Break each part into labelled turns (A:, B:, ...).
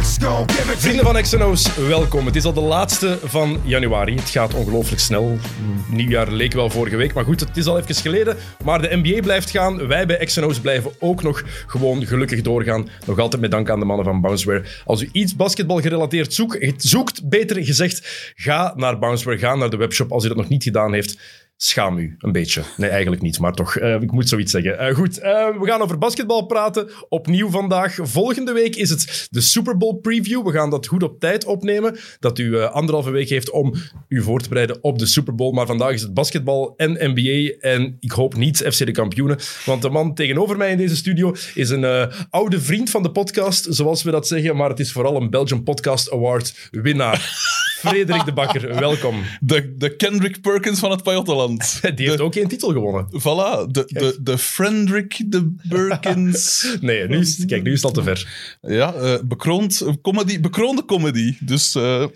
A: X go give it to
B: Vrienden van XNO's, welkom. Het is al de laatste van januari. Het gaat ongelooflijk snel. Nieuwjaar leek wel vorige week, maar goed, het is al even geleden. Maar de NBA blijft gaan. Wij bij XNO's blijven ook nog gewoon gelukkig doorgaan. Nog altijd met dank aan de mannen van Bounceware. Als u iets basketbal gerelateerd zoekt, zoekt, beter gezegd, ga naar Bounceware, ga naar de webshop. Als u dat nog niet gedaan heeft, Schaam u, een beetje. Nee, eigenlijk niet, maar toch. eh, ik moet zoiets zeggen. Eh, goed, eh, we gaan over basketbal praten. Opnieuw vandaag. Volgende week is het de Super Bowl preview. We gaan dat goed op tijd opnemen. Dat u eh, anderhalve week heeft om u voor te bereiden op de Super Bowl. Maar vandaag is het basketbal en NBA. En ik hoop niet FC de kampioenen. Want de man tegenover mij in deze studio is een eh, oude vriend van de podcast, zoals we dat zeggen. Maar het is vooral een Belgian Podcast Award winnaar. Frederik de Bakker, welkom.
C: De, de Kendrick Perkins van het Pajottenland.
B: Die heeft
C: de,
B: ook geen titel gewonnen.
C: Voilà, de, de, de Frendrick de Perkins.
B: Nee, nu is, kijk, nu is het al te ver.
C: ja, eh, bekroond, eh, comedy, bekroonde comedy. Dus eh,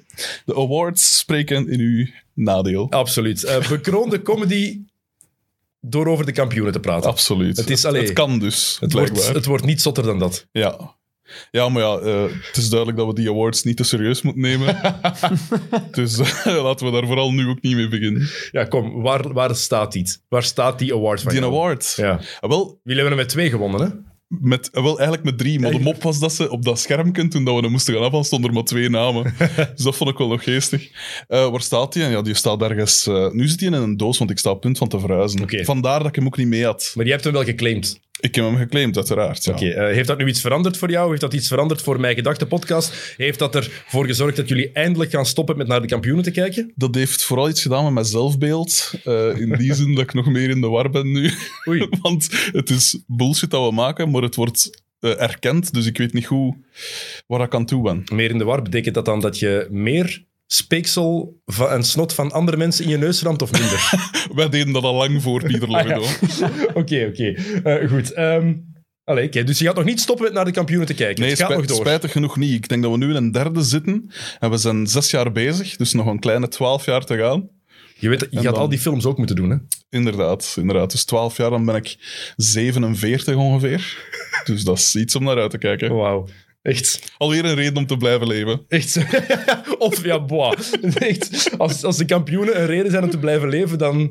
C: de awards spreken in uw nadeel.
B: Absoluut. Eh, bekroonde comedy door over de kampioenen te praten.
C: Absoluut.
B: Het is alleen-
C: het kan dus,
B: Het wordt,
C: blijkbaar.
B: het wordt niet zotter dan dat.
C: Ja. Ja, maar ja, eh, het is duidelijk dat we die awards niet te serieus moeten nemen. dus eh, laten we daar vooral nu ook niet mee beginnen.
B: Ja, kom, waar, waar staat dit? Waar staat die award van?
C: Die
B: jou?
C: award.
B: Ja.
C: Ah, wel,
B: Jullie hebben er met twee gewonnen, hè?
C: Met, eh, wel, eigenlijk met drie. Maar de mop was dat ze op dat schermje, toen dat we hem moesten gaan afhalen, stonden er maar twee namen. dus dat vond ik wel nog geestig. Eh, waar staat die? Ja, die staat ergens... eh, nu zit hij in een doos, want ik sta op punt van te verhuizen.
B: Oké.
C: Vandaar dat ik hem ook niet mee had.
B: Maar je hebt hem wel geclaimd.
C: Ik heb hem geclaimd, uiteraard. Ja.
B: Oké, eh, heeft dat nu iets veranderd voor jou? Heeft dat iets veranderd voor mijn gedachte podcast? Heeft dat ervoor gezorgd dat jullie eindelijk gaan stoppen met naar de kampioenen te kijken?
C: Dat heeft vooral iets gedaan met mijn zelfbeeld. Eh, in die zin dat ik nog meer in de war ben nu.
B: Oei.
C: Want het is bullshit dat we maken, maar het wordt eh, erkend. Dus ik weet niet goed waar ik aan toe ben.
B: Meer in de war betekent dat dan dat je meer speeksel va- en snot van andere mensen in je neus ramt of minder?
C: Wij deden dat al lang voor
B: Ah,
C: Pieter Lovedo.
B: Oké, oké. Eh, goed. ehm, allee, oké, Dus je gaat nog niet stoppen met naar de kampioenen te kijken.
C: Nee,
B: het gaat
C: spij-
B: nog door.
C: spijtig genoeg niet. Ik denk dat we nu in een derde zitten. En we zijn zes jaar bezig, dus nog een kleine twaalf jaar te gaan.
B: Je, weet, je
C: En
B: gaat
C: dan-
B: al die films ook moeten doen, hè?
C: Inderdaad, inderdaad. Dus twaalf jaar, dan ben ik 47 ongeveer. Dus dat is iets om naar uit te kijken.
B: Wauw. Echt.
C: Alweer een reden om te blijven leven.
B: Echt. of ja, boah. Echt. Als, als de kampioenen een reden zijn om te blijven leven, dan...
C: Ik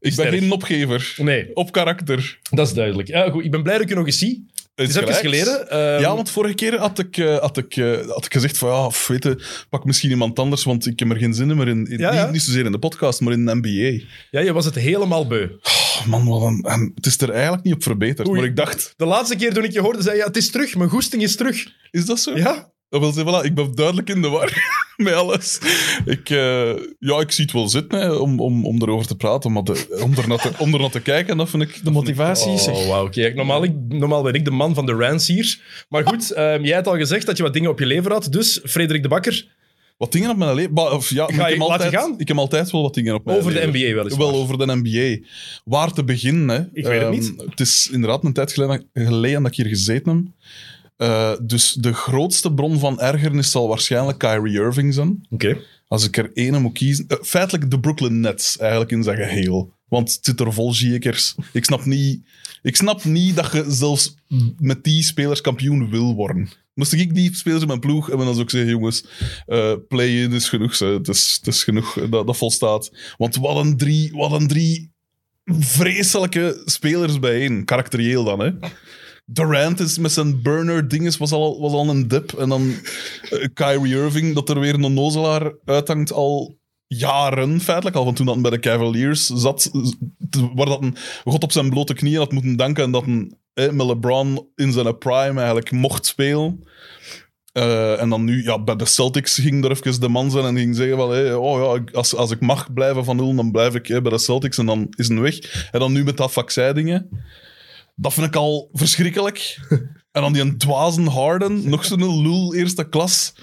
C: ben
B: Sterk.
C: geen opgever.
B: Nee,
C: Op karakter.
B: dat is duidelijk. Ja, goed, ik ben blij dat ik je nog eens zie. Het is even
C: gelijk.
B: geleden. ehm,
C: ja, want vorige keer had ik, eh, had ik, eh, had ik gezegd van ja, of weet je, pak misschien iemand anders, want ik heb er geen zin in meer in. in-
B: Ja, ja.
C: Niet, niet zozeer in de podcast, maar in de NBA.
B: ja, je was het helemaal beu.
C: Oh, man, wat een, en het is er eigenlijk niet op verbeterd.
B: Oei.
C: Maar ik dacht,
B: De laatste keer toen ik je hoorde, zei je, ja, het is terug. Mijn goesting is terug.
C: is dat zo?
B: Ja?
C: Dat wil zeggen, voilà, ik ben duidelijk in de war met alles. Ik, eh, ja, ik zie het wel zitten hè, om, om, om erover te praten, maar de, om, ernaar te, om ernaar te kijken, dat vind ik... De motivatie
B: Oh, wauw. Kijk, normaal, ik- normaal ben ik de man van de rants hier. Maar goed, ehm, jij had al gezegd dat je wat dingen op je lever had. Dus, Frederik de Bakker,
C: Wat dingen op mijn leven... maar, Of, ja, maar
B: Ga
C: ik
B: je
C: heb
B: laten
C: altijd,
B: gaan?
C: Ik heb altijd wel wat dingen op mijn
B: over de
C: leven.
B: NBA weliswaar.
C: Wel over de NBA. Waar te beginnen, hè?
B: Ik weet het
C: Ehm,
B: niet.
C: Het is inderdaad een tijd geleden, geleden dat ik hier gezeten heb. Eh, dus de grootste bron van ergernis zal waarschijnlijk Kyrie Irving zijn.
B: Oké.
C: Als ik er één moet kiezen... eh, feitelijk de Brooklyn Nets, eigenlijk in zijn geheel. Want het zit er vol ziekers. Ik snap niet... Ik snap niet dat je zelfs met die spelers kampioen wil worden. Moest ik die spelers in mijn ploeg hebben, dan zou ik zeggen, jongens, eh, play-in is genoeg. ze. Het is, het is genoeg, eh, dat, dat volstaat. Want wat een drie, wat een drie vreselijke spelers bijeen. Karakterieel dan, hè. Durant is met zijn burner dinges was al, was al een dip. En dan eh, Kyrie Irving, dat er weer een onnozelaar uithangt al jaren, feitelijk. Al van toen dat hij bij de Cavaliers zat, eh, te- waar dat een god op zijn blote knieën had moeten danken en dat een, eh, met LeBron in zijn prime eigenlijk mocht spelen. Eh, en dan nu, ja, bij de Celtics ging er even de man zijn en ging zeggen van, hé, oh ja, ik- als, als ik mag blijven van nul, dan blijf ik eh, bij de Celtics en dan is hij weg. En dan nu met dat vaccindingen. Dat vind ik al verschrikkelijk. en dan die een dwazen Harden, nog zo'n lul eerste klas.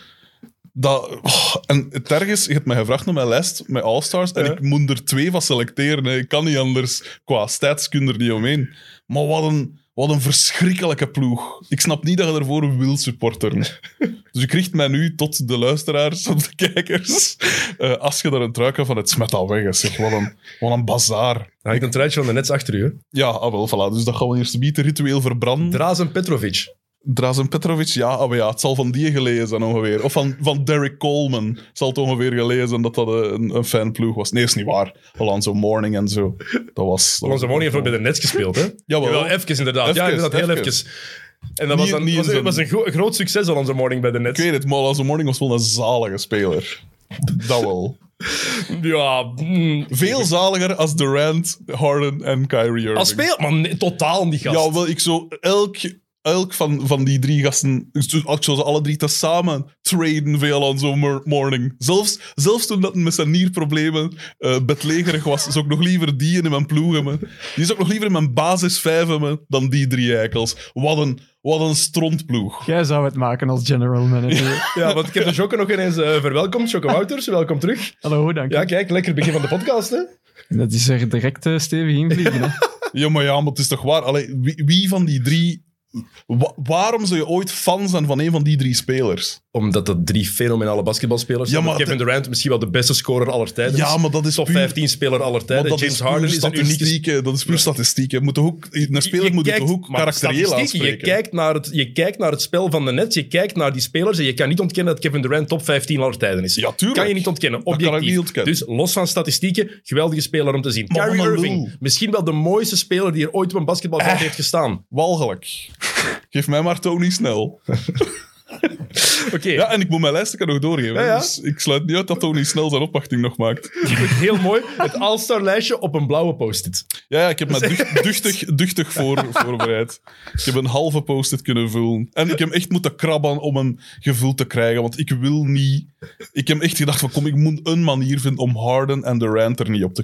C: Dat, oh, en het erg is, je hebt mij gevraagd naar mijn lijst met All-Stars en
B: Ja.
C: ik moet er twee van selecteren. hè. Ik kan niet anders. Qua stats kun je er niet omheen. Maar wat een, wat een verschrikkelijke ploeg. Ik snap niet dat je daarvoor wil supporteren. Dus ik richt mij nu tot de luisteraars, tot de kijkers. Eh, als je daar een trui kan van het smet al weg. hè, Zeg. Wat, een, wat een bazaar.
B: Dan hangt een truitje van de nets achter u. hè.
C: Ja, ah, wel, voilà. Dus dat gaan we eerst bieden ritueel verbranden.
B: Drazen Petrovic.
C: Drazen Petrovic, ja, ah, maar ja, het zal van die gelezen zijn ongeveer. Of van, van Derek Coleman zal het ongeveer gelezen zijn dat dat eh, een, een fanploeg was. Nee, is niet waar. Alonso Morning en zo. Dat was... dat was-
B: Onze Morning heeft ook bij de nets gespeeld, hè?
C: Jawel.
B: Wel even inderdaad. ja,
C: Even,
B: inderdaad, heel
C: even.
B: even. En dat was,
C: Niet-
B: dan,
C: niet
B: was,
C: zo'n-
B: was een gro- groot succes al onze morning bij de
C: Ik
B: Nets.
C: weet het, maar Alonso Morning was wel een zalige speler. Dat wel.
B: Ja, mm,
C: Veel zaliger als Durant, Harden en Kyrie Irving.
B: als speelt man nee, totaal niet gast.
C: Ja, wel, ik zo elk, elk van, van die drie gasten, ik zou ik zou ze alle drie tezamen traden via Alonso Mor- Morning. Zelfs, zelfs toen dat met zijn nierproblemen eh bedlegerig was, zou ik nog liever die in mijn ploeg hebben. Die zou ik nog liever in mijn basis vijf hebben dan die drie eikels. Wat een, wat een strontploeg.
D: Jij zou het maken als general manager.
B: Ja, want ik heb de Jocke nog ineens eh, verwelkomd. Jocke Wouters, welkom terug.
D: Hallo, dank je.
B: Ja, kijk, lekker begin van de podcast, hè?
D: Dat is er direct eh, stevig in vliegen. hè.
C: Ja, maar ja, maar het is toch waar? Allee, wie, wie van die drie... wa- waarom zou je ooit fan zijn van een van die drie spelers?
B: Omdat dat drie fenomenale basketbalspelers
C: Ja,
B: zijn.
C: maar
B: Kevin Durant misschien wel de beste scorer aller tijden.
C: Ja, maar dat is
B: Top
C: puur-
B: 15 speler aller tijden.
C: Want
B: James
C: puur
B: Harden is een unieke
C: statistiek, hè. Dat is puur statistiek. hè. Moet de hoek, een speler moet
B: kijkt-
C: de hoek
B: maar
C: karakterieel
B: statistieken,
C: aanspreken.
B: Je kijkt, naar het, je kijkt naar het spel van de net, je kijkt naar die spelers en je kan niet ontkennen dat Kevin Durant top 15 aller tijden is.
C: Ja, tuurlijk.
B: Kan je niet ontkennen,
C: kan
B: objectief.
C: ik niet ontkennen.
B: Dus los van statistieken, geweldige speler om te zien.
C: Maar
B: Kyrie
C: wat een
B: Irving,
C: lul.
B: misschien wel de mooiste speler die er ooit op een basketbalveld
C: Eh.
B: heeft gestaan.
C: Walgelijk. Geef mij maar Tony Snel.
B: Oké,
C: Ja, en ik moet mijn lijst er nog doorgeven. hè.
B: Ja, ja.
C: Dus ik sluit niet uit dat Tony Snel zijn opwachting nog maakt.
B: heel mooi. Het All-Star lijstje op een blauwe post-it.
C: Ja, ja ik heb me
B: Dus-
C: ducht- duchtig, duchtig voor, voorbereid. Ik heb een halve post-it kunnen vullen. En ik heb echt moeten krabben om hem gevuld te krijgen. Want ik wil niet... Ik heb echt gedacht van, kom, ik moet een manier vinden om Harden en Durant er niet op te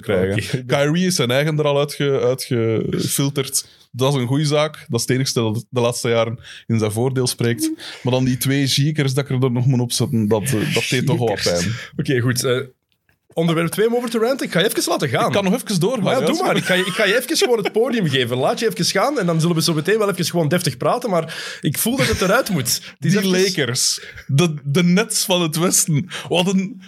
C: krijgen. Kyrie is zijn eigen er al uitge, uitgefilterd. Dat is een goede zaak. Dat is het enigste dat de laatste jaren in zijn voordeel spreekt. Maar dan die twee ziekers dat ik er nog moet opzetten, dat, eh, dat deed toch wel wat pijn.
B: Oké, goed. eh, onderwerp 2 om over te ranten. Ik ga je even laten gaan.
C: Ik kan nog even doorgaan.
B: Maar ja,
C: ja.
B: doe maar. Ik ga, je, ik ga je even gewoon het podium geven. Laat je even gaan en dan zullen we zo meteen wel even gewoon deftig praten. Maar ik voel dat het eruit moet. Het is
C: Die
B: even-
C: Lakers. De, de Nets van het Westen. Wat een,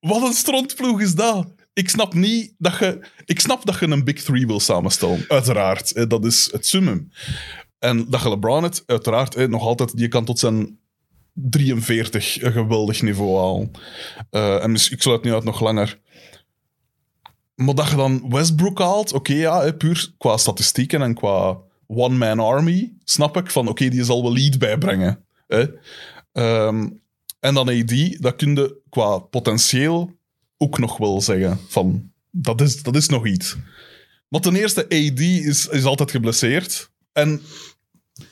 C: wat een strontploeg is dat. Ik snap niet dat je... Ik snap dat je een Big Three wil samenstellen. Uiteraard. hè, Dat is het summum. En dat je LeBron het, uiteraard, hè, nog altijd... Je kan tot zijn 43 een geweldig niveau halen. Eh, en mis- ik sluit nu uit nog langer. Maar dat je dan Westbrook haalt, oké ja, hè, puur qua statistieken en qua one-man army, snap ik van oké, die zal wel lead bijbrengen. Hè. Ehm, en dan AD, dat kun je qua potentieel ook nog wel zeggen van dat is, dat is nog iets. Maar ten eerste, AD is, is altijd geblesseerd. En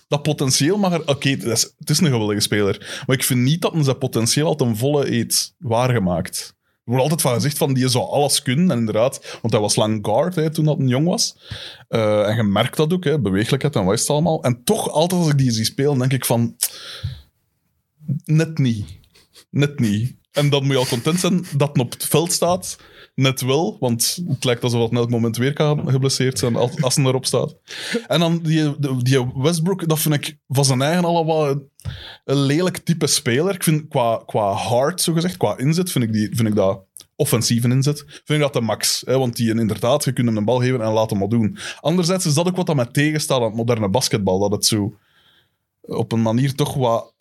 C: dat potentieel mag er... Oké, het, is- het is een geweldige speler. Maar ik vind niet dat men zijn potentieel al ten volle heeft waargemaakt. Er wordt altijd van gezegd van, die zou alles kunnen. En inderdaad, want hij was lang guard hè, toen dat een jong was. Eh, en je merkt dat ook, hè, beweeglijkheid en wat is het allemaal. En toch, altijd als ik die zie spelen, denk ik van... Net niet. Net niet. En dan moet je al content zijn dat het op het veld staat. Net wel, want het lijkt alsof het in elk moment weer kan geblesseerd zijn als, als hij erop staat. En dan die, de- die Westbrook, dat vind ik van zijn eigen allemaal een, een lelijk type speler. Ik vind qua, qua hard, zogezegd, qua inzet, vind ik, die, vind ik dat offensieve inzet, vind ik dat de max. Hè? Want die inderdaad, je kunt hem een bal geven en laat hem wat doen. Anderzijds is dat ook wat dat mij tegenstaat aan het moderne basketbal, dat het zo op een manier toch wat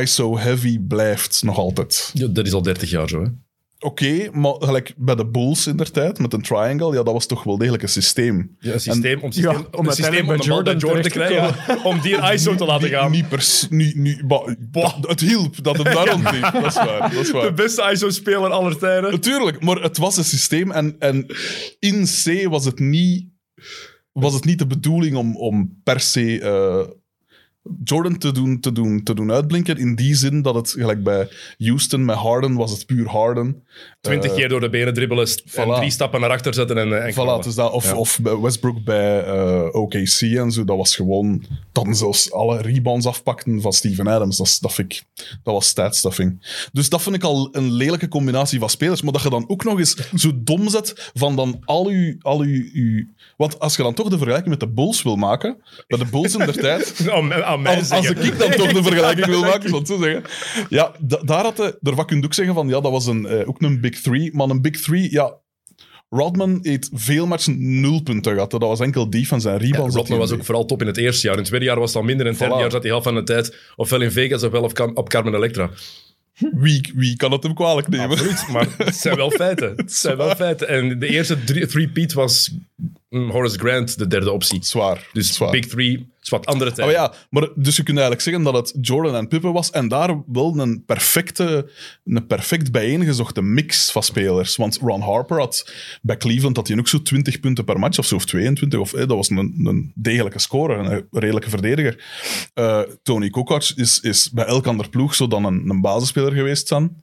C: ISO-heavy blijft nog altijd.
B: Ja, dat is al 30 jaar zo. Hè?
C: Oké, maar gelijk bij de Bulls in der tijd, met een triangle, ja, dat was toch wel degelijk een systeem.
B: Ja, een systeem, om systeem,
D: Ja,
B: om
D: om
B: een systeem
D: uiteindelijk
B: om
D: bij
B: de bal bij Jordan
D: Jordan
B: te
D: terecht te
B: krijgen. om die een ISO te laten
C: Niet-
B: gaan.
C: Niet per se- niet- niet- ba- dat- het hielp dat het daar ontliep. Dat is waar. Dat is
B: De
C: waar.
B: beste ISO-speler aller tijden.
C: Natuurlijk, maar het was een systeem en, en in C was het niet, was het niet de bedoeling om, om per se eh, Jordan te doen, te, doen, te doen uitblinken. In die zin dat het, gelijk bij Houston, met Harden was het puur Harden.
B: Twintig keer door de benen dribbelen st- en
C: voilà.
B: drie stappen naar achter zetten en, eh, en knallen.
C: Voilà, dus dat, of,
B: Ja.
C: of bij Westbrook bij eh, OKC en zo, dat was gewoon dat hem zelfs alle rebounds afpakten van Steven Adams. Dat, is- dat, vind ik, dat was statstuffing. Dus dat vind ik al een lelijke combinatie van spelers. Maar dat je dan ook nog eens zo dom zet van dan al uw... Al uw, uw- want als je dan toch de vergelijking met de Bulls wil maken, bij de Bulls in der tijd...
B: Aan, mij- eh, aan mij
C: Als, als
B: zeggen.
C: ik ik dan toch de vergelijking wil maken, zal ik zo zeggen. Ja, da- daar had de, daarvan kun je ook zeggen van, ja, dat was een, eh, ook een Big Three. Maar een Big Three, ja... Rodman heeft veel matchen nul punten gehad. hè. Dat was enkel defense en rebounds. dat
B: Rodman
C: hij
B: was ook
C: deed.
B: vooral top in het eerste jaar. In het tweede jaar was het al minder. In het derde
C: Voilà.
B: jaar zat hij half van de tijd ofwel in Vegas ofwel op, Cam- op Carmen Electra.
C: Wie, wie kan het hem kwalijk nemen?
B: Absoluut, maar het zijn wel feiten. Het zijn wel feiten. En de eerste drie- three-peat was mm, Horace Grant, de derde optie.
C: Zwaar.
B: Dus
C: zwaar.
B: Big Three is wat andere tijd.
C: Oh ja, maar dus je kunt eigenlijk zeggen dat het Jordan en Pippen was en daar wel een perfecte, een perfect bijeengezochte mix van spelers. Want Ron Harper had bij Cleveland had hij ook zo 20 punten per match of zo, of 22, of, eh, dat was een, een degelijke scorer, een redelijke verdediger. Eh, Tony Kukoc is, is bij elk ander ploeg zo dan een, een basisspeler geweest dan.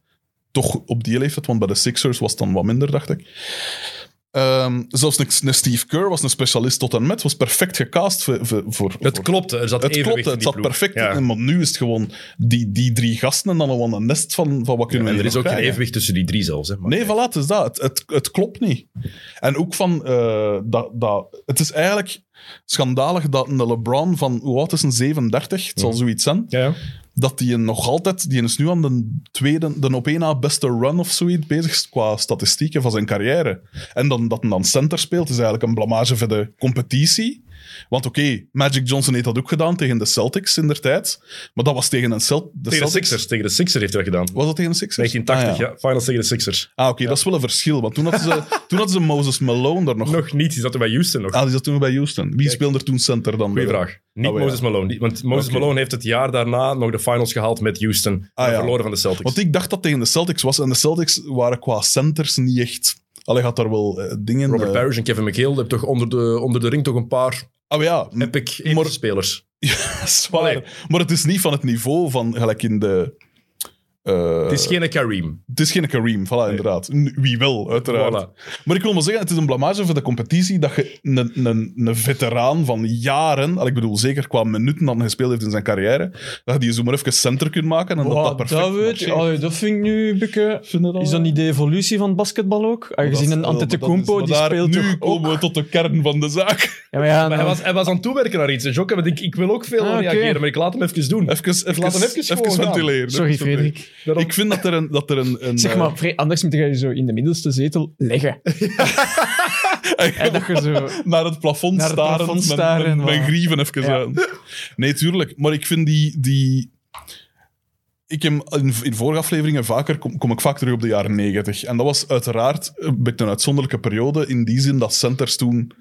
C: Toch op die leeftijd, want bij de Sixers was het dan wat minder, dacht ik. Ehm, zelfs een, een Steve Kerr was een specialist tot en met, was perfect gecast voor, voor, voor,
B: Het klopte, er zat
C: het
B: Dus evenwicht
C: klopt,
B: in
C: het
B: die
C: zat
B: ploeg.
C: perfect.
B: Ja.
C: in, Maar nu is het gewoon die, die drie gasten en dan gewoon een nest van, van wat kunnen
B: En
C: we
B: er is
C: hier
B: ook
C: nog
B: geen
C: krijgen.
B: evenwicht tussen die drie zelfs. Hè. Maar-
C: Nee, voilà, het is dat. Het, het, het klopt niet. En ook van... eh, dat, dat, het is eigenlijk schandalig dat een LeBron van... Hoe oud is een 37? Het zal zoiets zijn.
B: Ja, ja.
C: Dat die een nog altijd... Die is nu aan de tweede... De op één na beste run of zoiets bezig qua statistieken van zijn carrière. En dan, dat hij dan center speelt is eigenlijk een blamage voor de competitie. Want oké, Magic Johnson heeft dat ook gedaan tegen de Celtics in der tijd. Maar dat was tegen een Celt
B: Tegen
C: de
B: de
C: Celtics.
B: Sixers. Tegen de Sixers heeft hij dat gedaan.
C: Was dat tegen de Sixers?
B: 1980,
C: Ah,
B: ja. Finals tegen de Sixers.
C: Ah, oké, dat is wel een verschil. Want toen hadden ze, toen hadden ze Moses Malone er nog.
B: Nog niet, die zat er bij Houston nog.
C: Ah, die zat toen bij Houston. Wie speelde er toen center dan?
B: Goeie
C: wel?
B: vraag. Niet
C: Oh, ja.
B: Moses Malone. die- Want Moses
C: Oké.
B: Malone heeft het jaar daarna nog de finals gehaald met Houston.
C: Ah,
B: en
C: ja.
B: verloren van de Celtics.
C: Want ik dacht dat tegen de Celtics was. En de Celtics waren qua centers niet echt... Allee, had daar wel eh, dingen...
B: Robert
C: eh,
B: Parrish en Kevin McHale hebben toch onder de, onder de ring toch een paar
C: Ah ja, m-
B: epic
C: maar-
B: spelers.
C: ja, zwaar.
B: Allee.
C: Maar het is niet van het niveau van gelijk in de... eh,
B: Het is geen Kareem.
C: het is geen Kareem, voilà, inderdaad. N- Wie wel, uiteraard. Maar ik wil maar zeggen, het is een blamage voor de competitie dat je een, een, een veteraan van jaren, al ik bedoel zeker qua minuten dat hij gespeeld heeft in zijn carrière, dat je die zo maar even center kunt maken en dat dat
E: Wow, dat,
C: perfect
E: weet je.
C: marcheert.
E: Allee, dat vind ik nu een beetje... Is dat niet de evolutie van het basketbal ook? Aangezien een
C: Dat is-
E: Antetokounmpo,
C: dat is-
E: die
C: maar daar-
E: speelt
C: Nu
E: toch ook...
C: komen we tot de kern van de zaak.
E: Ja, maar ja,
B: Maar hij
E: nou,
B: was, hij was aan het toewerken naar iets. En Jokke, want ik, ik wil ook veel
E: Ah, oké.
B: reageren, maar ik laat hem even doen.
C: Even, even,
B: laat hem even
C: even,
B: gewoon gaan.
C: ventileren.
E: Sorry, Frederik.
B: Daarom-
C: Ik vind dat er een... Dat er een, een
E: Zeg
C: eh,
E: maar, Fre- anders moet je je zo in de middelste zetel leggen. en dat je zo...
C: naar het plafond
E: Naar het
C: staren,
E: plafond
C: mijn-
E: staren,
C: mijn, mijn
E: voilà.
C: grieven even
E: Ja.
C: aan. Nee, tuurlijk. Maar ik vind die... die ik heb in, in vorige afleveringen vaker kom, kom ik vaak terug op de jaren negentig. En dat was uiteraard een beetje een uitzonderlijke periode in die zin dat centers toen...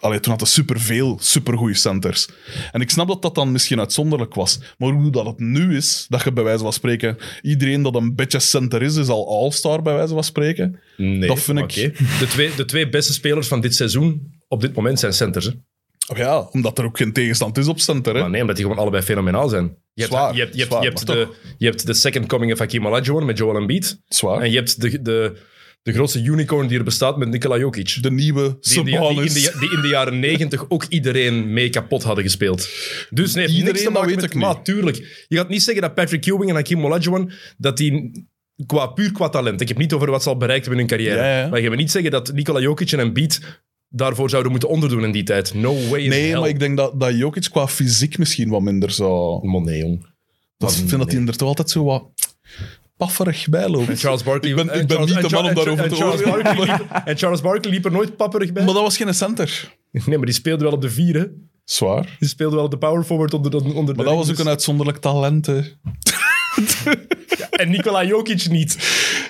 C: Allee, toen hadden superveel supergoeie centers. En ik snap dat dat dan misschien uitzonderlijk was. Maar hoe dat het nu is, dat je bij wijze van spreken... Iedereen dat een beetje center is, is al all-star bij wijze van spreken.
B: Nee,
C: dat vind ik-
B: oké. De, twee, de twee beste spelers van dit seizoen op dit moment zijn centers. Hè?
C: Oh ja, omdat er ook geen tegenstand is op center. Hè?
B: Maar nee, omdat die gewoon allebei fenomenaal zijn. Je hebt,
C: Zwaar,
B: je hebt, je hebt,
C: zwaar,
B: je hebt
C: maar
B: de, je hebt de second coming of Hakim Olajuwon met Joel Embiid.
C: Zwaar.
B: En je hebt de, de, de grootste unicorn die er bestaat met Nikola Jokic.
C: de nieuwe
B: Die in, de, die, in
C: Sabonis.
B: de, die in de jaren negentig ook iedereen mee kapot hadden gespeeld. Dus nee,
C: Iedereen,
B: iedereen, niks te
C: dat
B: maken
C: weet
B: met-
C: ik niet.
B: Maar tuurlijk, je gaat niet zeggen dat Patrick Ewing en Hakim Olajuwon, dat die qua, puur qua talent, ik heb niet over wat ze al bereikt hebben in hun carrière,
C: Ja, ja.
B: maar je gaat niet zeggen dat Nikola Jokic en Embiid daarvoor zouden moeten onderdoen in die tijd. No way in
C: Nee,
B: hell.
C: maar ik denk dat, dat Jokic qua fysiek misschien wat minder zou...
B: Man, nee, jong.
C: Dat ik vind dat hij er toch altijd zo wat pafferig bij
B: En
C: loopt.
B: Charles Barkley...
C: Ik ben-
B: en
C: ik ben
B: Charles-
C: niet
B: en
C: de man om
B: Char- en
C: daarover te
B: Charles
C: oordelen.
B: Barkley liep- En Charles Barkley liep er nooit papperig bij.
C: Maar dat was geen center.
B: Nee, maar die speelde wel op de vier, hè.
C: Zwaar.
B: Die speelde wel op de power forward onder, onder de
C: Maar dat
B: ring,
C: was ook
B: dus-
C: een uitzonderlijk talent, hè.
B: En Nikola Jokic niet.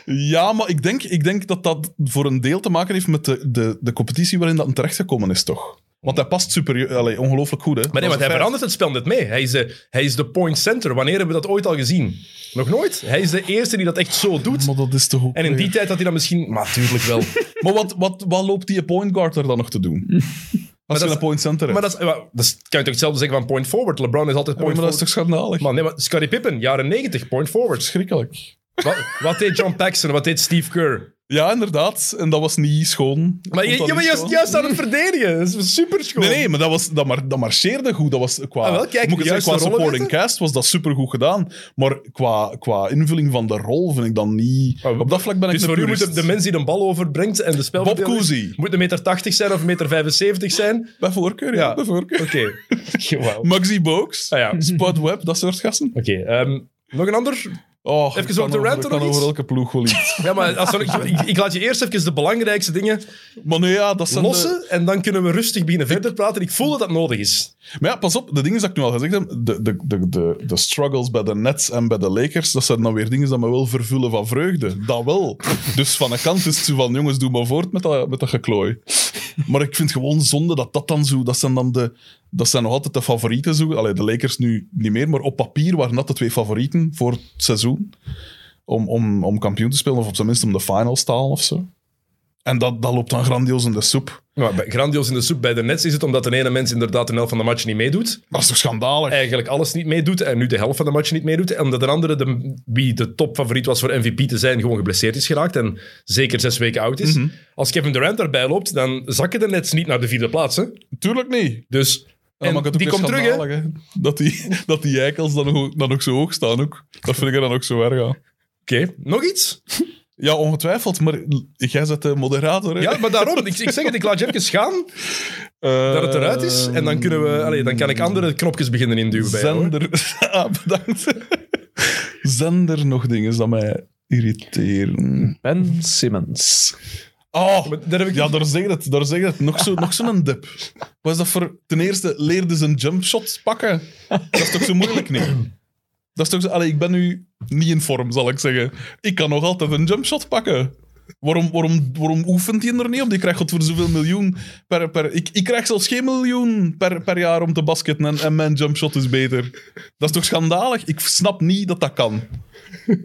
C: Ja, maar ik denk, ik denk dat dat voor een deel te maken heeft met de, de, de competitie waarin dat hem terechtgekomen is, toch? Want hij past super, allee, ongelooflijk goed, hè.
B: Maar nee,
C: Dat
B: want hij
C: is een feit.
B: verandert het spel net mee. Hij is, de, hij is de point center. Wanneer hebben we dat ooit al gezien? Nog nooit. Hij is de eerste die dat echt zo doet.
C: Maar dat is toch ook
B: En in die
C: weer-
B: tijd had hij dan misschien... Maar tuurlijk wel.
C: Maar wat, wat, wat loopt die point guard er dan nog te doen? Als je
B: dat
C: een point center
B: Maar
C: hebt.
B: dat, is, eh, wel, dat is- kan je toch hetzelfde zeggen van point forward. LeBron is altijd
C: Ja, maar
B: point
C: dat is
B: forward.
C: toch schandalig?
B: Man, nee, maar Scottie Pippen, jaren 90, point forward.
C: Schrikkelijk.
B: wat, wat deed John Paxson, wat deed Steve Kerr?
C: Ja, inderdaad. En dat was niet schoon.
B: Maar
C: Vond
B: je, je
C: dat
B: bent
C: niet
B: juist,
C: schoon.
B: juist aan het verdedigen. Dat is super schoon.
C: Nee, nee, maar dat, was, dat, mar, dat marcheerde goed. Dat was qua,
B: Ah, wel, kijk,
C: moet ik
B: de
C: zeggen,
B: juiste
C: qua
B: rollen
C: supporting
B: weten.
C: cast was dat supergoed gedaan. Maar qua, qua invulling van de rol vind ik dan niet...
B: Ah,
C: Op dat vlak ben ik
B: Dus voor
C: een
B: u moet de,
C: purist.
B: de mens die de bal overbrengt en de spel
C: Bob Cousy.
B: moet een meter 80 zijn of een meter 75 zijn.
C: Bij voorkeur, ja.
B: Ja.
C: Bij voorkeur.
B: Oké. Wauw.
C: Maxi Boaks,
B: Ah, ja.
C: Spud Webb, dat soort gasten.
B: Oké, ehm, nog een ander?
C: Oh,
B: Even
C: ik
B: op
C: kan
B: de
C: over-
B: rant
C: ik
B: nog
C: kan
B: iets?
C: over elke ploeg wel iets.
B: Ja, maar als we- ik, ik laat je eerst even de belangrijkste dingen
C: maar nee, ja, dat zijn de-
B: lossen en dan kunnen we rustig beginnen verder praten. Ik voel dat dat nodig is.
C: Maar ja, pas op, de dingen die ik nu al gezegd heb, de, de, de, de, de struggles bij de Nets en bij de Lakers, dat zijn dan weer dingen die me wel vervullen van vreugde. Dat wel. Dus van een kant is het zo van, jongens, doe maar voort met dat, met dat geklooi. Maar ik vind gewoon zonde dat dat dan zo, dat zijn dan de, dat zijn nog altijd de favorieten zo. Allee, de Lakers nu niet meer, maar op papier waren dat de twee favorieten voor het seizoen. Om, om, om kampioen te spelen, of op zijn minst om de finals te halen of zo. En dat, dat loopt dan grandioos in de soep.
B: Maar bij- grandioos in de soep bij de Nets is het omdat de ene mens inderdaad de helft van de match niet meedoet.
C: Dat is toch schandalig?
B: Eigenlijk alles niet meedoet en nu de helft van de match niet meedoet. En omdat een andere, de, wie de topfavoriet was voor MVP te zijn, gewoon geblesseerd is geraakt en zeker zes weken oud is. Als Kevin Durant daarbij loopt, dan zakken de Nets niet naar de vierde plaats. Hè?
C: Tuurlijk niet.
B: Dus
C: Ja,
B: en
C: maar ik had ook
B: die
C: weer
B: komt terug, hè?
C: schandalig, hè. Dat die, dat die eikels dan ook, dan ook zo hoog staan. Ook. Dat vind ik er dan ook zo erg aan.
B: Oké, nog iets?
C: Ja, ongetwijfeld, maar l- jij zet de moderator. Hè?
B: Ja, maar daarom, ik, ik zeg het, ik laat je even gaan,
C: Eh,
B: dat het eruit is. En dan, kunnen we, allee, dan kan ik andere knopjes beginnen induwen bij jou, hoor.
C: Zender. Ah, bedankt. Zender nog dingen dat mij irriteren.
E: Ben Simmons.
C: Oh,
B: Maar daar heb ik
C: ja, daar zeg je het. Daar zeg je het. Nog zo'n nog zo'n dip. Wat is dat voor... Ten eerste, leerde ze een jumpshot pakken. Dat is toch zo moeilijk, niet? Dat is toch zo... Allee, ik ben nu niet in vorm, zal ik zeggen. Ik kan nog altijd een jumpshot pakken. Waarom, waarom, waarom oefent hij er niet op? Die krijgt God voor zoveel miljoen per... per ik, ik krijg zelfs geen miljoen per, per jaar om te basketten en, en mijn jumpshot is beter. Dat is toch schandalig? Ik snap niet dat dat kan.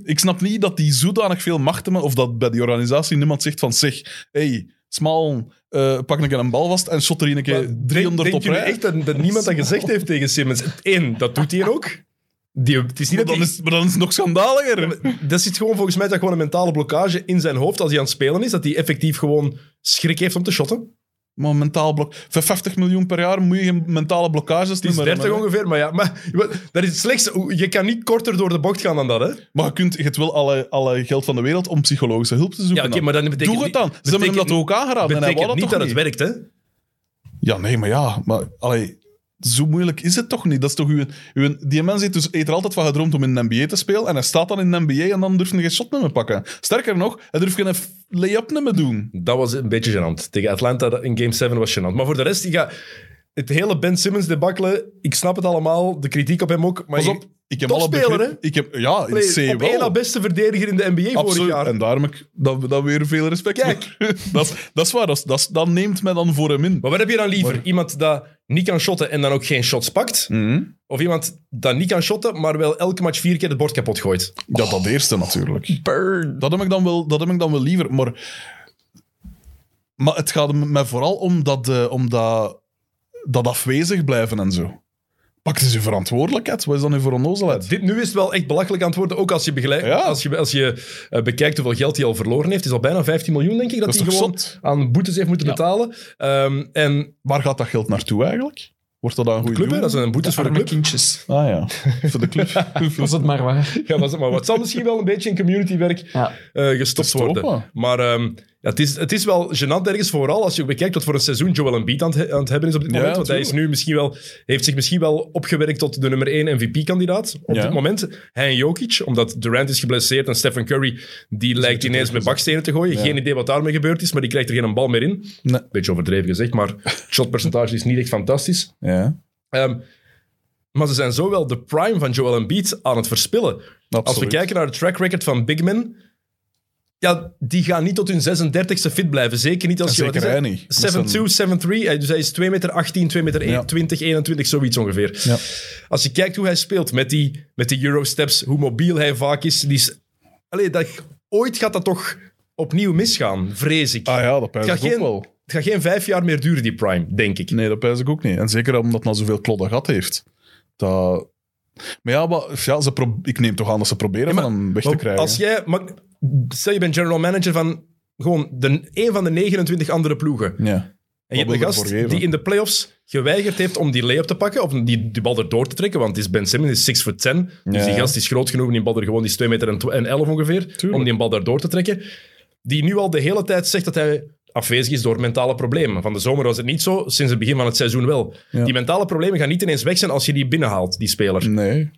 C: Ik snap niet dat die zodanig veel macht hebben, of dat bij die organisatie niemand zegt van zeg, hey, smal, eh, pak een keer een bal vast en shot er een
B: Maar
C: keer 300 op
B: denk jullie
C: rij.
B: echt dat, dat niemand dat gezegd heeft tegen Simmons? Eén, dat doet hij ook. Die, het is niet
C: Maar
B: dat
C: dan,
B: hij-
C: is, maar dan is het nog schandaliger.
B: Dat zit gewoon volgens mij dat gewoon een mentale blokkage in zijn hoofd als hij aan het spelen is, dat hij effectief gewoon schrik heeft om te shotten.
C: Maar mentaal blok. Voor 50 miljoen per jaar moet je geen mentale blokkages
B: Het is
C: meer
B: 30
C: hebben, hè.
B: ongeveer, maar ja, maar dat is het slechtste. Je kan niet korter door de bocht gaan dan dat, hè?
C: Maar je, kunt, je hebt wel alle, alle geld van de wereld om psychologische hulp te zoeken.
B: Ja, oké,
C: dan.
B: maar dan betekent
C: Doe het dan. Ze hebben
B: betekent
C: hem dat
B: niet-
C: ook aangeraden. en hij
B: betekent
C: wou dat
B: niet
C: toch
B: dat
C: niet.
B: het werkt, hè?
C: Ja, nee, maar ja. Maar, allee, zo moeilijk is het toch niet? Dat is toch uw, uw, die mens heeft, dus, heeft er altijd van gedroomd om in de NBA te spelen. En hij staat dan in de NBA en dan durft hij geen shot meer pakken. Sterker nog, hij durft geen f- lay-up meer doen.
B: Dat was een beetje gênant. Tegen Atlanta in Game 7 was gênant. Maar voor de rest, ik ga... Het hele Ben Simmons debakkelen, ik snap het allemaal. De kritiek op hem ook. Maar
C: Pas
B: je-
C: op. Ik heb
B: Toch
C: alle
B: speler,
C: begrip- Ik heb, ja,
B: Allee,
C: ik zie
B: op één na
C: wel.
B: beste verdediger in de NBA vorig
C: Absoluut.
B: jaar.
C: En daarom heb ik dat, dat weer veel respect
B: Kijk.
C: voor. dat, is- dat is waar. Dat, is- dat, is- dat neemt mij dan voor hem in.
B: Maar wat heb je dan liever? Iemand dat niet kan shotten en dan ook geen shots pakt?
C: Mhm.
B: Of iemand dat niet kan shotten, maar wel elke match vier keer het bord kapot gooit?
C: Ja, dat eerste natuurlijk. Dat heb ik dan wel, dat heb ik dan wel liever. Maar, maar het gaat m- mij vooral om dat, eh, om dat, dat afwezig blijven en zo. Pak eens je verantwoordelijkheid. Wat is dan nu voor onnozelheid?
B: Dit nu is het wel echt belachelijk aan het worden. Ook als je, begeleid,
C: Ja.
B: als je, als je eh, bekijkt hoeveel geld hij al verloren heeft. Het is al bijna 15 miljoen, denk ik, dat,
C: Dat is
B: hij
C: toch
B: gewoon
C: zot?
B: aan boetes heeft moeten betalen. Ehm, en
C: Waar gaat dat geld naartoe eigenlijk? Wordt dat dan een goede
B: club, hè,
C: doel?
B: dat zijn boetes voor de
E: Arme
B: club.
E: kindjes.
C: Ah ja, voor de club.
D: Was het maar waar.
B: Ja, was het maar wat. Het zal misschien wel een beetje in communitywerk
E: Ja.
B: eh, gestopt
C: Gestopt,
B: worden. Maar ehm, ja, het, is, het is wel gênant ergens, vooral als je bekijkt wat voor een seizoen Joel Embiid aan het, he- aan het hebben is op dit
C: Ja,
B: moment. Want hij is
C: tuurlijk.
B: nu misschien wel, heeft zich misschien wel opgewerkt tot de nummer 1 MVP-kandidaat op
C: Ja.
B: dit moment. Hij en Jokic, omdat Durant is geblesseerd en Stephen Curry, die lijkt ineens met bakstenen te gooien. Geen idee wat daarmee gebeurd is, maar die krijgt er geen bal meer in.
C: Nee.
B: Beetje overdreven gezegd, maar het shotpercentage is niet echt fantastisch.
C: Ja,
B: Ehm, maar ze zijn zo wel de prime van Joel Embiid aan het verspillen. Als we
C: Absoluut.
B: kijken naar de track record van big men, ja, die gaan niet tot hun 36e fit blijven. Zeker niet als je...
C: Zeker
B: wat is
C: hij
B: hij?
C: niet. Dat
B: 7'2", 7'3", hij- dus hij is 2 meter 18, 2 meter
C: Ja.
B: 20, 21, zoiets ongeveer.
C: Ja.
B: Als je kijkt hoe hij speelt met die, met die Eurosteps, hoe mobiel hij vaak is, die is allee, dat, ooit gaat dat toch opnieuw misgaan, vrees ik.
C: ah, ja dat pijs
B: Het
C: ik
B: gaat
C: ook
B: geen
C: wel.
B: Het gaat geen vijf jaar meer duren, die Prime, denk ik.
C: Nee, dat pijs ik ook niet. En zeker omdat het nou zoveel klodden gehad heeft. Dat... Maar ja, maar, ja ze pro- ik neem toch aan dat ze proberen
B: maar-
C: van hem weg te
B: Want
C: krijgen.
B: Als jij, maar, stel je bent general manager van gewoon de, een van de 29 andere ploegen.
C: Ja.
B: En je
C: Wat wil
B: hebt
C: je
B: een
C: ervoor geven?
B: gast die in de playoffs geweigerd heeft om die lay-up te pakken, of die, die bal erdoor te trekken, want het is Ben Simmons, die is 6 foot 10. Dus
C: Ja.
B: die gast is groot genoeg om die bal er gewoon, die is 2 meter en, tw- en 11 ongeveer, om die bal erdoor te trekken. Die nu al de hele tijd zegt dat hij afwezig is door mentale problemen. Van de zomer was het niet zo, sinds het begin van het seizoen wel.
C: Ja.
B: Die mentale problemen gaan niet ineens weg zijn als je die binnenhaalt, die speler.
C: Nee.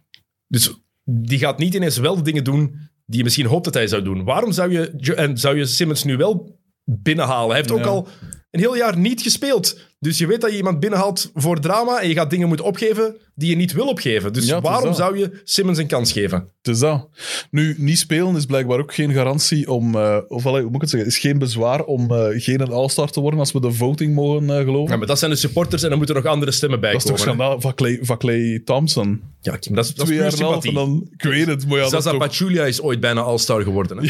B: Dus die gaat niet ineens wel de dingen doen die je misschien hoopt dat hij zou doen. Waarom zou je, Jo- en zou je Simmons nu wel binnenhalen? Hij heeft ook
C: Ja.
B: al een heel jaar niet gespeeld. Dus je weet dat je iemand binnenhaalt voor drama en je gaat dingen moeten opgeven die je niet wil opgeven. Dus
C: Ja, het is
B: waarom
C: dat.
B: zou je Simmons een kans geven?
C: Het is dat. Nu, niet spelen is blijkbaar ook geen garantie om... eh, of allee, hoe moet ik het zeggen? is geen bezwaar om eh, geen een all-star te worden als we de voting mogen eh, geloven.
B: Ja, maar dat zijn de supporters en dan moeten er nog andere stemmen bij
C: dat is toch
B: komen. hè?
C: schandaal van Clay, van Clay Thompson.
B: Ja, Kim, dat is, dat is
C: Twee jaar
B: puur
C: en een half en
B: sympathie.
C: dan... Ik weet het, maar ja, dat is,
B: Zaza
C: toch-
B: Pachulia is ooit bijna all-star geworden. Hè?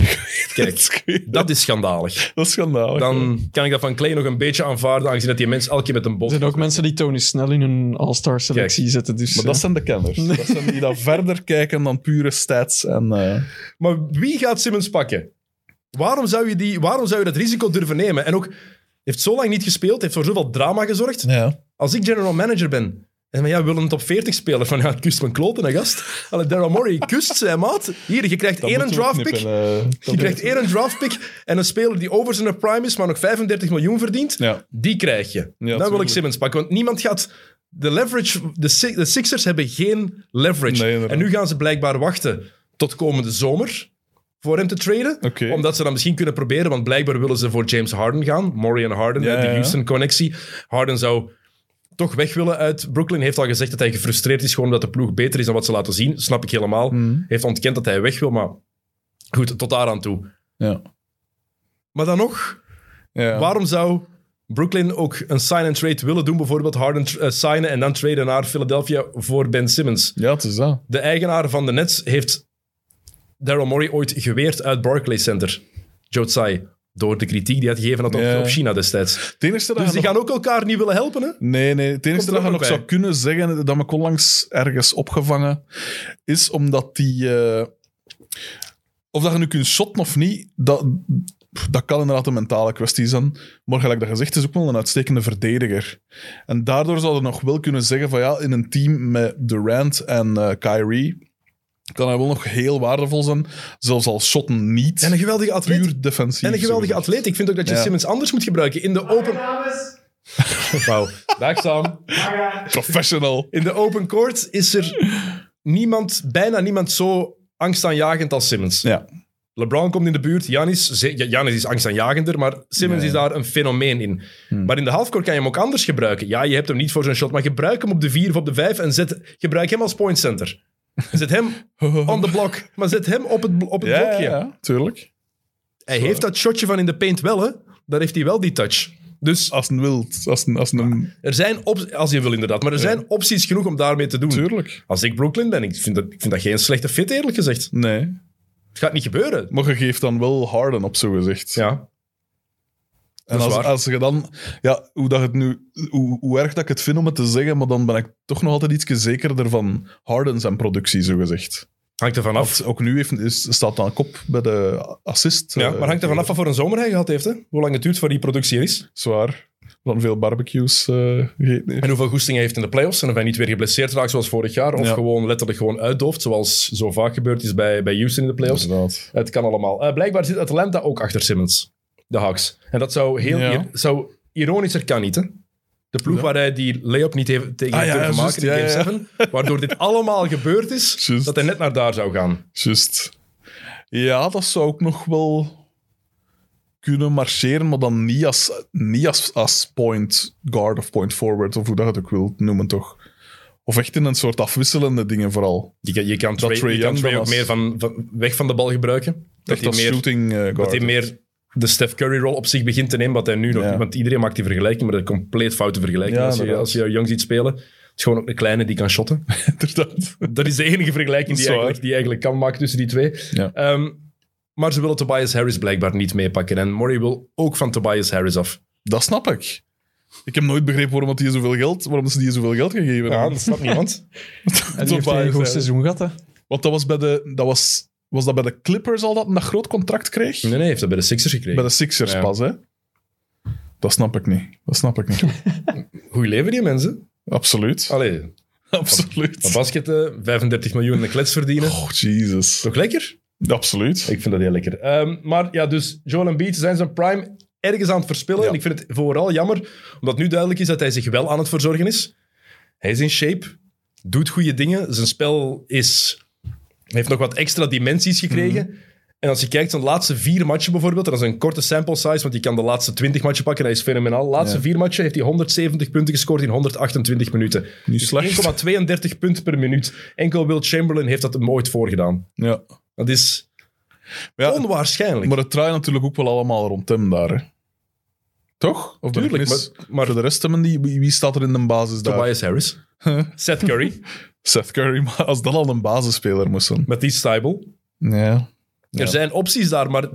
B: Kijk,
C: Ik weet het.
B: dat is schandalig.
C: dat is schandalig.
B: Dan kan ik dat van Clay nog een beetje aanvaarden, aangezien dat die mens elke keer met een bot
D: Er zijn ook mensen die Tony Snell in hun All-Star selectie zetten. Dus,
C: Maar
D: eh,
C: dat zijn de kenners. Dat zijn die dan verder kijken dan pure stats. En, eh,
B: Maar wie gaat Simmons pakken? Waarom zou je, die, waarom zou je dat risico durven nemen? En ook, heeft zo lang niet gespeeld, heeft voor zoveel drama gezorgd.
C: ja.
B: Als ik general manager ben, en van ja, we willen een top 40 speler. Van ja, het kust van kloten, hè, gast. Allee, Daryl Morey, kust zijn maat. Hier, je krijgt één draft pick. Je
C: eh,
B: krijgt één een draft pick en een speler die over zijn prime is, maar nog 35 miljoen verdient.
C: Ja.
B: Die krijg je. Dan wil ik
C: tuurlijk.
B: Simmons pakken, want niemand gaat... De leverage... De, Si- de Sixers hebben geen leverage.
C: Nee, inderdaad.
B: en nu gaan ze blijkbaar wachten tot komende zomer voor hem te traden.
C: Oké.
B: Omdat ze dan misschien kunnen proberen, want blijkbaar willen ze voor James Harden gaan. Murray en Harden,
C: Ja,
B: hè, die
C: ja.
B: Houston-connectie. Harden zou toch weg willen uit Brooklyn. Heeft al gezegd dat hij gefrustreerd is, gewoon omdat de ploeg beter is dan wat ze laten zien. Snap ik helemaal.
C: Mm.
B: Heeft ontkend dat hij weg wil, maar goed, tot daar aan toe.
C: Ja.
B: Maar dan nog,
C: Ja.
B: waarom zou Brooklyn ook een sign-and-trade willen doen? Bijvoorbeeld Harden eh, signen en dan traden naar Philadelphia voor Ben Simmons.
C: ja, het is dat.
B: De eigenaar van de Nets heeft Daryl Morey ooit geweerd uit Barclays Center. Jotsai. Door de kritiek die hij gegeven had op,
C: Ja.
B: op China destijds.
C: Het enige dat
B: Dus
C: je
B: die
C: nog-
B: gaan ook elkaar niet willen helpen, hè?
C: Nee, nee. Het enige
B: Komt er
C: dat je
B: ook
C: nog
B: bij.
C: zou kunnen zeggen, dat ik onlangs ergens opgevangen, is omdat die... eh, of dat je nu kunt shotten of niet, dat, dat kan inderdaad een mentale kwestie zijn. Maar gelijk dat gezegd is ook wel een uitstekende verdediger. En daardoor zou je nog wel kunnen zeggen van ja, in een team met Durant en eh, Kyrie kan hij wel nog heel waardevol zijn, zelfs al shotten niet.
B: En een geweldige atleet.
C: puur defensief.
B: En een geweldige
C: sowieso.
B: atleet. Ik vind ook dat je
C: Ja.
B: Simmons anders moet gebruiken. In de open... Wauw. Dag Sam.
C: Professional.
B: In de open court is er niemand, bijna niemand zo angstaanjagend als Simmons.
C: Ja.
B: LeBron komt in de buurt, Janis, ze- Ja, Janis is angstaanjagender, maar Simmons
C: Ja. Hmm.
B: is daar een fenomeen in. Maar in de halfcourt kan je hem ook anders gebruiken. Ja, je hebt hem niet voor zijn shot, maar gebruik hem op de vier of op de vijf en zet, gebruik hem als point center. Zet hem on the block, maar zet hem op het, bl- op het
C: Ja, ja,
B: blokje.
C: ja, tuurlijk.
B: Hij heeft dat shotje van in de paint wel, hè. Daar heeft hij wel die touch. Dus
C: Als een wild. Als een, als een,
B: er zijn opties, als je wil inderdaad, maar er zijn opties genoeg om daarmee te doen.
C: tuurlijk.
B: Als ik Brooklyn ben, ik vind, dat, ik vind dat geen slechte fit, eerlijk gezegd.
C: Nee.
B: Het gaat niet gebeuren.
C: Maar je geeft dan wel Harden op, zo gezegd.
B: Ja.
C: en
B: dat is
C: als,
B: waar.
C: als je dan... Ja, hoe, dat het nu, hoe, hoe erg dat ik het vind om het te zeggen, maar dan ben ik toch nog altijd iets zekerder van Harden zijn productie, zo gezegd.
B: Hangt er vanaf.
C: Want ook nu heeft, is, staat dan kop bij de assist.
B: Ja,
C: eh,
B: maar hangt er vanaf wat voor een zomer hij gehad heeft, hè? Hoe lang het duurt voor die productie er is.
C: Zwaar. Dan veel barbecues eh, gegeten heeft.
B: En hoeveel goesting hij heeft in de playoffs. En of hij niet weer geblesseerd raakt zoals vorig jaar. Of
C: Ja.
B: gewoon letterlijk gewoon uitdooft, zoals zo vaak gebeurd is bij, bij Houston in de playoffs.
C: Inderdaad.
B: Het kan allemaal. Eh, blijkbaar zit Atlanta ook achter Simmons. De Hawks. En dat zou heel...
C: Ja.
B: ir- zou, ironischer kan niet, hè? De ploeg waar hij die lay-up niet heeft tegen
C: Ah,
B: heeft
C: ja,
B: durven
C: juist,
B: maken in
C: ja,
B: Game 7. Waardoor dit allemaal gebeurd is.
C: Juist.
B: Dat hij net naar daar zou gaan.
C: Juist. Ja, dat zou ook nog wel kunnen marcheren, maar dan niet als, niet als, als point guard of point forward, of hoe dat je het ook wilt noemen, toch? Of echt in een soort afwisselende dingen vooral.
B: Je, kan- je kan Trey,
C: Trae
B: je kan
C: Young
B: Trae
C: dan
B: ook
C: als-
B: meer van, van weg van de bal gebruiken. Dat
C: Echt
B: hij
C: als
B: meer,
C: shooting eh,
B: dat
C: guard.
B: hij meer de Steph Curry-rol op zich begint te nemen, wat hij nu nog
C: Ja.
B: niet... Want iedereen maakt die vergelijking, maar dat is een compleet foute vergelijking.
C: Ja,
B: als, je,
C: inderdaad.
B: als je Young ziet spelen, het is gewoon ook een kleine die kan shotten.
C: Inderdaad.
B: dat is de enige vergelijking die
C: Dat
B: je
C: is waar.
B: eigenlijk, die je eigenlijk kan maken tussen die twee.
C: Ja.
B: Ehm, maar ze willen Tobias Harris blijkbaar niet meepakken. En Murray wil ook van Tobias Harris af.
C: Dat snap ik. Ik heb nooit begrepen waarom, dat die zoveel geld, waarom ze die zoveel geld gegeven
B: Ja,
C: hebben.
B: dat snapt niemand.
D: En die heeft
C: Zo
D: een
C: baas,
D: goed
C: hè.
D: seizoen gehad, hè.
C: Want dat was bij de... Dat was, was dat bij de Clippers al dat een groot contract kreeg?
B: Nee, nee, hij heeft dat bij de Sixers
C: Bij
B: gekregen.
C: de Sixers
B: Ja.
C: pas, hè? Dat snap ik niet. Dat snap ik niet.
B: Hoe leven die mensen?
C: Absoluut.
B: Allee, op
C: Absoluut.
B: basket eh, 35 miljoen in de klets verdienen.
C: Oh, Jesus.
B: Toch lekker?
C: Absoluut.
B: Ik vind dat heel lekker. Ehm, maar ja, dus Joel Embiid zijn zijn prime ergens aan het verspillen.
C: Ja.
B: En ik vind het vooral jammer, omdat nu duidelijk is dat hij zich wel aan het verzorgen is. Hij is in shape, doet goede dingen. Zijn spel is, heeft nog wat extra dimensies gekregen.
C: Mhm.
B: En als je kijkt, zijn laatste vier matchen bijvoorbeeld, en dat is een korte sample size, want je kan de laatste 20 matchen pakken, hij is fenomenaal. De laatste vier matchen heeft hij 170 punten gescoord in 128 minuten.
C: Niet
B: Dus
C: slecht.
B: 1,32 punten per minuut. Enkel Will Chamberlain heeft dat hem ooit voorgedaan.
C: Ja.
B: Dat is
C: ja
B: onwaarschijnlijk.
C: maar het draait natuurlijk ook wel allemaal rond hem daar. hè. Toch? Of ben ik
B: Tuurlijk,
C: mis?
B: maar- maar-
C: voor de rest hebben die... Wie, wie staat er in de basis daar?
B: Tobias Harris. Seth Curry.
C: Seth Curry. Maar als dat al een basisspeler moest zijn.
B: Matisse Steibel.
C: Ja.
B: Er zijn opties daar, maar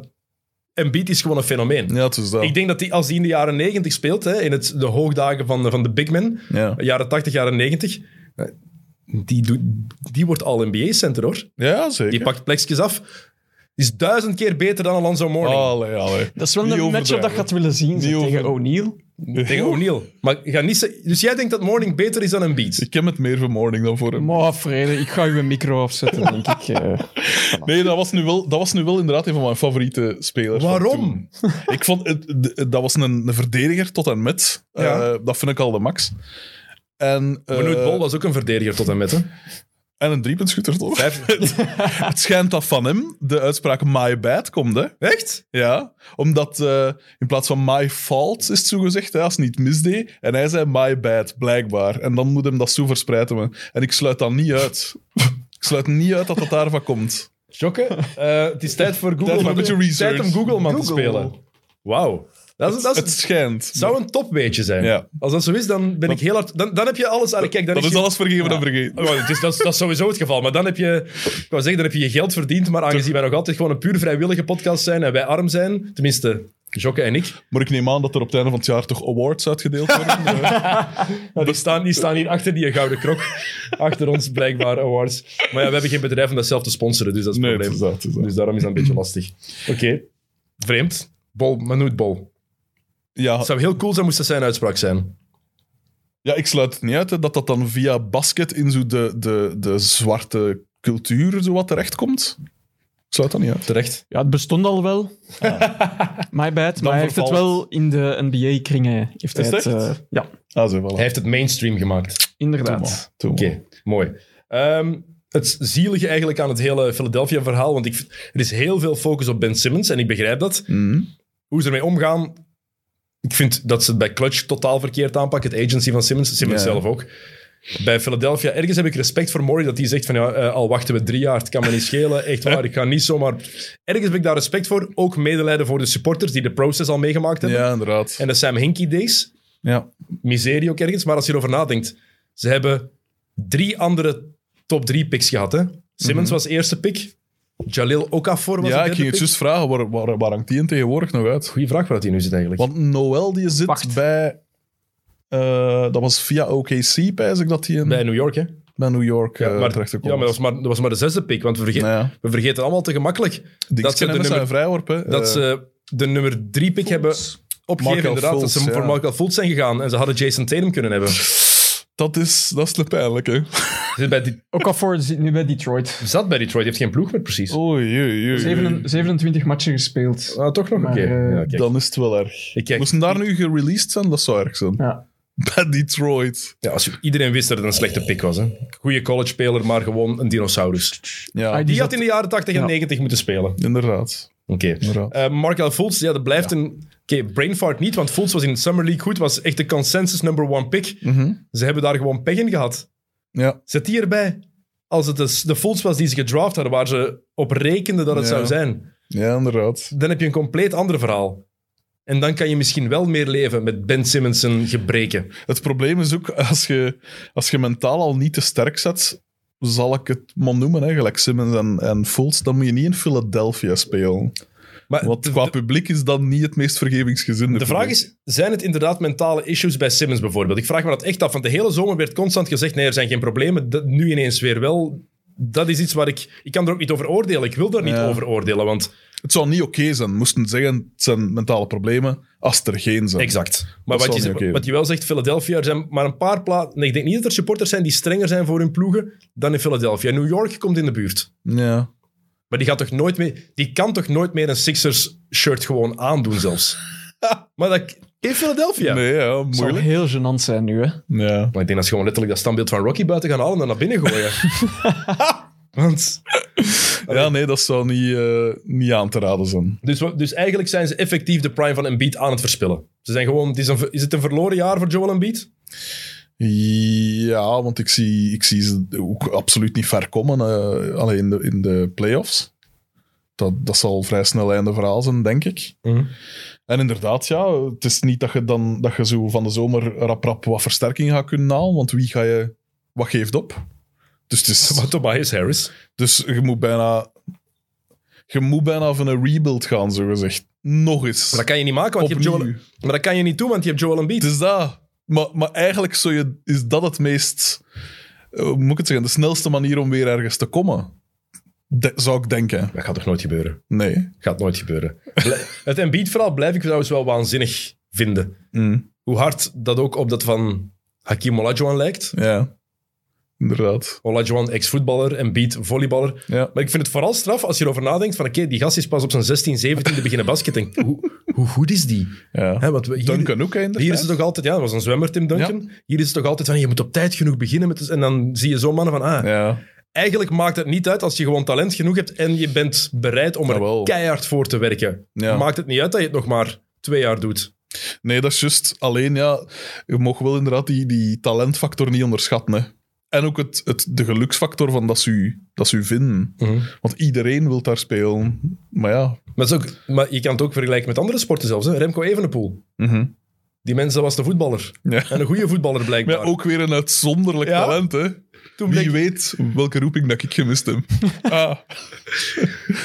B: Embiid is gewoon een fenomeen.
C: Ja, het is dat.
B: Ik denk dat die, als hij in de jaren 90 speelt, hè, in het, de hoogdagen van, de- van de big men,
C: Ja.
B: jaren 80, jaren 90, eh, die, doet- die wordt al NBA-center, hoor.
C: ja, zeker.
B: Die pakt plekjes af. Is duizend keer beter dan Alonso Mourning.
C: Allee, allee.
D: Dat is wel
C: Niet
D: een matchup
C: overdrijven.
D: dat je had willen zien. zo,
C: Niet
D: tegen
C: over-
D: O'Neal.
B: Tegen O'Neal. Maar ga niet ze- dus jij denkt dat Mourning beter is dan Embiid?
C: Ik ken het meer van Morning dan voor hem.
D: Maar Frede, ik ga je micro afzetten, denk ik. eh.
C: Nee, dat was, nu wel, dat was nu wel inderdaad een van mijn favoriete spelers. van
B: Waarom?
C: toen. Ik vond, het, de- dat was een, een verdediger tot en met.
B: Ja.
C: Eh, dat vind ik al de max. En, eh,
B: Manute Bol was ook een verdediger tot en met. Hè?
C: en een driepuntschutter tot. en met. het schijnt dat van hem de uitspraak my bad komt, hè.
B: Echt?
C: Ja, omdat eh, in plaats van my fault is het zo gezegd, hè, als het niet misdeed. En hij zei my bad, blijkbaar. En dan moet hem dat zo verspreiden. man. En ik sluit dat niet uit. ik sluit niet uit dat dat daarvan komt.
B: Jokke, eh, het is tijd voor Google.
C: Tijd voor een beetje research.
B: Tijd om Google man te
C: Google.
B: spelen. Wauw. Dat, is, dat is-
C: Het schijnt.
B: zou een topweetje zijn.
C: Ja.
B: Als dat zo is, dan ben ik heel hard... Dan, dan heb je alles... Allee, kijk, dan
C: dat
B: is
C: is
B: je-
C: alles vergeven en vergeten.
B: Oh, het is, dat, is, dat is sowieso het geval. Maar dan heb je... Ik wou zeggen, dan heb je je geld verdiend. Maar aangezien wij nog altijd gewoon een puur vrijwillige podcast zijn en wij arm zijn, tenminste... Jokke en ik,
C: Maar ik neem aan dat er op het einde van het jaar toch awards uitgedeeld worden. Eh,
B: Nou, die staan, die staan hier achter die gouden krok. achter ons, blijkbaar, awards. Maar ja, we hebben geen bedrijf om dat zelf te sponsoren, dus dat is het
C: nee, het
B: probleem.
C: is dat, het is dat.
B: Dus daarom is dat een beetje lastig. Oké. Vreemd. Bol, Manute Bol.
C: Ja,
B: Het zou heel cool zijn moest dat zijn uitspraak zijn.
C: ja, ik sluit het niet uit hè, dat dat dan via basket in zo de, de, de zwarte cultuur zo wat terechtkomt. Ik sluit dat niet uit.
B: Terecht.
D: Ja, het bestond al wel. My bad, maar hij heeft het
C: vervalt.
D: wel in de NBA-kringen. Heeft
C: Is
D: hij
C: het
D: het,
C: echt?
D: eh, ja,
C: Ah, zo,
B: Hij
C: voilà.
B: heeft het mainstream gemaakt.
D: inderdaad.
C: Toen.
B: Oké, mooi. Ehm, het zielige eigenlijk aan het hele Philadelphia-verhaal, want ik, vind- er is heel veel focus op Ben Simmons en ik begrijp dat.
C: Mhm.
B: Hoe ze ermee omgaan, ik vind dat ze het bij Clutch totaal verkeerd aanpakken. Het agency van Simmons, Simmons
C: Ja.
B: zelf ook. Bij Philadelphia, ergens heb ik respect voor Murray dat hij zegt van ja, eh, al wachten we drie jaar, het kan me niet schelen. Echt waar, ik ga niet zomaar... Ergens heb ik daar respect voor. Ook medelijden voor de supporters die de process al meegemaakt hebben.
C: Ja, inderdaad.
B: En de Sam Hinkie days.
C: Ja.
B: miserie ook ergens. Maar als je erover nadenkt, ze hebben drie andere top drie picks gehad. Hè? Simmons was eerste pick. Jalil Okafor was de
C: Mhm. ja, ik
B: derde
C: ging het
B: pick.
C: juist vragen, waar, waar, waar hangt die in tegenwoordig nog uit?
B: Goeie vraag waar dat hij nu zit eigenlijk.
C: Want Noel die zit
D: Wacht.
C: bij... eh, dat was via OKC, pijs ik, dat hij in,
B: Bij
C: bij,
B: New York, hè?
C: New York eh,
B: maar,
C: terecht gekomen
B: ja, maar dat was
C: is.
B: maar, dat was maar de zesde pick. Want we, verge-
C: Nou ja.
B: we vergeten allemaal te gemakkelijk dat
C: Dat
B: ze de nummer,
C: zijn vrijworpen. hè.
B: dat
C: Eh,
B: ze de nummer drie pick hebben opgegeven.
C: Markel
B: inderdaad,
C: Fultz,
B: dat ze
C: ja.
B: voor Markel Fultz zijn gegaan. En ze hadden Jason Tatum kunnen hebben. Ze
C: dat, is, dat is de pijnlijke.
B: Zit bij Die
D: Ook al voor zit nu bij Detroit.
B: zat bij Detroit, heeft geen ploeg meer precies.
C: Oei, oei, oei.
D: 27, matchen gespeeld.
B: Ah, toch nog? Oké.
D: Maar, eh,
B: Ja, kijk.
C: Dan is het wel erg.
B: Ik kijk-
C: Moesten daar nu gereleased zijn? Dat zou erg zijn.
D: Ja.
C: Bij Detroit.
B: Ja, als, iedereen wist dat het een slechte pick was. Hè. Goeie college-speler, maar gewoon een dinosaurus.
C: Ja,
B: Die
D: I- Die
B: had in de jaren 80 en
D: Ja.
B: 90 moeten spelen.
C: inderdaad.
B: Oké.
C: Inderdaad.
B: Eh, Markel Fultz, ja, dat blijft een... Oké, brain fart niet, want Fultz was in de Summer League goed. Was echt de consensus number one pick.
C: Mhm.
B: Ze hebben daar gewoon pech in gehad.
C: Ja,
B: Zet die erbij. Als het dus de Fultz was die ze gedraft hadden, waar ze op rekenden dat het
C: Ja.
B: zou zijn,
C: ja, inderdaad.
B: dan heb je een compleet ander verhaal. En dan kan je misschien wel meer leven met Ben Simmons' zijn gebreken.
C: Het probleem is ook, als je, als je mentaal al niet te sterk zet, zal ik het maar noemen, hè, gelijk Simmons en, en Fultz, dan moet je niet in Philadelphia spelen.
B: Maar
C: Wat
B: de-
C: qua publiek is dan niet het meest vergevingsgezinde.
B: De vraag
C: publiek.
B: is, zijn het inderdaad mentale issues bij Simmons bijvoorbeeld? Ik vraag me dat echt af, want de hele zomer werd constant gezegd, nee, er zijn geen problemen, dat, nu ineens weer wel. Dat is iets waar ik... Ik kan er ook niet over oordelen, ik wil daar niet
C: Ja.
B: over oordelen, want...
C: Het zou niet oké zijn, moesten zeggen, het zijn mentale problemen, als er geen zijn.
B: Exact. Maar
C: Dat
B: wat
C: zal
B: je,
C: niet oké
B: wat je wel zegt, Philadelphia, er zijn maar een paar plaatsen... Nee, ik denk niet dat er supporters zijn die strenger zijn voor hun ploegen dan in Philadelphia. New York komt in de buurt.
C: Ja.
B: Maar die, gaat toch nooit meer, die kan toch nooit meer een Sixers-shirt gewoon aandoen zelfs? maar dat... In Philadelphia.
C: Nee, ja,
D: Het zal
C: moeilijk.
D: heel gênant zijn nu, hè.
C: Ja.
B: Maar ik denk dat ze gewoon letterlijk dat standbeeld van Rocky buiten gaan halen en dan naar binnen gooien. Want,
C: ja, nee, dat zou niet, eh, niet aan te raden zijn.
B: dus, wa- dus eigenlijk zijn ze effectief de prime van Embiid aan het verspillen. Ze zijn gewoon, het is, een, ver- is het een verloren jaar voor Joel Embiid?
C: Ja, want ik zie, ik zie ze ook absoluut niet ver komen, eh alleen in de, in de playoffs. Dat, dat zal vrij snel einde verhaal zijn, denk ik. En inderdaad, ja, het is niet dat je, dan, dat je zo van de zomer rap rap wat versterking gaat kunnen halen, want wie ga je, wat geeft op? Dus, het is,
B: Maar Tobias Harris.
C: dus je moet bijna, je moet bijna van een rebuild gaan, zo gezegd. Nog eens.
B: Maar dat kan je niet maken, want je hebt
C: Opnieuw. Dus-
B: Joel, maar dat kan je niet doen, want je hebt Joel Embiid.
C: Het is dat. Maar, maar eigenlijk zou je, is dat het meest... eh, hoe moet ik het zeggen? De snelste manier om weer ergens te komen. De- zou ik denken.
B: Dat gaat toch nooit gebeuren?
C: Nee.
B: Gaat nooit gebeuren. Bl- het Embiid-verhaal blijf ik trouwens wel waanzinnig vinden. Hoe hard dat ook op dat van Hakim Olajuwon lijkt.
C: Ja. Inderdaad.
B: Olajuwon, ex-voetballer, Embiid, volleyballer.
C: Ja.
B: Maar ik vind het vooral straf als je erover nadenkt van oké, die gast is pas op zijn 16, 17 beginnen basketten. Hoe, hoe goed is die?
C: ja.
B: Hè, want we, hier,
C: Duncan ook, hè, inderdaad.
B: hier is het toch altijd, ja, dat was een zwemmer Tim Duncan. Hier is het toch altijd van je moet op tijd genoeg beginnen met en dan zie je zo'n mannen van ah,
C: Ja.
B: eigenlijk maakt het niet uit als je gewoon talent genoeg hebt en je bent bereid om er
C: Jawel.
B: keihard voor te werken.
C: Ja.
B: Maakt het niet uit dat je het nog maar twee jaar doet.
C: Nee, dat is juist. Alleen, ja, je mag wel inderdaad die, die talentfactor niet onderschatten. Hè. En ook het, het, de geluksfactor van dat ze, u, dat ze u vinden. Want iedereen wil daar spelen. Maar ja.
B: Maar, het is ook, maar je kan het ook vergelijken met andere sporten zelfs. Hè? Remco Evenepoel.
C: Mhm.
B: Die mens dat was de voetballer.
C: Ja.
B: En een goede voetballer
C: Maar
B: blijkbaar.
C: ja, ook weer een uitzonderlijk
B: Ja.
C: talent, hè.
B: Toen
C: Wie
B: bleek-
C: weet welke roeping dat ik gemist heb. Ah,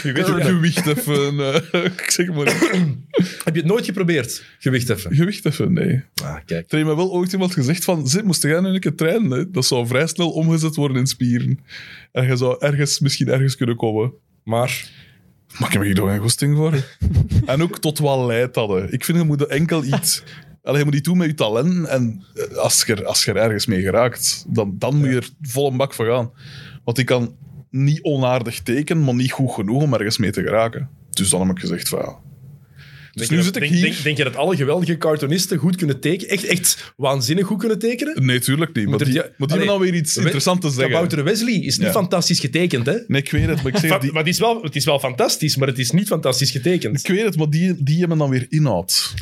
B: Je weet het, hè.
C: gewicht even. eh, ik zeg maar.
B: Heb je het nooit geprobeerd? Gewicht heffen.
C: Gewicht even, nee.
B: Ah, kijk.
C: Er heeft me wel ooit iemand gezegd van, zit, moest jij nu een keer trainen? Hè? Dat zou vrij snel omgezet worden in spieren. En je zou ergens, misschien ergens kunnen komen.
B: Maar
C: Maar ik heb hier toch geen goesting voor. hè. en ook tot wat leidt dat. hè. Ik vind, je moet er enkel iets... Allee, je moet iets doen met je talenten. En eh, als je, er- als je er ergens mee geraakt, dan, dan moet je er vol een bak voor gaan. Want ik kan niet onaardig tekenen, maar niet goed genoeg om ergens mee te geraken. Dus dan heb ik gezegd van... ja. Dus nu
B: denk je dat-
C: zit ik
B: denk,
C: hier...
B: Denk, denk je dat alle geweldige cartoonisten goed kunnen tekenen? Echt, echt waanzinnig goed kunnen tekenen?
C: Nee, tuurlijk niet. Maar
B: er-
C: die,
B: ja,
C: maar die
B: allee,
C: hebben dan weer iets
B: We-
C: interessants te zeggen.
B: Kabouter Wesley is niet
C: Ja.
B: fantastisch getekend, hè?
C: Nee, ik weet het, maar ik zeg...
B: Va-
C: Die,
B: maar het is, wel, het is wel fantastisch, maar het is niet fantastisch getekend.
C: ik weet het, maar die, die hebben dan weer inhoud.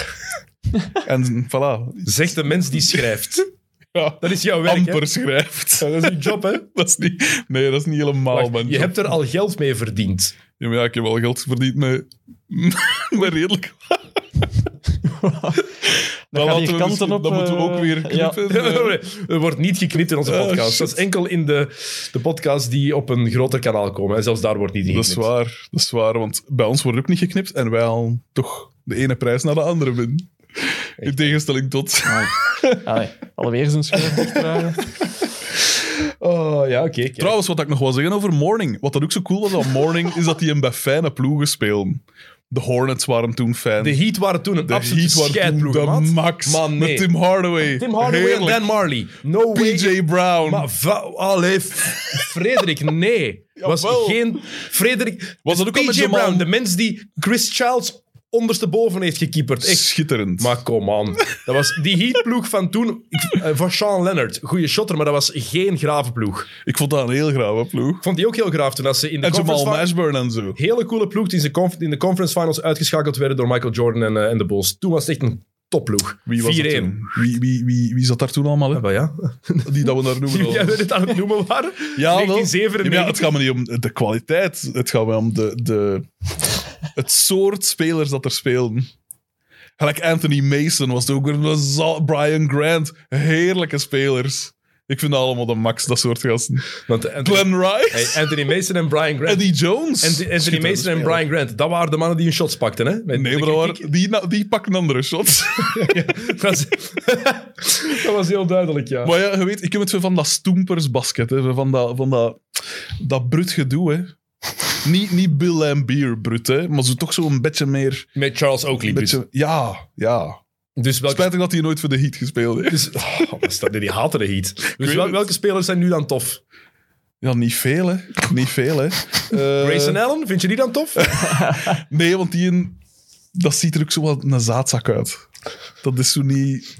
C: en voilà.
B: Zegt de mens die schrijft.
C: Ja.
B: Dat is jouw werk, hè?
C: Amper schrijft.
B: Ja, Dat is je job, hè?
C: Dat is niet, nee, dat is niet helemaal
B: Wacht,
C: mijn
B: je
C: job.
B: hebt er al geld mee verdiend.
C: Ja, maar ja, ik heb wel geld verdiend met, met redelijk...
D: Dan gaan die
C: laten we
D: kanten
C: misschien-
D: op...
C: Dan moeten we
D: eh,
C: ook weer
D: ja.
C: knippen. eh.
B: Er wordt niet geknipt in onze
C: Oh,
B: podcast.
C: shit.
B: dat is enkel in de, de podcasts die op een groter kanaal komen. En zelfs daar wordt niet in
C: Dat is
B: geknipt.
C: waar, dat is waar, want bij ons wordt ook niet geknipt en wij halen toch de ene prijs naar de andere binnen. In tegenstelling tot...
B: Ah,
D: Allee, alweer zijn scherm dichtdraaien.
B: Oh, ja, oké. kijk.
C: Trouwens, wat ik nog wil zeggen over Morning. Wat dat ook zo cool was aan Morning, is dat die hem bij fijne ploegen spelen. De Hornets waren toen fan.
B: De Heat waren toen een
C: De
B: absolute
C: Heat waren toen
B: scheidploeg, maat.
C: de max.
B: Man, nee.
C: Met Tim Hardaway.
B: Tim Hardaway en
C: Heerlijk.
B: Dan Marley. No way.
C: PJ Brown.
B: Maar va- allee, F- Frederik, nee. Was
C: Jawel.
B: geen... Frederik...
C: Was dat ook al met
B: PJ
C: Jamal?
B: Brown, de mens die Chris Childs ondersteboven heeft gekieperd. Echt
C: Schitterend.
B: Maar kom aan. Dat was die heatploeg van toen, ik- eh, van Sean Leonard. Goeie shotter, maar dat was geen grave ploeg.
C: Ik vond dat een heel grave ploeg.
B: Ik vond die ook heel graaf toen als ze in de
C: En Jamal
B: conference fi-
C: Mashburn en zo.
B: Hele coole ploeg die in de, conf- in de conference finals uitgeschakeld werden door Michael Jordan en, eh, en de Bulls. Toen was het echt een topploeg. 4-1.
C: Wie was dat toen? Wie, wie, wie, wie zat daar toen allemaal?
B: Ja,
C: Hè?
B: maar Ah, ja.
C: Die dat we daar noemen.
B: Jij
C: al.
B: weet het aan het noemen waren.
C: Ja, wel. Ja, maar ja,
B: 1997.
C: het gaat me niet om de kwaliteit. Het gaat me om de, de, het soort spelers dat er speelden. Gelijk Anthony Mason was het ook. een za- Brian Grant. Heerlijke spelers. Ik vind dat allemaal de max, dat soort gasten.
B: Want Anthony,
C: Glenn Rice,
B: hey, Anthony Mason en Brian Grant.
C: Eddie Jones.
B: En die- Anthony
C: Schitterende
B: Mason en
C: speler.
B: Brian Grant, dat waren de mannen die hun shots pakten, hè? Met-
C: Nee, maar dat waren- die, na- die pakken andere shots.
B: dat, was, dat was heel duidelijk, ja.
C: Maar ja, je weet, ik heb het veel van dat stoempersbasket, hè, van dat, van dat, dat brut gedoe, hè. Niet, niet Bill and Beer brut, hè, maar zo, toch zo'n beetje meer...
B: Met Charles Oakley.
C: Een
B: Dus,
C: beetje, ja, ja.
B: dus welke...
C: Spijtig dat hij nooit voor de Heat gespeeld heeft.
B: Dus, oh, wat is dat? Nee, die haten de heat. Dus
C: weet
B: wel-
C: het. Eh.
B: welke spelers zijn nu dan tof?
C: Ja, niet veel, hè. Niet veel, hè. Eh,
B: Grayson Allen, vind je die dan tof?
C: Nee, want die een, dat ziet er ook zo wat een zaadzak uit. Dat is zo niet...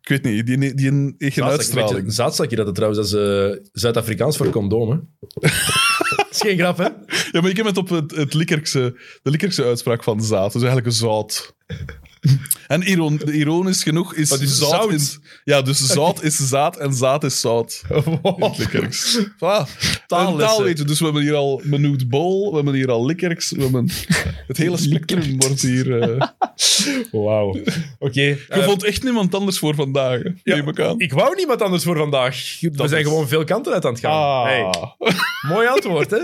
C: Ik weet niet, die, die, die heeft geen
B: Zaatzakje
C: uitstraling.
B: zaatzakje dat het trouwens als eh, Zuid-Afrikaans voor condoom, hè? Dat is geen grap, hè?
C: Ja, maar ik heb het op het, het Likkerkse, de Likkerkse uitspraak van zaad. Dus eigenlijk een zout. En iron, ironisch genoeg is,
B: Wat is
C: zout...
B: zout?
C: is- ja, dus zout is zaad en zaad is zout. In het Likkerks. Voilà. Een
B: Taallessen.
C: taal weet je. Dus we hebben hier al Menoet Bol, we hebben hier al Likkerks, we hebben... Het hele spectrum wordt hier... eh
B: Wauw. Oké.
C: Je
B: eh,
C: vond echt niemand anders voor vandaag, hè?
B: ja,
C: neem ik aan.
B: ik wou niemand anders voor vandaag. We
C: Dat
B: zijn
C: is-
B: gewoon veel kanten uit aan het gaan. Hey. Mooi antwoord, hè?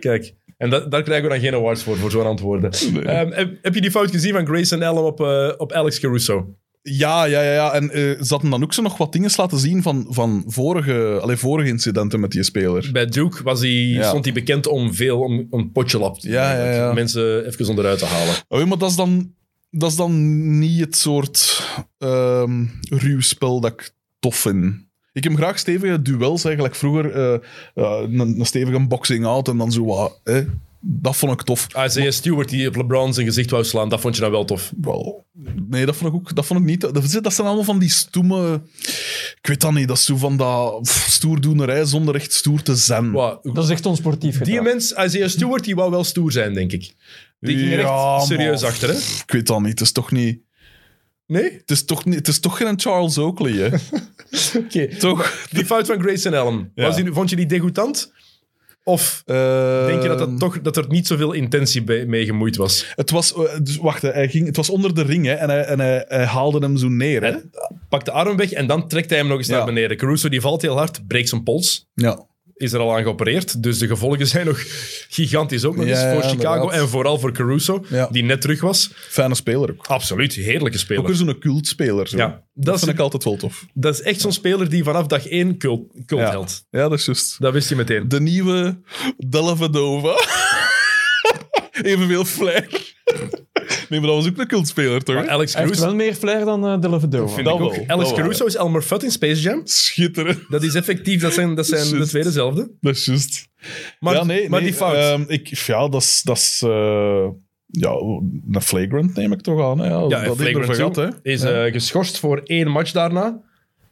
B: Kijk. En dat, daar krijgen we dan geen awards voor, voor zo'n antwoorden. Ehm, heb, heb je die fout gezien van Grayson Allen op, eh, op Alex Caruso?
C: Ja, ja, ja. ja. En eh ze hadden dan ook zo nog wat dingen laten zien van, van vorige, allee, vorige incidenten met die speler.
B: Bij Duke was hij,
C: Ja.
B: stond hij bekend om veel, om om een potje lap. te doen,
C: Ja, ja, ja.
B: om Mensen even onderuit te halen.
C: Oh, ja, maar dat is dan, dat is dan niet het soort ehm ruw spel dat ik tof vind. Ik heb graag stevige duels eigenlijk. Vroeger eh, eh, een, een stevige boxing-out en dan zo wat. hè. Dat vond ik tof.
B: Isaiah Stewart die op LeBron zijn gezicht wou slaan, dat vond je nou wel tof.
C: Wel, nee, dat vond ik ook dat vond ik niet. Dat, dat zijn allemaal van die stoeme... Ik weet dat niet, dat is zo van dat pff, stoerdoenerij zonder echt stoer te zijn.
B: Wow.
E: Dat is echt onsportief
B: Die
E: gedaan.
B: mens, Isaiah Stewart, die wou wel stoer zijn, denk ik. Die ging er echt
C: Ja,
B: serieus
C: maar-
B: achter, hè?
C: Ik weet dat niet, het is toch niet...
B: Nee?
C: Het is toch, niet, het is toch geen Charles Oakley, hè?
B: Oké.
C: toch?
B: Die fout van Grayson Allen,
C: Ja.
B: was die, vond je die degoutant? Of
C: Eh,
B: denk je dat, dat, toch, dat er niet zoveel intentie bij- mee gemoeid was?
C: Het was, eh, dus wacht, hè, hij ging, het was onder de ring hè, en, hij, en hij, hij haalde hem zo neer. Hè?
B: Pak de arm weg en dan trekt hij hem nog eens
C: Ja.
B: naar beneden. Caruso die valt heel hard, breekt zijn pols.
C: Ja.
B: Is er al aan geopereerd, dus de gevolgen zijn nog gigantisch ook nog
C: Ja,
B: eens voor
C: ja,
B: Chicago
C: inderdaad.
B: en vooral voor Caruso,
C: Ja.
B: die net terug was.
C: Fijne speler ook.
B: Absoluut, heerlijke speler.
C: Ook weer zo'n cultspeler. Zo.
B: Ah, Ja,
C: dat
B: dat is-
C: vind ik altijd wel tof.
B: Dat is echt zo'n speler die vanaf dag één cult,
C: Ja.
B: cultheld.
C: ja, dat is juist.
B: Dat wist je meteen.
C: De nieuwe Delavadova. Evenveel flair. nee, maar dat was ook een cultspeler, toch?
B: Maar Alex
E: Hij heeft
B: Caruso,
E: wel meer flair dan eh, de Levedova.
C: dat wel.
B: ook.
C: Oh, Dat
B: Alex
C: wel.
B: Caruso is Elmer Fudd in Space Jam.
C: Schitterend.
B: Dat is effectief, dat zijn, dat zijn de
C: Juist.
B: twee dezelfde.
C: Dat is juist.
B: Maar,
C: ja, nee,
B: maar
C: nee,
B: die fout.
C: ehm, ik, ja, dat is... Dat is eh, ja, een flagrant neem ik toch aan. Hè? Ja, dat
B: ja,
C: heb ik
B: Flagrant
C: er vergat, hè.
B: two is eh, geschorst voor één match daarna.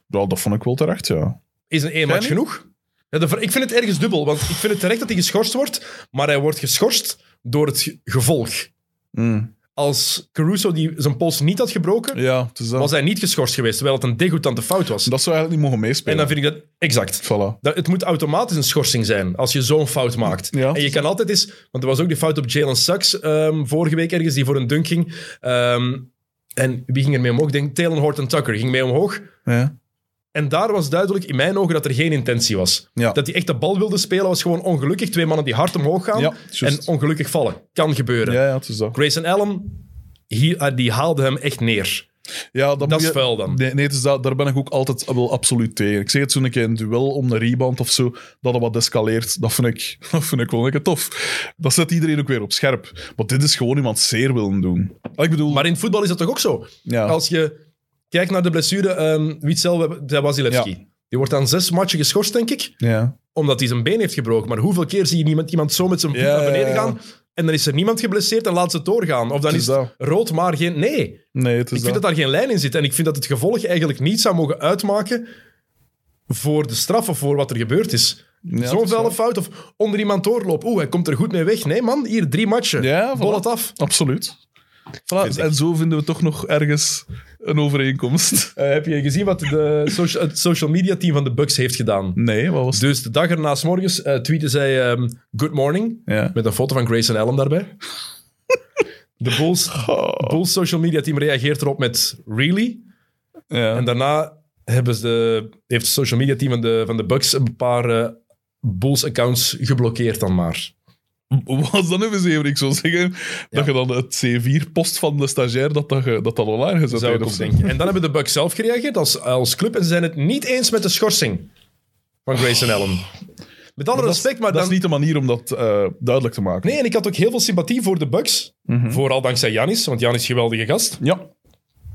C: Ja, dat vond ik wel terecht, ja.
B: Is een één match
C: niet?
B: genoeg? Ja, de ver- ik vind het ergens dubbel, want ik vind het terecht dat hij geschorst wordt, maar hij wordt geschorst door het ge- gevolg. Als Caruso die zijn pols niet had gebroken,
C: Ja, het is dat.
B: was hij niet geschorst geweest, terwijl het een degoutante fout was.
C: Dat zou eigenlijk niet mogen
B: en
C: meespelen.
B: dan vind ik dat... Exact.
C: Voilà.
B: Dat, het moet automatisch een schorsing zijn als je zo'n fout maakt.
C: Ja.
B: En je kan altijd eens... Want er was ook die fout op Jalen Sucks ehm, vorige week ergens, die voor een dunk ging. Ehm, en wie ging er mee omhoog? Ik denk Talon Horton Tucker ging mee omhoog.
C: Ja.
B: En daar was duidelijk in mijn ogen dat er geen intentie was.
C: Ja.
B: Dat hij echt de bal wilde spelen was gewoon ongelukkig. Twee mannen die hard omhoog gaan
C: Ja,
B: en
C: juist.
B: ongelukkig vallen. Kan gebeuren.
C: Ja, ja, het is dat.
B: Grayson Allen, hi- ah, die haalde hem echt neer.
C: Ja, dat moet
B: is
C: je-
B: vuil dan.
C: Nee, nee het is dat, daar ben ik ook altijd wel absoluut tegen. Ik zeg het zo'n keer een duel om de rebound of zo, dat het wat escaleert. Dat vind ik, dat vind ik wel lekker tof. Dat zet iedereen ook weer op scherp. Want dit is gewoon iemand zeer willen doen. Ik bedoel,
B: Maar in het voetbal is dat toch ook zo?
C: ja,
B: Als je kijkt naar de blessure, ehm Witzel bij Wasilewski.
C: Ja.
B: Die wordt aan zes matchen geschorst, denk ik,
C: ja.
B: omdat hij zijn been heeft gebroken. Maar hoeveel keer zie je niemand, iemand zo met zijn voet
C: Ja,
B: naar beneden
C: ja, ja.
B: gaan en dan is er niemand geblesseerd en laat ze het doorgaan? Of dan
C: Het
B: is
C: is
B: het rood, maar geen... Nee,
C: Nee, het is
B: ik vind dat daar geen lijn in zit. En ik vind dat het gevolg eigenlijk niet zou mogen uitmaken voor de straf of voor wat er gebeurd is.
C: Ja, dat
B: Zo'n
C: is
B: vuile
C: waar.
B: fout of onder iemand doorlopen. Oeh, hij komt er goed mee weg. Nee man, hier drie matchen.
C: Ja, voilà.
B: Bol het af.
C: Absoluut. Voilà, en zo vinden we toch nog ergens een overeenkomst.
B: Eh, heb je gezien wat de socia- het social media team van de Bucks heeft gedaan?
C: Nee, wat was het?
B: Dus de dag erna 's morgens eh, tweette zij ehm, good morning.
C: Ja.
B: Met een foto van Grayson Allen daarbij. De
C: Oh.
B: Bulls, Bulls social media team reageert erop met really.
C: Ja.
B: En daarna hebben ze, heeft het social media team van de, van de Bucks een paar eh, Bulls-accounts geblokkeerd dan maar.
C: Wat is dat nu eens even? Ik zou zeggen dat je dan het C4-post van de stagiair dat dat, ge- dat, dat online gezet
B: Zou ik ook
C: heeft of zo.
B: denken. En dan hebben de Bucks zelf gereageerd als, als club en ze zijn het niet eens met de schorsing van Grayson Allen. Met alle respect, maar
C: Dat
B: dan...
C: is niet de manier om dat eh, duidelijk te maken.
B: Nee, en ik had ook heel veel sympathie voor de Bucks. Vooral dankzij Janis, want Janis is een geweldige gast.
C: Ja,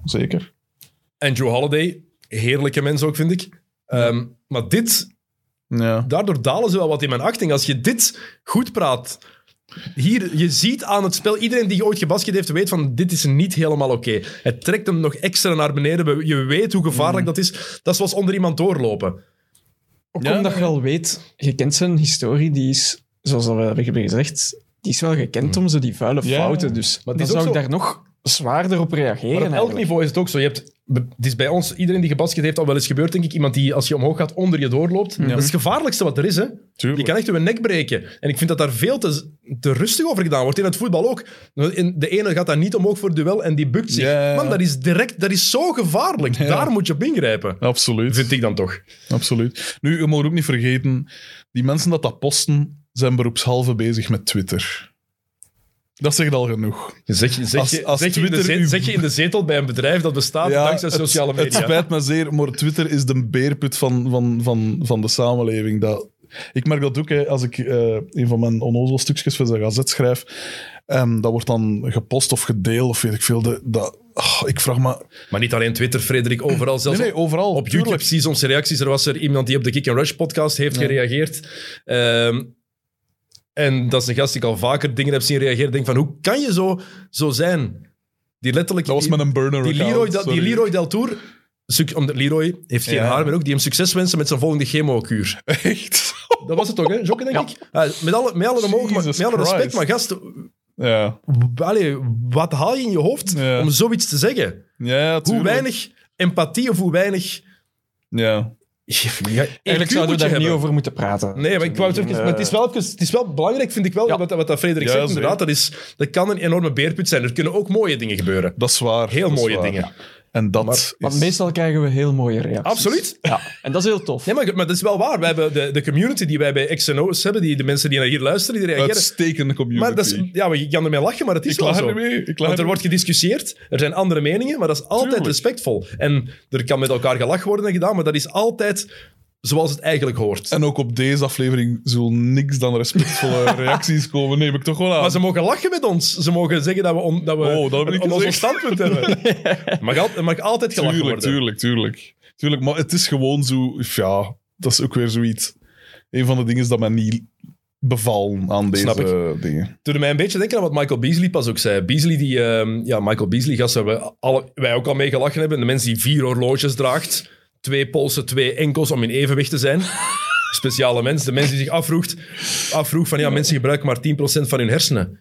C: zeker.
B: En Joe Holiday, heerlijke mens ook, vind ik. Ehm, maar dit,
C: Ja.
B: daardoor dalen ze wel wat in mijn achting. Als je dit goed praat, hier, je ziet aan het spel, iedereen die ooit gebasket heeft, weet van dit is niet helemaal oké. Het trekt hem nog extra naar beneden. We- Je weet hoe gevaarlijk dat is. Dat is zoals onder iemand doorlopen.
D: Ook
C: Ja,
D: omdat je al weet, je kent zijn historie, die is, zoals dat we hebben gezegd, die is wel gekend om zo die vuile
C: Ja.
D: fouten. Dus
B: Maar het
D: dan
B: is ook
D: zou ik
B: zo-
D: daar nog zwaarder op reageren.
B: Maar op elk
D: eigenlijk.
B: niveau is het ook zo. Je hebt, het is bij ons, iedereen die gebasket heeft, al wel eens gebeurd, denk ik. Iemand die, als je omhoog gaat, onder je doorloopt. Dat is het gevaarlijkste wat er is, hè.
C: Tuurlijk.
B: Je kan echt je nek breken. En ik vind dat daar veel te, te rustig over gedaan wordt. In het voetbal ook. In- De ene gaat daar niet omhoog voor het duel en die bukt zich.
C: Ja, ja, ja.
B: Man, dat is direct, dat is zo gevaarlijk. Daar moet je op ingrijpen.
C: Absoluut.
B: Vind ik dan toch.
C: Absoluut. Nu, je moet ook niet vergeten, die mensen dat dat posten, zijn beroepshalve bezig met Twitter. Dat zegt al genoeg.
B: Zeg, zeg,
C: Als-
B: je-
C: als
B: zeg, je in de
C: Twitter
B: ze-
C: uw-
B: zeg je in de zetel bij een bedrijf dat bestaat dankzij
C: het-
B: sociale
C: Het
B: media.
C: spijt me zeer, maar Twitter is de beerput van, van, van, van de samenleving. Dat, ik merk dat ook hè, als ik eh, een van mijn onnozel stukjes voor de gazet schrijf. ehm, dat wordt dan gepost of gedeeld of weet ik veel. De, dat, ah, ik vraag me...
B: Maar niet alleen Twitter, Frederik. Overal,
C: Nee,
B: zelfs
C: nee, overal.
B: Op
C: tuurlijk.
B: YouTube zie je soms reacties. Er was er iemand die op de Kick and Rush podcast heeft gereageerd. Ehm, en dat is een gast die ik al vaker dingen heb zien reageren. Ik Denk van, hoe kan je zo, zo zijn? Die letterlijk...
C: Dat was
B: die,
C: met een burner
B: die
C: account,
B: Leroy, dat- die
C: sorry.
B: Leroy Del Tour... suc- Omdat Leroy heeft geen
C: Ja.
B: haar meer ook. Die hem succes wensen met zijn volgende chemokuur.
C: Echt?
B: Dat was het toch, hè? Jokke, denk ik? Ah, met alle, met alle, omhoog, maar-
C: Jesus
B: met alle respect,
C: Christ.
B: maar gast...
C: ja.
B: w- allee, wat haal je in je hoofd
C: Ja.
B: om zoiets te zeggen?
C: Ja,
B: Hoe
C: tuurlijk.
B: weinig empathie of hoe weinig...
C: Ja.
B: Ja,
D: Eigenlijk zouden we daar niet over moeten praten.
B: Nee, maar, ik wou het, even,
D: Eh,
B: maar het, is wel even- het is wel belangrijk, vind ik wel, wat, wat dat Frederik
C: Ja,
B: zegt.
C: zeker.
B: Inderdaad, dat, is, dat kan een enorme beerput zijn. Er kunnen ook mooie dingen gebeuren.
C: Dat is waar.
B: Heel
C: dat is
B: mooie
C: waar.
B: dingen.
C: En dat
D: Want
C: is...
D: meestal krijgen we heel mooie reacties.
B: Absoluut.
D: Ja, en dat is heel tof.
B: Nee, maar, maar dat is wel waar. We hebben de, de community die wij bij XNO's hebben, die, de mensen die naar hier luisteren, die reageren.
C: Uitstekende community.
B: maar dat is, ja, maar je kan ermee lachen, maar het is
C: ik
B: wel
C: laag
B: zo.
C: er mee. Ik laag
B: Want
C: er
B: er wordt gediscussieerd, er zijn andere meningen, maar dat is altijd
C: Tuurlijk.
B: respectvol. En er kan met elkaar gelachen worden en gedaan, maar dat is altijd zoals het eigenlijk hoort.
C: En ook op deze aflevering zullen niks dan respectvolle reacties komen. Neem ik toch wel aan.
B: Maar ze mogen lachen met ons. Ze mogen zeggen dat we, on, dat we
C: Oh, dat heb ik
B: on- ons
C: gezegd.
B: standpunt hebben. Er mag, al, er mag altijd gelachen
C: tuurlijk,
B: worden.
C: tuurlijk, tuurlijk. Tuurlijk, maar het is gewoon zo... Ja, dat is ook weer zoiets. Een van de dingen is dat mij niet bevallen aan deze
B: Snap
C: dingen.
B: Het doet mij een beetje denken aan wat Michael Beasley pas ook zei. Beasley, die, ehm, ja, Michael Beasley, gast, waar we alle, wij ook al mee gelachen hebben. De mens die vier horloges draagt, twee polsen, twee enkels om in evenwicht te zijn. Speciale mens. De mens die zich afvroeg, afvroeg van ja, mensen gebruiken maar 10% van hun hersenen.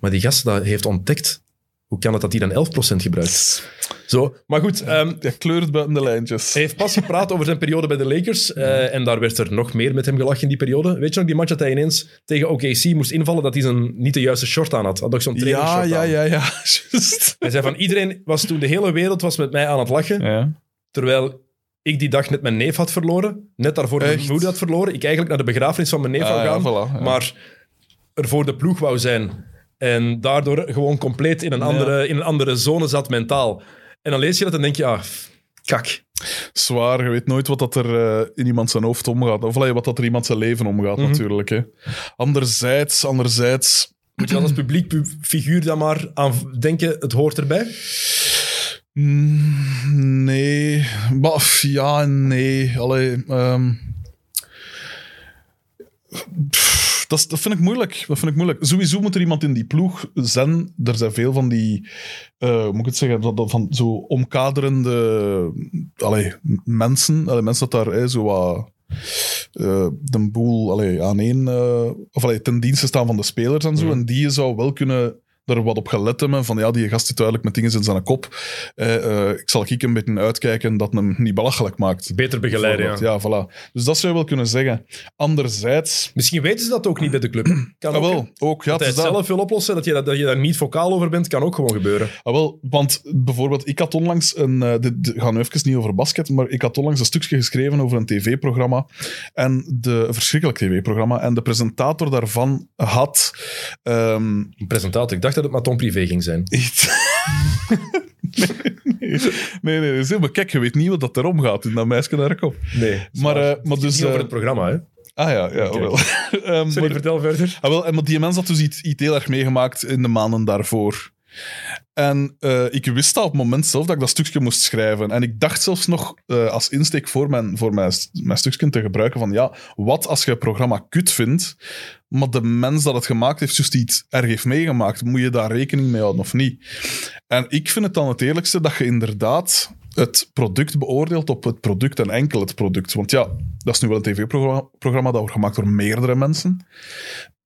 B: Maar die gast dat heeft ontdekt. Hoe kan het dat hij dan 11% gebruikt? Zo, maar goed. ehm,
C: Ja, kleurt buiten de lijntjes.
B: Hij heeft pas gepraat over zijn periode bij de Lakers. eh, en daar werd er nog meer met hem gelachen in die periode. Weet je nog die match dat hij ineens tegen OKC moest invallen dat hij zijn, niet de juiste short aan had? Had ook zo'n
C: ja,
B: trainingsshort
C: ja,
B: aan.
C: ja, ja. Juist.
B: Hij zei van iedereen was toen de hele wereld was met mij aan het lachen.
C: Ja.
B: Terwijl ik die dag net mijn neef had verloren. Net daarvoor
C: Echt?
B: mijn moeder had verloren. Ik eigenlijk naar de begrafenis van mijn neef
C: Ah,
B: wou
C: ja,
B: gaan.
C: voilà, ja.
B: Maar er voor de ploeg wou zijn. En daardoor gewoon compleet in een andere, in een andere zone zat mentaal. En dan lees je dat en denk je, ah, kak.
C: Zwaar, je weet nooit wat dat er eh, in iemand zijn hoofd omgaat. Of allee, wat dat er in iemand zijn leven omgaat, natuurlijk. Hè. Anderzijds, anderzijds...
B: Moet je dan als publiek pu- figuur dan maar aan denken, het hoort erbij?
C: Mm, Nee. Maar f- ja, en nee. Allee, ehm. Pff, dat, is- dat vind ik moeilijk. Dat vind ik moeilijk. Sowieso moet er iemand in die ploeg zijn. Er zijn veel van die, eh, hoe moet ik het zeggen, dat, dat van zo omkaderende allee, mensen. Allee, mensen dat daar hè, zo wat eh, de boel allee, aan één, eh, of allee, ten dienste staan van de spelers en zo. En die je zou wel kunnen er wat op gelet hebben. Van ja, die gast zit duidelijk met dingen in zijn kop. Eh, eh, ik zal ik een beetje uitkijken dat hem niet belachelijk maakt.
B: Beter begeleiden, ja.
C: Ja, voilà. Dus dat zou je wel kunnen zeggen. Anderzijds...
B: Misschien weten ze dat ook niet bij de club. Kan
C: Ah,
B: ook, hè.
C: wel, ook, ja,
B: dat
C: het
B: hij
C: is
B: het zelf wil oplossen, dat je, dat, dat je daar niet vocaal over bent, kan ook gewoon gebeuren.
C: Ah, wel, want bijvoorbeeld, ik had onlangs een. eh, dit dit gaan we even niet over basket, maar ik had onlangs een stukje geschreven over een tv-programma. En de, een verschrikkelijk tv-programma. En de presentator daarvan had. ehm,
B: Een presentator, ik dacht dat het maar Tom Privé ging zijn.
C: iets. nee, nee, nee, nee, dat is helemaal kijk, je weet niet wat dat erom gaat in dat meisje naar kop.
B: Nee.
C: Maar, eh, maar dus.
B: Niet over
C: eh,
B: het programma, hè?
C: ah ja, ja, wel. Ehm,
B: Sorry,
C: maar-
B: vertel verder.
C: Ah, wel, en maar die mens had dus iets, iets heel erg meegemaakt in de maanden daarvoor. En eh, ik wist dat op het moment zelf dat ik dat stukje moest schrijven. En ik dacht zelfs nog eh, als insteek voor, mijn, voor mijn, st- mijn stukje te gebruiken van ja, wat als je het programma kut vindt, maar de mens dat het gemaakt heeft, juist iets erg heeft meegemaakt, moet je daar rekening mee houden of niet? En ik vind het dan het eerlijkste dat je inderdaad het product beoordeelt op het product en enkel het product. Want ja, dat is nu wel een tv-programma programma dat wordt gemaakt door meerdere mensen.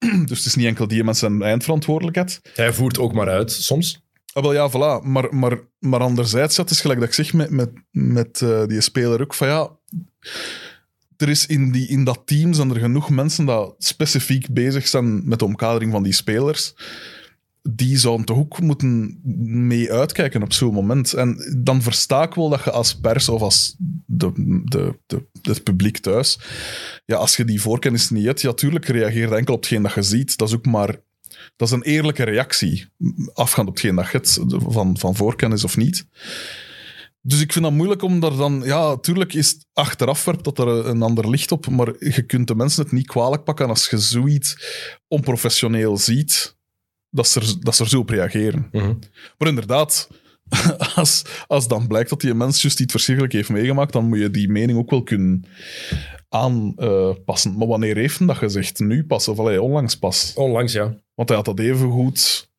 C: Dus het is niet enkel die mensen zijn eindverantwoordelijkheid.
B: Hij voert ook maar uit, soms.
C: Ah, wel ja, voilà. Maar, maar, maar anderzijds, ja, het is gelijk dat ik zeg met, met, met eh, die speler ook, van ja... Er is in, die, in dat team zijn er genoeg mensen dat specifiek bezig zijn met de omkadering van die spelers. Die zouden toch ook moeten mee uitkijken op zo'n moment. En dan versta ik wel dat je als pers of als de, de, de, het publiek thuis... Ja, als je die voorkennis niet hebt, ja, tuurlijk reageert enkel op hetgeen dat je ziet. Dat is ook maar dat is een eerlijke reactie, afgaand op hetgeen dat je hebt, van, van voorkennis of niet. Dus ik vind dat moeilijk om daar dan... Ja, tuurlijk is het achteraf werpt dat er een ander licht op, maar je kunt de mensen het niet kwalijk pakken als je zoiets onprofessioneel ziet, dat ze er, dat ze er zo op reageren.
B: Mhm.
C: Maar inderdaad, als, als dan blijkt dat die mens juist iets verschrikkelijk heeft meegemaakt, dan moet je die mening ook wel kunnen aanpassen. maar wanneer heeft hem dat gezegd? Nu pas of allee, onlangs pas?
B: Onlangs, ja.
C: Want hij had dat even goed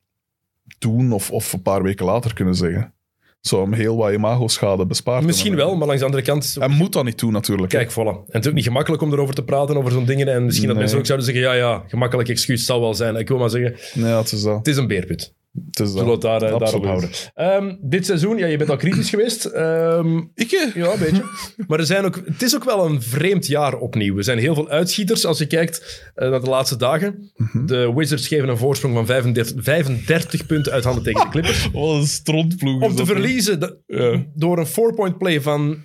C: toen of, of een paar weken later kunnen zeggen. Zou hem heel wat imago-schade bespaard
B: Misschien
C: hebben.
B: wel, maar langs de andere kant...
C: Hij moet dat niet doen, natuurlijk.
B: Kijk, voilà. En het is ook niet gemakkelijk om erover te praten, over zo'n dingen. En misschien dat
C: Nee.
B: mensen ook zouden zeggen, ja, ja, gemakkelijk excuus het zal wel zijn. Ik wil maar zeggen,
C: Nee, het is dat.
B: het is een beerput.
C: Het is dat.
B: Zullen we het daar, eh, daarop
C: Absoluut.
B: houden. Ehm, dit seizoen, ja, je bent al kritisch geweest. Ehm,
C: Ik, eh,
B: ja, een beetje. maar er zijn ook, het is ook wel een vreemd jaar opnieuw. Er zijn heel veel uitschieters als je kijkt eh, naar de laatste dagen.
C: Mhm.
B: De Wizards geven een voorsprong van 35, 35 punten uit handen tegen de Clippers.
C: Wat een strontploeg.
B: Om te
C: is dat, hè.
B: verliezen de- door een four-point play van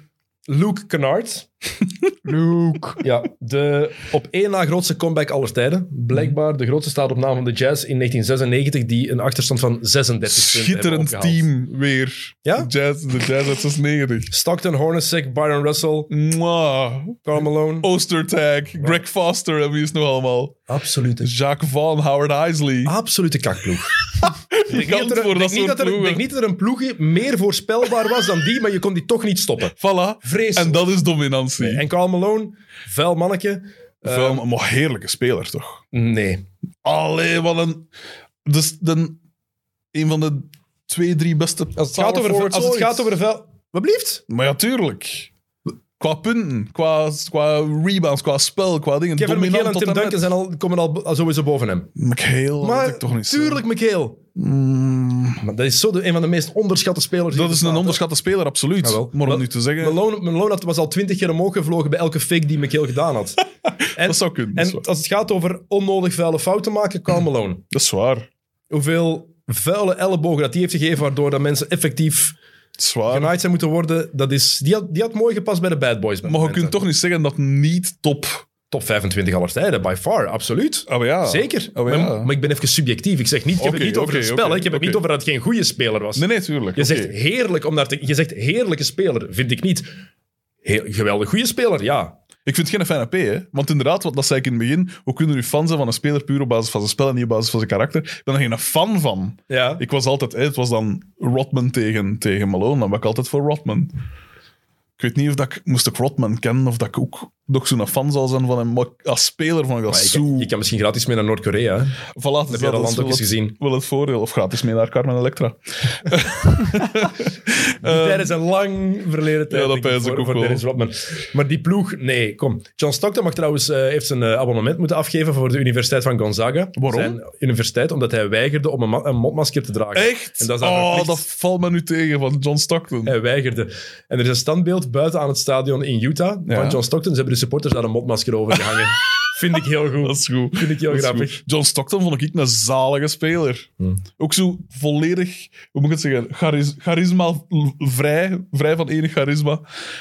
B: Luke Kennard.
E: Luke.
B: Ja, de op één na grootste comeback aller tijden. Blijkbaar de grootste staat op naam van de Jazz in 1996, die een achterstand van 36 punten hebben
C: Schitterend
B: opgehaald.
C: team weer.
B: Ja?
C: Jazz, de Jazz uit 96.
B: Stockton, Hornacek, Byron Russell,
C: Mwah.
B: Karl Malone.
C: Oh. Oostertag, Greg Foster en wie is het nog allemaal?
B: Absolute,
C: Jacques Van, Howard Isley.
B: absolute kakploeg. Ah, Ik
C: kan
B: denk, niet dat er- ik
C: voor dat
B: denk niet
C: soort
B: dat er- ik denk
C: ploegen.
B: niet dat er een ploeg meer voorspelbaar was dan die, maar je kon die toch niet stoppen.
C: Voilà.
B: Vreselijk.
C: En dat is dominantie.
B: En Karl Malone, vuil manneke. Eh.
C: Vuil, maar heerlijke speler, toch?
B: Nee.
C: Allee, wat een... Dus de, een van de twee, drie beste...
B: Als het gaat over, als het gaat over vuil... Wat blieft?
C: Maar ja, tuurlijk. Qua punten, qua, qua rebounds, qua spel, qua dingen.
B: Kevin McHale en
C: dominant tot
B: Tim
C: en met.
B: Duncan zijn al, komen al al sowieso boven hem.
C: McHale, dat
B: Maar
C: ik toch niet zo.
B: tuurlijk, McHale.
C: Mm,
B: Maar dat is zo de, een van de meest onderschatte spelers. die
C: dat is
B: er
C: een
B: staat,
C: onderschatte speler, absoluut.
B: Jawel.
C: Maar
B: Wel-
C: om nu te zeggen,
B: hè. Malone, Malone had- was al twintig keer omhoog gevlogen bij elke fake die McHale gedaan had. en,
C: dat zou kunnen. dat, is
B: en
C: waar.
B: als het gaat over onnodig vuile fouten maken, Karl Malone.
C: Dat is waar.
B: Hoeveel vuile ellebogen dat hij heeft gegeven, waardoor dat mensen effectief
C: Dat is waar.
B: genaaid zijn moeten worden, dat is, die, had, die had mooi gepast bij de Bad Boys.
C: Maar je kunt toch niet zeggen dat niet top...
B: Top 25 aller tijden, by far, absoluut.
C: Ah, maar ja.
B: Zeker.
C: Oh,
B: maar,
C: ja.
B: maar ik ben even subjectief. Ik zeg niet, ik heb
C: Oké,
B: het niet over
C: oké,
B: het spel.
C: oké,
B: hè. ik heb
C: oké.
B: het niet over dat het geen goede speler was.
C: Nee, nee, tuurlijk.
B: Je
C: Oké.
B: zegt heerlijk om naar te... Je zegt heerlijke speler, vind ik niet. Heel, geweldig goede speler, ja.
C: Ik vind het geen fijne P, hè? Want inderdaad, wat dat zei ik in het begin, hoe kunnen jullie fan zijn van een speler puur op basis van zijn spel en niet op basis van zijn karakter? Ik ben er geen fan van.
B: ja.
C: Ik was altijd, hè, het was dan Rodman tegen, tegen Malone, dan ben ik altijd voor Rodman. Ik weet niet of dat ik, moest ik Rodman kennen of dat ik ook nog zo'n fan zal zijn van hem. Maar als speler vond ik dat
B: Maar je,
C: zo...
B: kan- je kan misschien gratis mee naar Noord-Korea. hè.
C: Voilà,
B: Heb
C: dus
B: je dat
C: is
B: land ook
C: wel
B: eens
C: het-
B: gezien?
C: Wel het voordeel. Of gratis mee naar Carmen Electra. Ehm,
B: Die tijden zijn lang verleden tijd.
C: Eh, Ja, dat
B: denk ik,
C: pijs ik
B: voor-
C: ook
B: voor
C: wel.
B: Dennis Rodman. Maar die ploeg, nee, kom. John Stockton mag trouwens, eh, heeft zijn eh, abonnement moeten afgeven voor de Universiteit van Gonzaga.
C: Waarom?
B: Zijn universiteit, omdat hij weigerde om een, ma- een mondmasker te dragen.
C: Echt?
B: En dat is daar
C: oh,
B: verplicht.
C: dat valt me nu tegen van John Stockton.
B: Hij weigerde. En er is een standbeeld buiten aan het stadion in Utah
C: Ja.
B: van John Stockton. Ze hebben de supporters daar een mondmasker over gehangen. Vind ik heel goed.
C: Dat is goed.
B: Vind ik heel
C: Dat is
B: grappig.
C: goed. John Stockton vond ik een zalige speler. Ook zo volledig, hoe moet ik het zeggen, charis- charisma l- vrij, vrij van enig charisma.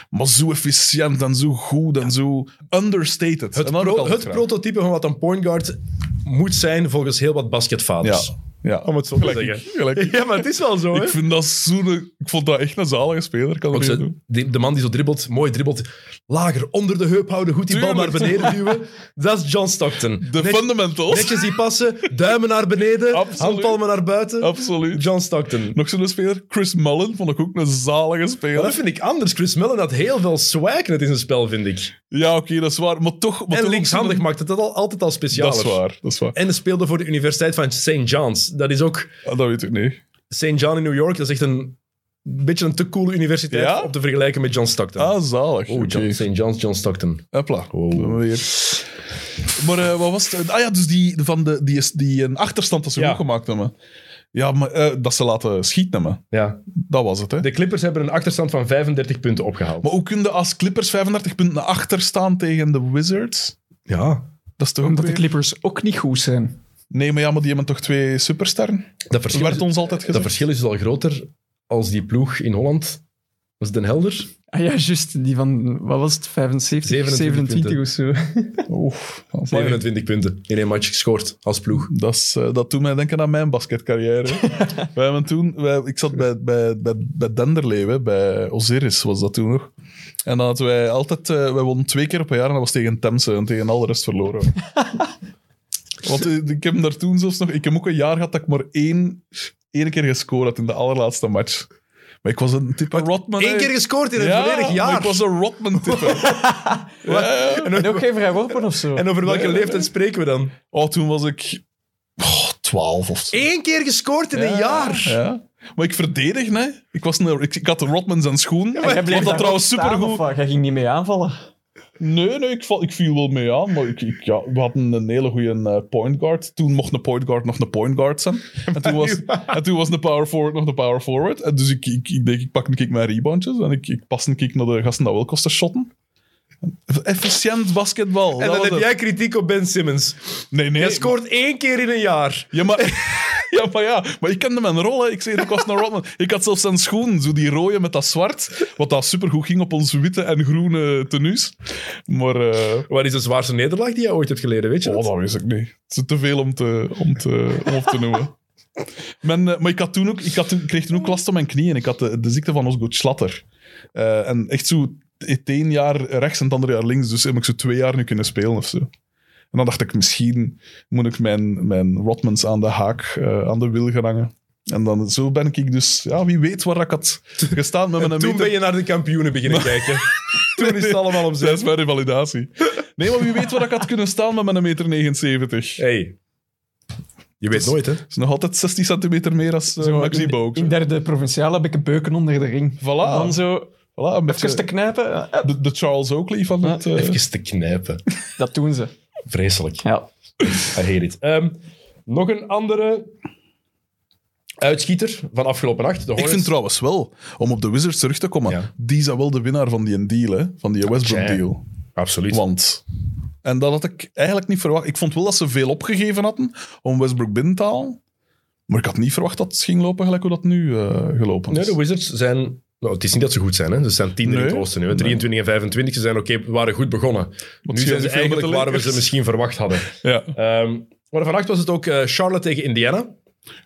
C: Maar zo efficiënt en zo goed en zo understated.
B: Het,
C: En dat heb ik
B: pro-
C: altijd
B: het
C: graag.
B: prototype van wat een point guard moet zijn volgens heel wat basketvaders.
C: Ja, ja.
B: Om het zo te
C: Gelijk ik,
B: zeggen.
C: gelijk ik.
B: Ja, maar het is wel zo, hè?
C: Ik vind dat zo'n... Ik vond dat echt een zalige speler. Kan
B: Ook
C: ik
B: zo,
C: niet doen.
B: die- de man die zo dribbelt, mooi dribbelt, lager onder de heup houden, goed die bal naar
C: Tuurlijk.
B: beneden duwen. Dat is John Stockton.
C: De
B: Net-
C: fundamentals.
B: Netjes die passen, duimen naar beneden,
C: Absoluut.
B: handpalmen naar buiten.
C: Absoluut.
B: John Stockton.
C: Nog zo'n speler, Chris Mullen, vond ik ook een zalige speler.
B: Maar dat vind ik anders. Chris Mellon had heel veel swag net in zijn spel, vind ik.
C: Ja, oké, dat is waar. Maar toch... maar toch
B: en
C: ook
B: linkshandig
C: zo'n-
B: maakt het dat al, altijd al speciaal.
C: Dat is waar, dat is waar.
B: En hij speelde voor de Universiteit van St. John's. Dat is ook
C: Ah, dat weet ik niet.
B: St. John in New York. Dat is echt een beetje een te coole universiteit
C: Ja?
B: om te vergelijken met John Stockton.
C: Ah, zalig.
B: oh, John,
C: Oké.
B: St. John's, John Stockton.
C: Hopla. Dan maar weer. Maar eh, wat was het? Ah ja, dus die, van de, die, die een achterstand dat ze
B: Ja.
C: goed gemaakt hebben. Ja, maar eh, dat ze laten schieten hebben.
B: Ja.
C: Dat was het, hè.
B: De Clippers hebben een achterstand van 35 punten opgehaald.
C: Maar hoe kun je als Clippers 35 punten achter staan tegen de Wizards?
B: Ja.
C: Dat is toch ook
E: Omdat de
C: weer-
E: Clippers ook niet goed zijn.
C: Nee, maar ja, maar die hebben toch twee supersterren?
B: Dat
C: Dat
B: verschil, is,
C: werd ons altijd
B: dat
C: gezegd.
B: verschil is al groter als die ploeg in Holland. Was het Den Helder?
E: Ah ja, juist. Die van, wat was het, 75,
B: 27
E: 27 of zo.
C: Oef, amai.
B: 27 punten in één match gescoord als ploeg.
C: Dat, is, eh, dat doet mij denken aan mijn basketcarrière. wij hebben toen, wij, ik zat bij, bij, bij, bij Denderleeuwen, bij Osiris was dat toen nog. En dan hadden wij altijd, eh, wij wonnen twee keer per jaar en dat was tegen Temse en tegen al de rest verloren. Want eh, ik heb hem daar toen zelfs nog, ik heb ook een jaar gehad dat ik maar één, één keer gescoord had in de allerlaatste match. Maar ik was een type Rodman.
B: Eén
C: hè.
B: keer gescoord in een
C: Ja,
B: volledig
C: maar
B: jaar.
C: ik was een Rodman-type.
E: En ook geen vrijworpen of zo.
B: En over welke leeftijd spreken we dan?
C: oh, toen was ik oh, 12 of zo.
B: Eén keer gescoord in een
C: Ja,
B: jaar.
C: Ja. Maar ik verdedig, hè. Ik, was een, ik, ik had de Rodman zijn schoen.
E: En jij
C: ik vond
E: bleef
C: dat trouwens supergoed.
E: goed. Jij ging niet mee aanvallen.
C: Nee, nee, ik, val- ik viel wel mee aan. Maar ik, ik- ja, we hadden een hele goede eh, point guard. Toen mocht een point guard nog een point guard zijn. En toen was, en toen was een power forward nog een power forward. En dus ik, ik, ik denk, ik pak een kick mijn reboundjes. En ik, ik pas een kick naar de gasten dat wel kosten shotten. Efficiënt basketbal.
B: En
C: dat
B: dan
C: was
B: heb
C: het.
B: jij kritiek op Ben Simmons.
C: Nee, nee.
B: Hij scoort één keer in een jaar.
C: Ja, maar... Ja, maar ja, maar ik kende mijn rol. Hè. Ik zei, ik was een Rodman. Ik had zelfs zijn schoen, zo die rode met dat zwart, wat dat supergoed ging op onze witte en groene tenues. Maar, eh,
B: Wat is de zwaarste nederlaag die jij ooit hebt geleden, weet je
C: oh,
B: dat?
C: dat wist ik niet. Het is te veel om, te, om, te, om op te noemen. Men, eh, maar ik, had toen ook, ik, had toen, ik kreeg toen ook last op mijn knieën. Ik had de, de ziekte van Osgood Slatter. Eh, en echt zo het één jaar rechts en het andere jaar links. Dus heb ik zo twee jaar nu kunnen spelen of zo. En dan dacht ik, misschien moet ik mijn, mijn Rodmans aan de haak, eh, aan de wil gaan hangen. En dan zo ben ik dus, ja, wie weet waar ik had gestaan met mijn
B: Toen
C: meter.
B: ben je naar de kampioenen beginnen kijken. Toen is het allemaal om
C: Dat
B: zes.
C: is mijn revalidatie. Nee, maar wie weet waar ik had kunnen staan met mijn meter 79.
B: Hey. Je weet nooit, hè?
C: is nog altijd 16 centimeter meer als eh,
E: Zo,
C: Maxi
E: in-
C: Boog.
E: In derde provinciaal heb ik een beuken onder de ring.
C: Voilà.
E: Dan zo
C: Voilà, een
E: even te
C: beetje
E: knijpen. eh,
C: de, de Charles Oakley van het... eh,
B: Even te knijpen.
E: Dat doen ze.
B: Vreselijk.
E: Ja.
B: I hate it. Ehm, nog een andere uitschieter van afgelopen nacht. De
C: Ik
B: Hornets.
C: vind trouwens wel, om op de Wizards terug te komen,
B: Ja.
C: die zijn wel de winnaar van die deal, hè, van die Westbrook
B: tja.
C: deal.
B: Absoluut.
C: Want, en dat had ik eigenlijk niet verwacht. Ik vond wel dat ze veel opgegeven hadden om Westbrook binnen te halen, maar ik had niet verwacht dat het ging lopen gelijk hoe dat nu eh, gelopen
B: Nee,
C: is.
B: de Wizards zijn... Nou, het is niet dat ze goed zijn, hè. Ze zijn tiende in het
C: Nee.
B: oosten nu. hè. 23 en 25, ze zijn oké, we waren goed begonnen. nu
C: scheelt
B: zijn ze
C: niet veel met
B: eigenlijk
C: de
B: waar we ze
C: Lakers.
B: misschien verwacht hadden.
C: ja,
B: Ehm, maar vannacht was het ook eh, Charlotte tegen Indiana.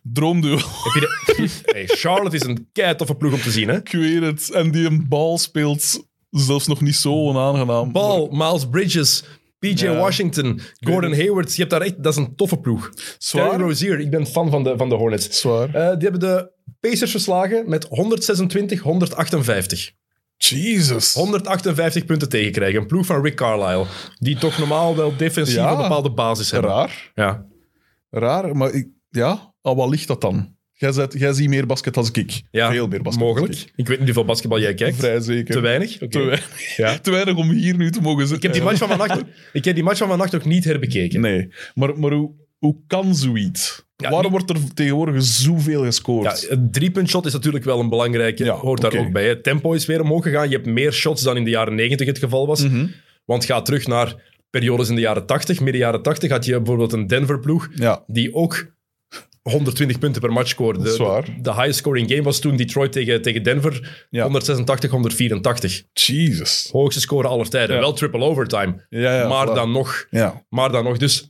C: droomduel.
B: Heb je de- hey, Charlotte is een kei toffe ploeg om te zien, hè.
C: ik weet het. En die een bal speelt zelfs nog niet zo onaangenaam.
B: Paul, Miles Bridges, PJ
C: Ja.
B: Washington, Gordon Hayward. Je hebt daar echt, dat is een toffe ploeg.
C: Zwaar.
B: Terry Rozier, ik ben fan van de, van de Hornets.
C: Zwaar.
B: Eh, die hebben de Pacers verslagen met 126-158.
C: Jesus.
B: 158 punten tegenkrijgen. Een ploeg van Rick Carlisle. Die toch normaal wel defensief
C: Ja.
B: een bepaalde basis hebben.
C: Raar.
B: Ja.
C: Raar, maar ik, ja, aan wat ligt dat dan? Jij, zet, jij ziet meer basket als ik.
B: ja.
C: Veel meer basket.
B: Mogelijk.
C: Als ik.
B: Ik. weet niet hoeveel basketbal jij kijkt.
C: Vrij zeker.
B: Te weinig?
C: Te,
B: Oké.
C: weinig,
B: Ja.
C: te weinig om hier nu te mogen
B: Ik heb, die match van vannacht, ik heb die match van vannacht nog niet herbekeken.
C: Nee, maar, maar hoe, hoe kan zoiets?
B: Ja,
C: Waarom
B: niet-
C: wordt er tegenwoordig zoveel
B: Ja,
C: gescoord?
B: een driepuntshot is natuurlijk wel een belangrijke.
C: Ja,
B: hoort daar
C: oké.
B: ook bij. Het tempo is weer omhoog gegaan. Je hebt meer shots dan in de jaren 90 het geval was.
C: Mhm.
B: Want ga terug naar periodes in de jaren 80. Midden jaren 80 had je bijvoorbeeld een Denver-ploeg
C: Ja.
B: die ook 120 punten per match scoorde.
C: Dat is waar.
B: De, de highest scoring game was toen Detroit tegen, tegen Denver.
C: Ja.
B: 186, 184.
C: Jesus.
B: Hoogste score aller tijden.
C: Ja.
B: Wel triple overtime.
C: Ja, ja,
B: maar
C: voilà.
B: dan nog
C: Ja.
B: Maar dan nog, dus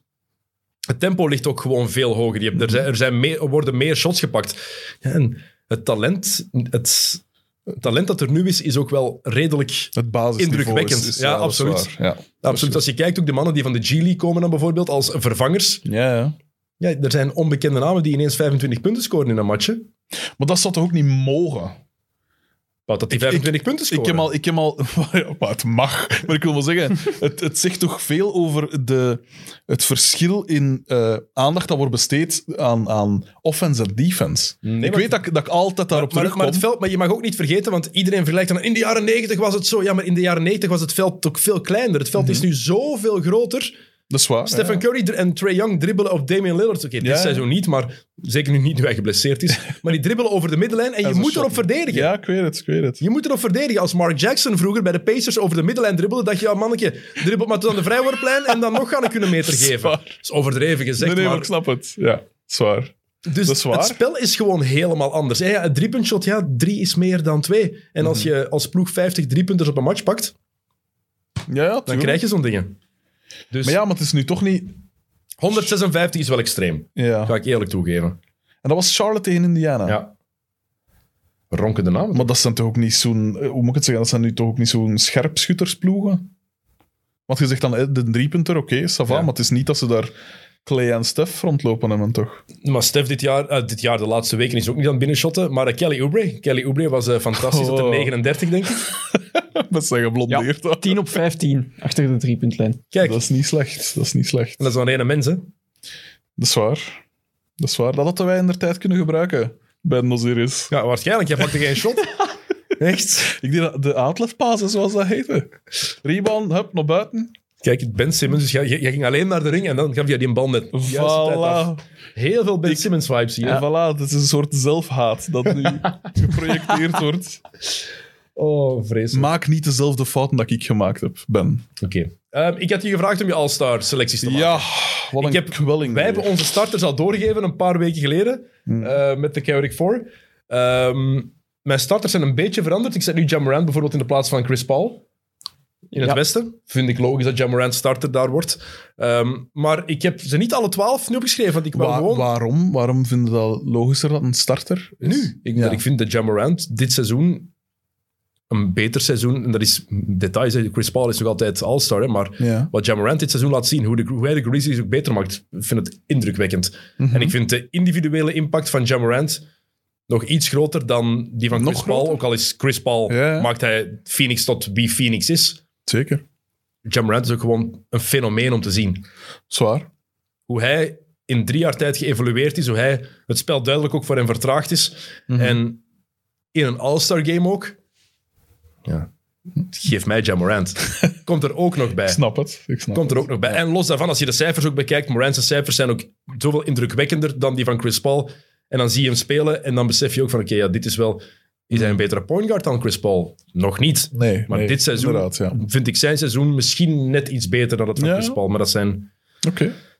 B: het tempo ligt ook gewoon veel hoger. Je hebt, er zijn, er zijn meer, er worden meer shots gepakt. Ja, en het talent, het, het talent dat er nu is, is ook wel redelijk.
C: Het basisniveau
B: Indrukwekkend.
C: is- is-
B: Ja,
C: dat is
B: absoluut.
C: waar. Ja.
B: Absoluut. Als je kijkt, ook de mannen die van de G-League komen dan bijvoorbeeld als vervangers.
C: Ja, ja.
B: Ja, er zijn onbekende namen die ineens 25 punten scoren in een match. hè.
C: Maar dat zou toch ook niet mogen?
B: Wat dat die 25 punten scoren.
C: Ik heb al, ik heb al ja, maar het mag, maar ik wil wel zeggen, het, het zegt toch veel over de, het verschil in eh, aandacht dat wordt besteed aan, aan offense en defense. ik
B: maar-
C: weet dat, ik- dat ik altijd daarop
B: maar,
C: terugkom.
B: maar, het veld, maar je mag ook niet vergeten, want iedereen vergelijkt dan. In de jaren 90 was het zo. Ja, maar in de jaren 90 was het veld ook veel kleiner. Het veld
C: Mhm.
B: is nu zoveel groter.
C: dat is waar.
B: Stephen Curry dr- en Trae Young dribbelen op Damian Lillard. Oké, dit
C: Ja.
B: seizoen niet, maar zeker nu niet nu hij geblesseerd is. Maar die dribbelen over de middenlijn en je
C: is een
B: moet
C: shot.
B: erop verdedigen.
C: Ja, ik weet het, ik weet het.
B: Je moet erop verdedigen. Als Mark Jackson vroeger bij de Pacers over de middenlijn dribbelde, dacht je, ja mannetje, dribbel maar tot aan de vrijworplijn en dan nog gaan ik kunnen meter geven.
C: Zwaar.
B: Dat is overdreven gezegd,
C: nee, nee, maar
B: maar...
C: ik snap het. Ja, zwaar.
B: Dus
C: dat is waar.
B: het spel is gewoon helemaal anders. Ja, ja, het driepuntshot, ja, drie is meer dan twee. En
C: Mhm.
B: als je als ploeg 50 driepunters op een match pakt,
C: Ja, ja,
B: dan
C: tuurlijk.
B: krijg je zo'n dingen. Dus
C: Maar ja, maar het is nu toch niet...
B: 156 is wel extreem,
C: Ja.
B: ga ik eerlijk toegeven.
C: En dat was Charlotte tegen Indiana.
B: Ja. Ronkende naam.
C: Maar dat zijn toch ook niet zo'n... eh, Hoe moet ik het zeggen? Dat zijn nu toch ook niet zo'n scherpschuttersploegen? Want je zegt dan, eh, de driepunter, oké,
B: Ja.
C: okay, Maar het is niet dat ze daar Clay en Steph rondlopen hebben, toch?
B: Maar Stef dit jaar, eh, dit jaar, de laatste weken, is ook niet aan het binnenshotten. Maar eh, Kelly Oubre. Kelly Oubre was eh, fantastisch. Tot
C: Oh.
B: op 39, denk ik.
C: Met zijn geblondeerd.
E: 10 op 15 achter de driepuntlijn.
B: Kijk,
C: Dat is niet slecht. Dat is niet slecht.
B: dat is dan rene mens, hè.
C: Dat is waar. Dat is waar. Dat hadden wij in de tijd kunnen gebruiken bij Noziris.
B: Ja, waarschijnlijk. Jij pakte geen shot. Echt?
C: Ik denk dat de outletpasen, zoals dat heette. Rebound, hup, naar buiten.
B: Kijk, Ben Simmons. Dus jij, jij- jij ging alleen naar de ring en dan gaf je die een bal net. op de juiste tijd af.
C: Voilà.
B: Heel veel Ben Simmons vibes hier.
C: En voilà, dat is een soort zelfhaat dat nu geprojecteerd wordt.
B: Oh, vreselijk.
C: Maak niet dezelfde fouten dat ik gemaakt heb, Ben.
B: Oké. Ehm, ik had je gevraagd om je All-Star selecties te maken.
C: Ja, wat een
B: Ik heb- Wij
C: kwelling. weer.
B: hebben onze starters al doorgegeven een paar weken geleden eh, met de Chaotic Four. Ehm, mijn starters zijn een beetje veranderd. Ik zet nu Jamorant bijvoorbeeld in de plaats van Chris Paul. In het
E: Ja.
B: westen. Vind ik logisch dat Jamorant starter daar wordt. Ehm, maar ik heb ze niet alle twaalf nu opgeschreven, want ik wil
C: Wa-
B: gewoon...
C: waarom? Waarom vinden we dat logischer dat een starter is?
B: nu. Ik,
C: Ja.
B: dat ik vind dat Jamorant dit seizoen een beter seizoen... En dat is details. hè. Chris Paul is nog altijd all-star, hè, maar...
C: Ja.
B: wat Jamorant dit seizoen laat zien, hoe, de, hoe hij de Grizzlies ook beter maakt, ik vind het indrukwekkend.
C: Mhm.
B: En ik vind de individuele impact van Jamorant nog iets groter dan die van
C: Nog
B: Chris Paul.
C: groter?
B: Ook al is Chris Paul,
C: Ja, ja.
B: maakt hij Phoenix tot wie Phoenix is.
C: Zeker.
B: Jamorant is ook gewoon een fenomeen om te zien.
C: Zwaar.
B: Hoe hij in drie jaar tijd geëvolueerd is, hoe hij het spel duidelijk ook voor hem vertraagd is.
C: Mhm.
B: En in een All-Star game ook. Ja. Geef mij Jamorant. Komt er ook nog bij
C: Ik snap het. Ik snap
B: komt er
C: het.
B: ook nog bij. En los daarvan, als je de cijfers ook bekijkt, Morant's cijfers zijn ook zoveel indrukwekkender dan die van Chris Paul. En dan zie je hem spelen en dan besef je ook van, oké, ja, dit is wel... Is hij een betere point guard dan Chris Paul? Nog niet.
C: Nee,
B: Maar
C: nee,
B: dit seizoen
C: inderdaad, ja. Oké.
B: vind ik zijn seizoen misschien net iets beter dan dat van
C: Ja.
B: Chris Paul. Maar dat zijn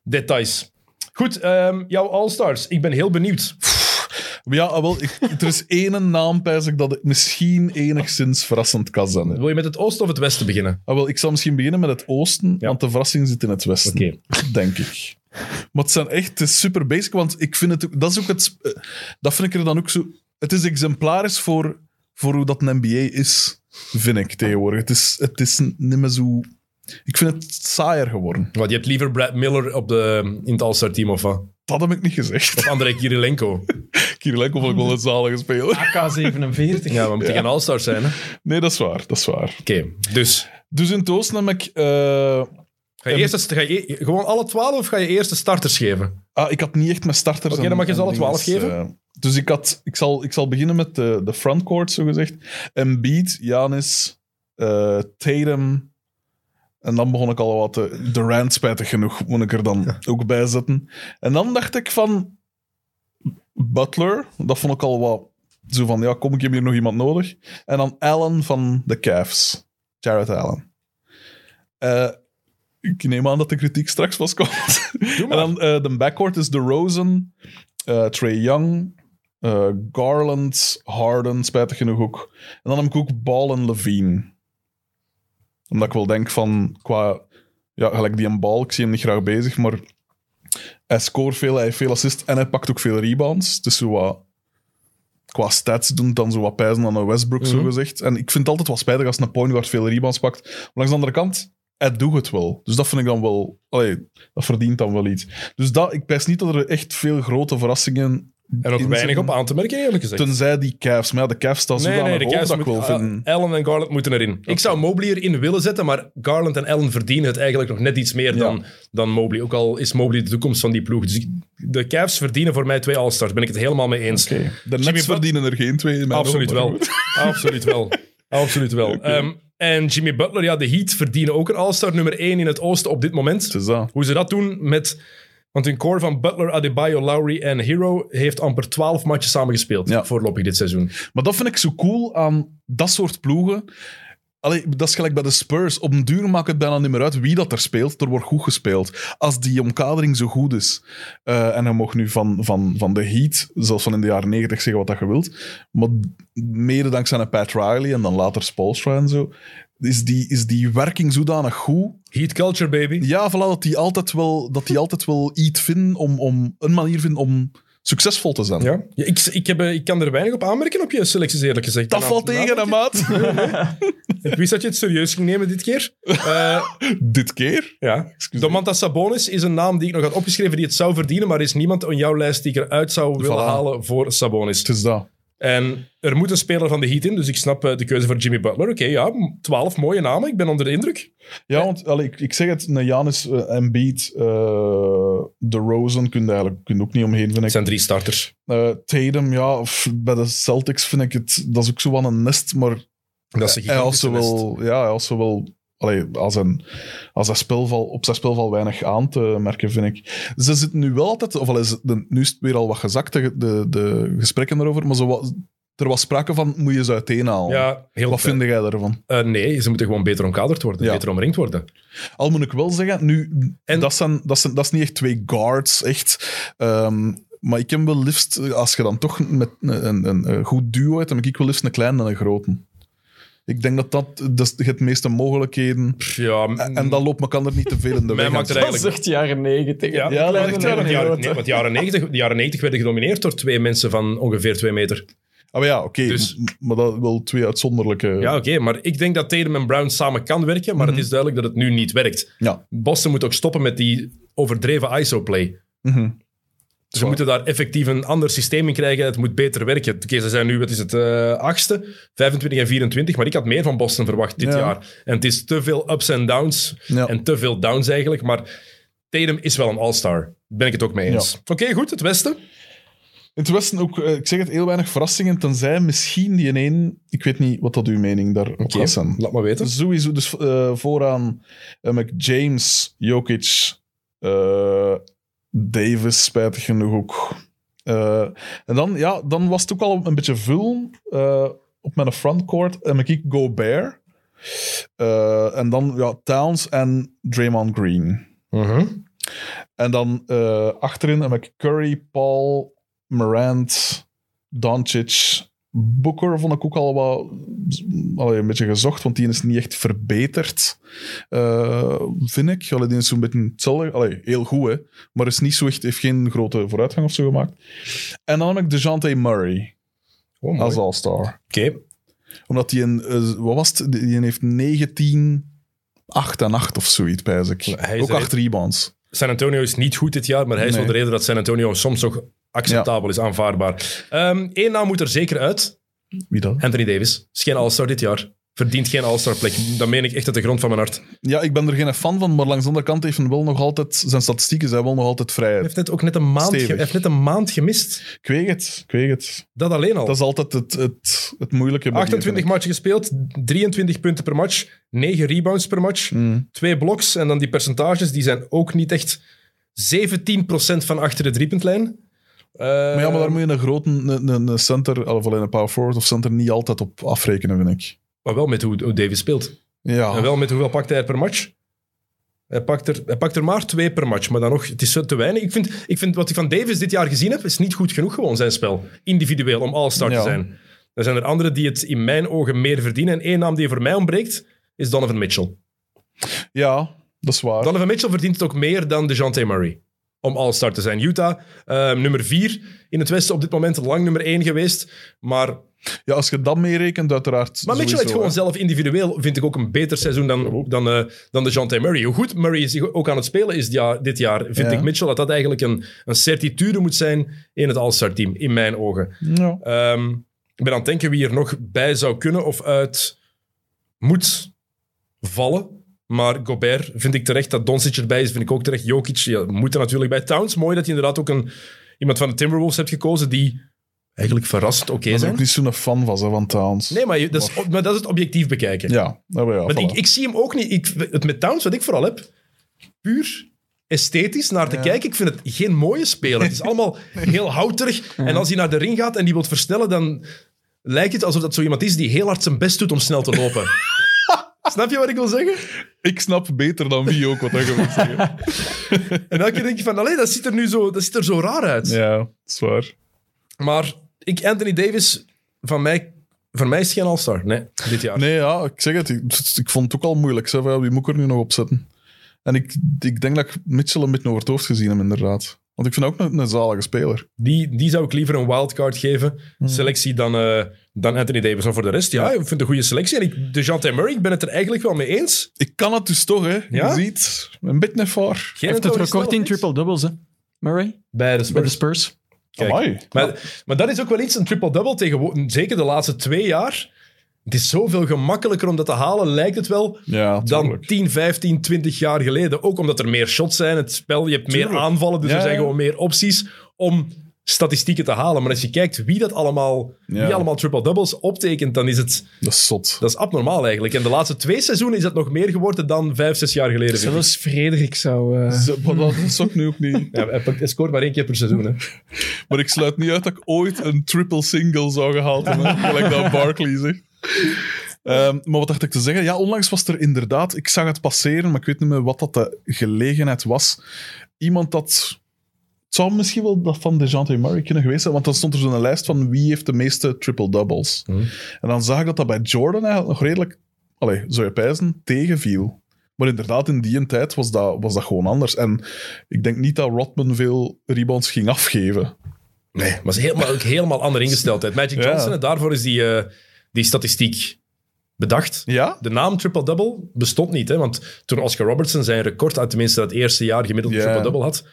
B: details. Goed, ehm, jouw All-Stars. Ik ben heel benieuwd.
C: Maar Ja, ah, wel, ik, er is één naam, pijs ik, dat ik misschien enigszins verrassend kan zijn.
B: Wil je met het oosten of het westen beginnen?
C: Ah, wel, ik zal misschien beginnen met het oosten,
B: Ja.
C: want de verrassing zit in het westen.
B: Oké.
C: Denk ik. Maar het zijn echt het is super basic, want ik vind het ook- dat is ook het. sp- eh, Dat vind ik er dan ook zo. Het is exemplarisch voor, voor hoe dat een NBA is, vind ik tegenwoordig. Het is, het is niet meer zo. Ik vind het saaier geworden.
B: Want je hebt liever Brad Miller op de, in het All-Star team of wat?
C: Dat heb ik niet gezegd.
B: Of André Kirilenko.
C: Kirilenko vond ik wel een zalige
B: Ah.
C: speler.
D: AK-47.
B: Ja, we moeten geen all-stars zijn. hè. Oké,
C: Nee, dat is waar, dat is waar.
B: dus.
C: Dus in Toos nam ik... eh,
B: Ga je, eerst, eens- ga je e- gewoon alle twaalf of ga je eerst de starters geven?
C: ah, ik had niet echt mijn starters...
B: Oké,
C: en-
B: dan mag je ze
C: en
B: alle
C: dingen,
B: 12 geven.
C: eh, dus ik, had, ik, zal, ik zal beginnen met eh, de, de frontcourt, zogezegd. Embiid, Janis, eh Tatum... En dan begon ik al wat te... Durant, spijtig genoeg, moet ik er dan ook bij zetten. En dan dacht ik van... Butler, dat vond ik al wat... Zo van, ja, kom ik heb hier nog iemand nodig? En dan Allen van de Cavs. Jared Allen. Eh, ik neem aan dat de kritiek straks was komt. en dan eh, de backcourt is de Rosen, Trey Young, eh, Garland, Harden, spijtig genoeg ook. En dan heb ik ook Ball en Levine. Omdat ik wel denk van, qua... Ja, gelijk die een bal, ik zie hem niet graag bezig, maar hij scoort veel, hij heeft veel assist en hij pakt ook veel rebounds. Dus zo wat qua stats doen dan zo wat pijzen aan een Westbrook,
B: Mhm.
C: zo gezegd. En ik vind het altijd wel spijtig als een point guard veel rebounds pakt. Maar langs de andere kant, hij doet het wel. Dus dat vind ik dan wel... Allee, dat verdient dan wel iets. Dus dat, ik pijs niet dat er echt veel grote verrassingen...
B: Er ook
C: in
B: weinig
C: zitten.
B: op aan te merken, eerlijk gezegd.
C: Tenzij die Cavs. Maar ja, de Cavs staan
B: Nee,
C: zodanig
B: nee, de
C: hoog
B: Cavs
C: dat ik wel
B: moeten-
C: vind...
B: Ah, Allen en Garland moeten erin. Ik zou Mobley erin willen zetten, maar Garland en Allen verdienen het eigenlijk nog net iets meer dan, dan Mobley. Ook al is Mobley de toekomst van die ploeg. Dus ik- de Cavs verdienen voor mij twee All-Stars. Ben ik het helemaal mee eens.
C: De
B: Jimmy
C: Nets
B: Butler-
C: verdienen er geen twee in mijn
B: Absoluut
C: ogen, maar
B: wel.
C: goed.
B: Absoluut wel. Absoluut wel. Ehm, en Jimmy Butler, ja, de Heat verdienen ook een All-Star nummer 1 in het oosten op dit moment.
C: Het is dat.
B: Hoe ze dat doen met... Want hun core van Butler, Adebayo, Lowry en Hero heeft amper 12 matches samengespeeld
C: Ja.
B: voorlopig dit seizoen.
C: Maar dat vind ik zo cool aan dat soort ploegen. Allee, dat is gelijk bij de Spurs. Op een duur maakt het bijna niet meer uit wie dat er speelt. Er wordt goed gespeeld. Als die omkadering zo goed is. Eh, en hij mag nu van, van, van de Heat, zelfs van in de jaren 90 zeggen wat dat je wilt. Maar mede dankzij een Pat Riley en dan later Spolstra en zo. Is die, is die werking zodanig goed
B: Heat culture, baby.
C: ja, voilà, dat die altijd wel, dat die altijd wel iets vinden om, om een manier vinden om succesvol te zijn.
B: Ja, Ja, ik, ik, heb, eh, ik kan er weinig op aanmerken op je selecties, eerlijk gezegd.
C: Dat
B: Na-
C: valt
B: na-
C: tegen, hè, maat.
B: Ik wist dat je het serieus ging nemen dit keer. Eh,
C: Dit keer.
B: ja. Domantas Sabonis is een naam die ik nog had opgeschreven die het zou verdienen, maar er is niemand op jouw lijst die ik eruit zou willen
C: Voilà.
B: halen voor Sabonis.
C: Het is dat.
B: En er moet een speler van de Heat in, dus ik snap eh, de keuze voor Jimmy Butler. Oké, ja, m- 12 mooie namen. Ik ben onder de indruk.
C: Ja, want allee, ik, ik zeg het, een Janis eh, Embiid, eh, de Rosen, kun je eigenlijk kun je ook niet omheen, vind
B: Het
C: ik.
B: zijn drie starters.
C: Eh, Tatum, ja, f- bij de Celtics vind ik het, dat is ook zo aan een nest, maar
B: Dat is een
C: hij had
B: gigantische
C: ze
B: list.
C: wel, ja, hij had ze wel, allee, als, een, als hij spelval, op zijn spelval weinig aan te merken, vind ik. Ze zitten nu wel altijd, of al is het, de- nu is het weer al wat gezakt, de, de, de gesprekken erover, maar zo wat- er was sprake van, moet je ze uiteenhalen.
B: Ja, heel
C: wat
B: fijn.
C: vind jij daarvan?
B: Eh, nee, ze moeten gewoon beter omkaderd worden,
C: Ja.
B: beter omringd worden.
C: Al moet ik wel zeggen, nu,
B: En-
C: dat, zijn, dat, zijn, dat is niet echt twee guards, echt. Ehm, maar ik heb wel liefst, eh, als je dan toch met een, een, een, eh, goed duo hebt, dan heb ik wel liefst een kleine en een grote. Ik denk dat dat, dat is- je hebt de meeste mogelijkheden.
B: Ja, m-
C: En dan loopt elkaar er niet te veel in de
B: Mij
C: weg.
B: maakt het
C: En-
D: Dat
B: eigenlijk
D: is echt jaren 90.
B: Ja,
C: Ja, dat is
B: Nee,
C: echt
B: want
C: waar.
B: de jaren, nee, want de jaren 90, de jaren 90 werden gedomineerd door twee mensen van ongeveer twee meter.
C: Ah, maar ja, oké.
B: Dus-
C: m- Maar dat wel twee uitzonderlijke...
B: Ja, oké, maar ik denk dat Tatum en Brown samen kan werken, maar
C: Mhm.
B: het is duidelijk dat het nu niet werkt.
C: Ja.
B: Boston moet ook stoppen met die overdreven ISO-play.
C: Mhm.
B: Ze moeten daar effectief een ander systeem in krijgen. Het moet beter werken. Oké, ze zijn nu, wat is het, eh achtste, 25 en 24. Maar ik had meer van Boston verwacht dit
C: Ja.
B: jaar. En het is te veel ups en downs.
C: Ja.
B: En te veel downs eigenlijk. Maar Tatum is wel een all-star. Ben ik het ook mee eens. Oké, goed. Het Westen.
C: In het Westen ook, eh, ik zeg het, heel weinig verrassingen, tenzij misschien die in één... Ik weet niet wat dat uw mening daarop
B: Oké,
C: gaat zijn.
B: Laat maar weten.
C: Sowieso, dus eh, vooraan heb ik James, Jokic, eh, Davis, spijtig genoeg ook. Eh, en dan, ja, dan was het ook al een beetje vul eh, op mijn frontcourt. En ik Gobert. Eh en dan ja, Towns en Draymond Green.
B: Mhm.
C: En dan eh, achterin heb ik Curry, Paul, Morant, Doncic. Booker vond ik ook al wat allee, een beetje gezocht, want die is niet echt verbeterd, eh, vind ik. Allee, die is zo'n beetje hetzelfde. Allee, heel goed, hè. Maar is niet zo echt, heeft geen grote vooruitgang of zo gemaakt. En dan heb ik DeJounte Murray
B: Oh, mooi.
C: als All-Star.
B: Oké.
C: Omdat die, een, eh, wat was het? Die die heeft 19, 8 en 8 of zoiets, pijs ik.
B: Hij is
C: Ook
B: er-
C: 8 rebounds.
B: San Antonio is niet goed dit jaar, maar hij is
C: Nee.
B: wel de reden dat San Antonio soms nog acceptabel is, aanvaardbaar. Eén naam moet er zeker uit.
C: Wie dan?
B: Anthony Davis. Is geen All-Star dit jaar. Verdient geen All-Star plek. Dat meen ik echt uit de grond van mijn hart. Hij
C: Ja, ik ben er geen fan van, maar langs de andere kant heeft hij wel nog altijd... Zijn statistieken zijn wel nog altijd vrijheid.
B: heeft net ook net een maand, ge-
C: Stevig.
B: hij heeft net een maand gemist.
C: Ik weet het, ik weet het.
B: Dat alleen al.
C: Dat is altijd het, het, het moeilijke. bij die
B: 28
C: dingen.
B: matchen gespeeld, 23 punten per match, 9 rebounds per match,
C: Mm.
B: 2 bloks. En dan die percentages, die zijn ook niet echt 17% van achter de driepuntlijn. Eh,
C: Maar ja, maar daar moet je een grote een, een- een center, of alleen een power forward of center, niet altijd op afrekenen, vind ik.
B: maar wel met hoe, hoe Davis speelt. En
C: Ja,
B: wel met hoeveel pakt hij er per match. Hij pakt, er, hij pakt er maar twee per match, maar dan nog, het is zo te weinig. Ik vind, ik vind wat ik van Davis dit jaar gezien heb, is niet goed genoeg gewoon zijn spel. Individueel, om all-star te
C: Ja.
B: zijn. Er zijn er anderen die het in mijn ogen meer verdienen. En één naam die voor mij ontbreekt, is Donovan Mitchell.
C: ja, dat is waar.
B: Donovan Mitchell verdient het ook meer dan DeJounte Murray. Om all-star te zijn. Utah, eh, nummer 4 in het Westen op dit moment. Lang nummer 1 geweest. Maar,
C: Ja, als je dat meerekent, uiteraard.
B: maar Mitchell heeft gewoon
C: hè.
B: zelf individueel, vind ik, ook een beter seizoen dan, dan, eh, dan DeJounte Murray. Hoe goed Murray zich ook aan het spelen is dia- dit jaar, vind
C: Ja.
B: ik Mitchell dat dat eigenlijk een, een certitude moet zijn in het all-star team, in mijn ogen.
C: Ja.
B: Ehm, ik ben aan het denken wie er nog bij zou kunnen of uit moet vallen. Maar Gobert vind ik terecht. Dat Doncic erbij is, vind ik ook terecht. Jokic ja, moet er natuurlijk bij. Towns, mooi dat je inderdaad ook een, iemand van de Timberwolves hebt gekozen die eigenlijk verrassend oké
C: Ik ben er ook
B: zijn.
C: niet zo'n fan was hè, van Towns.
B: Nee, maar, je- dat is, maar dat is het objectief bekijken.
C: Ja, nou ja,
B: Want
C: voilà.
B: ik, ik zie hem ook niet. Ik, het met Towns, wat ik vooral heb, puur esthetisch naar te kijken. Ik vind het geen mooie speler. Het is allemaal heel houterig. En als hij naar de ring gaat en die wilt versnellen, dan lijkt het alsof dat zo iemand is die heel hard zijn best doet om snel te lopen. Snap je wat ik wil zeggen?
C: Ik snap beter dan wie ook wat hij wil zeggen.
B: En elke keer denk je van, allee, dat ziet er nu zo, dat ziet er zo raar uit.
C: Ja, dat is waar.
B: Maar ik, Anthony Davis, van mij, van mij is het geen all-star. Nee, dit jaar.
C: Nee, ja, ik zeg het. Ik, ik vond het ook al moeilijk. Zeg, van, ja, wie moet ik er nu nog op zetten? En ik, ik denk dat ik Mitchell een beetje over het hoofd gezien heb, inderdaad. Want ik vind hem ook een, een zalige speler.
B: Die, die zou ik liever een wildcard geven, selectie, dan, eh, dan Anthony Davis. Maar voor de rest, ja, ik vind het een goede selectie. En ik, de Jean Murray, ik ben het er eigenlijk wel mee eens.
C: Ik kan het dus toch, hè.
B: Ja?
C: Je ziet, een beetje voor.
B: Geen
E: heeft het record in triple-doubles, hè? Murray?
B: Bij de
E: Bij de
B: Spurs.
E: Spurs.
B: Kijk.
C: Amai.
B: Maar, maar dat is ook wel iets, een triple-double tegenwoordig. Zeker de laatste twee jaar. Het is zoveel gemakkelijker om dat te halen, lijkt het wel,
C: Ja,
B: dan
C: tuurlijk.
B: 10, 15, 20 jaar geleden. Ook omdat er meer shots zijn, het spel, je hebt meer
C: Tuurlijk.
B: aanvallen, dus
C: Ja,
B: er zijn
C: ja.
B: gewoon meer opties om statistieken te halen. Maar als je kijkt wie dat allemaal,
C: Ja.
B: wie allemaal triple-doubles optekent, dan is het...
C: Dat is zot.
B: Dat is abnormaal eigenlijk. En de laatste twee seizoenen is dat nog meer geworden dan vijf, zes jaar geleden. vind ik.
D: Zelfs Frederik zou... eh,
C: Ze- maar Dat is ook nu ook niet.
B: Ja, hij pakt- hij scoort maar één keer per seizoen. Hè.
C: Maar ik sluit niet uit dat ik ooit een triple single zou gehaald hebben. Gelijk dat Barkley zegt. Ehm, maar wat dacht ik te zeggen? Ja, onlangs was er inderdaad... Ik zag het passeren, maar ik weet niet meer wat dat de gelegenheid was. Iemand dat... Het zou misschien wel dat van DeJounte Murray kunnen geweest zijn, want dan stond er zo'n lijst van wie heeft de meeste triple-doubles. En dan zag ik dat dat bij Jordan eigenlijk nog redelijk... Allee, zou je pijzen, tegenviel. Maar inderdaad, in die tijd was dat, was dat gewoon anders. En ik denk niet dat Rodman veel rebounds ging afgeven.
B: Nee, maar ze helemaal, ook helemaal andere ingesteldheid. Magic
C: Ja.
B: Johnson, en daarvoor is die, eh, die statistiek bedacht.
C: Ja?
B: De naam triple-double bestond niet. Hè, want toen Oscar Robertson zijn record, uit tenminste dat eerste jaar gemiddeld
C: Ja.
B: triple-double had,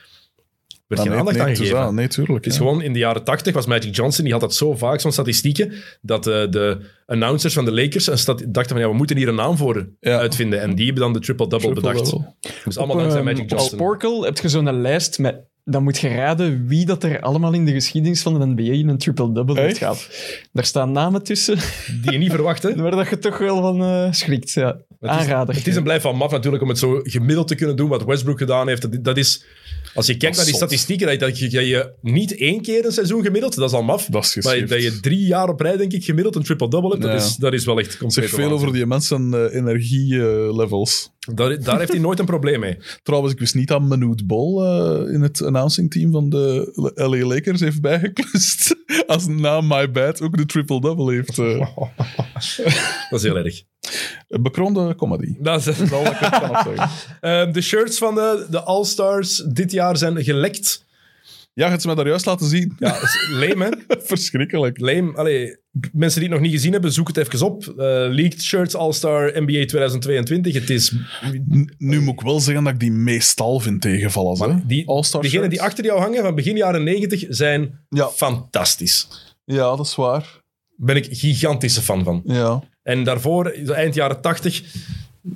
B: werd
C: Ah,
B: geen aandacht
C: nee,
B: aan
C: het is
B: gegeven.
C: aan. Nee, tuurlijk.
B: Het is
C: ja.
B: gewoon in de jaren 80 was Magic Johnson, die had dat zo vaak, zo'n statistieken, dat eh, de announcers van de Lakers een stat- dachten van ja, we moeten hier een naam voor
C: Ja.
B: uitvinden. En die hebben dan de triple-double bedacht.
C: Triple-double.
B: Dus allemaal dankzij
D: ehm,
B: Magic
D: Op
B: Johnson.
D: Sporkel heb je zo'n lijst met... Dan moet je raden wie dat er allemaal in de geschiedenis van de NBA in een triple-double heeft
C: Echt?
D: gehad. Daar staan namen tussen
B: Die je niet verwacht, hè?
D: waar dat je toch wel van eh, schrikt. Ja. Aanrader.
B: Het is een blijf van maf natuurlijk om het zo gemiddeld te kunnen doen wat Westbrook gedaan heeft. Dat, dat is, als je kijkt naar
C: Dat is
B: die
C: zot.
B: statistieken, dat je, dat je- dat je niet één keer een seizoen gemiddeld, dat is al maf.
C: Dat is
B: maar
C: geschikt.
B: dat je drie jaar op rij, denk ik, gemiddeld een triple-double hebt,
C: Ja.
B: dat, is, dat is wel echt compleet
C: Zeg veel over die mensen eh, energielevels.
B: daar, daar heeft hij nooit een probleem mee.
C: Trouwens, ik wist niet dat Manute Bol eh, in het announcing team van de LA Lakers heeft bijgeklust. Als na My Bad ook de triple-double heeft. eh.
B: Dat is heel erg.
C: Een Bekroonde comedy.
B: Dat is,
C: Dat is wat ik kan zeggen.
B: Ehm, de shirts van de, de All-Stars dit jaar zijn gelekt.
C: Ja, je hebt ze mij daar juist laten zien.
B: Ja, dat is leem, hè?
C: Verschrikkelijk.
B: Leem. Allee, mensen die het nog niet gezien hebben, zoek het even op. Eh, Leaked Shirts All-Star NBA 2022. Het is...
C: N- Nu moet ik wel zeggen dat ik die meestal vind tegenvallen. hè.
B: Die,
C: All-Star
B: degenen
C: shirts.
B: die achter jou hangen van begin jaren 90 zijn
C: Ja.
B: fantastisch.
C: Ja, dat is waar.
B: ben ik gigantische fan van.
C: Ja.
B: En daarvoor, eind jaren 80,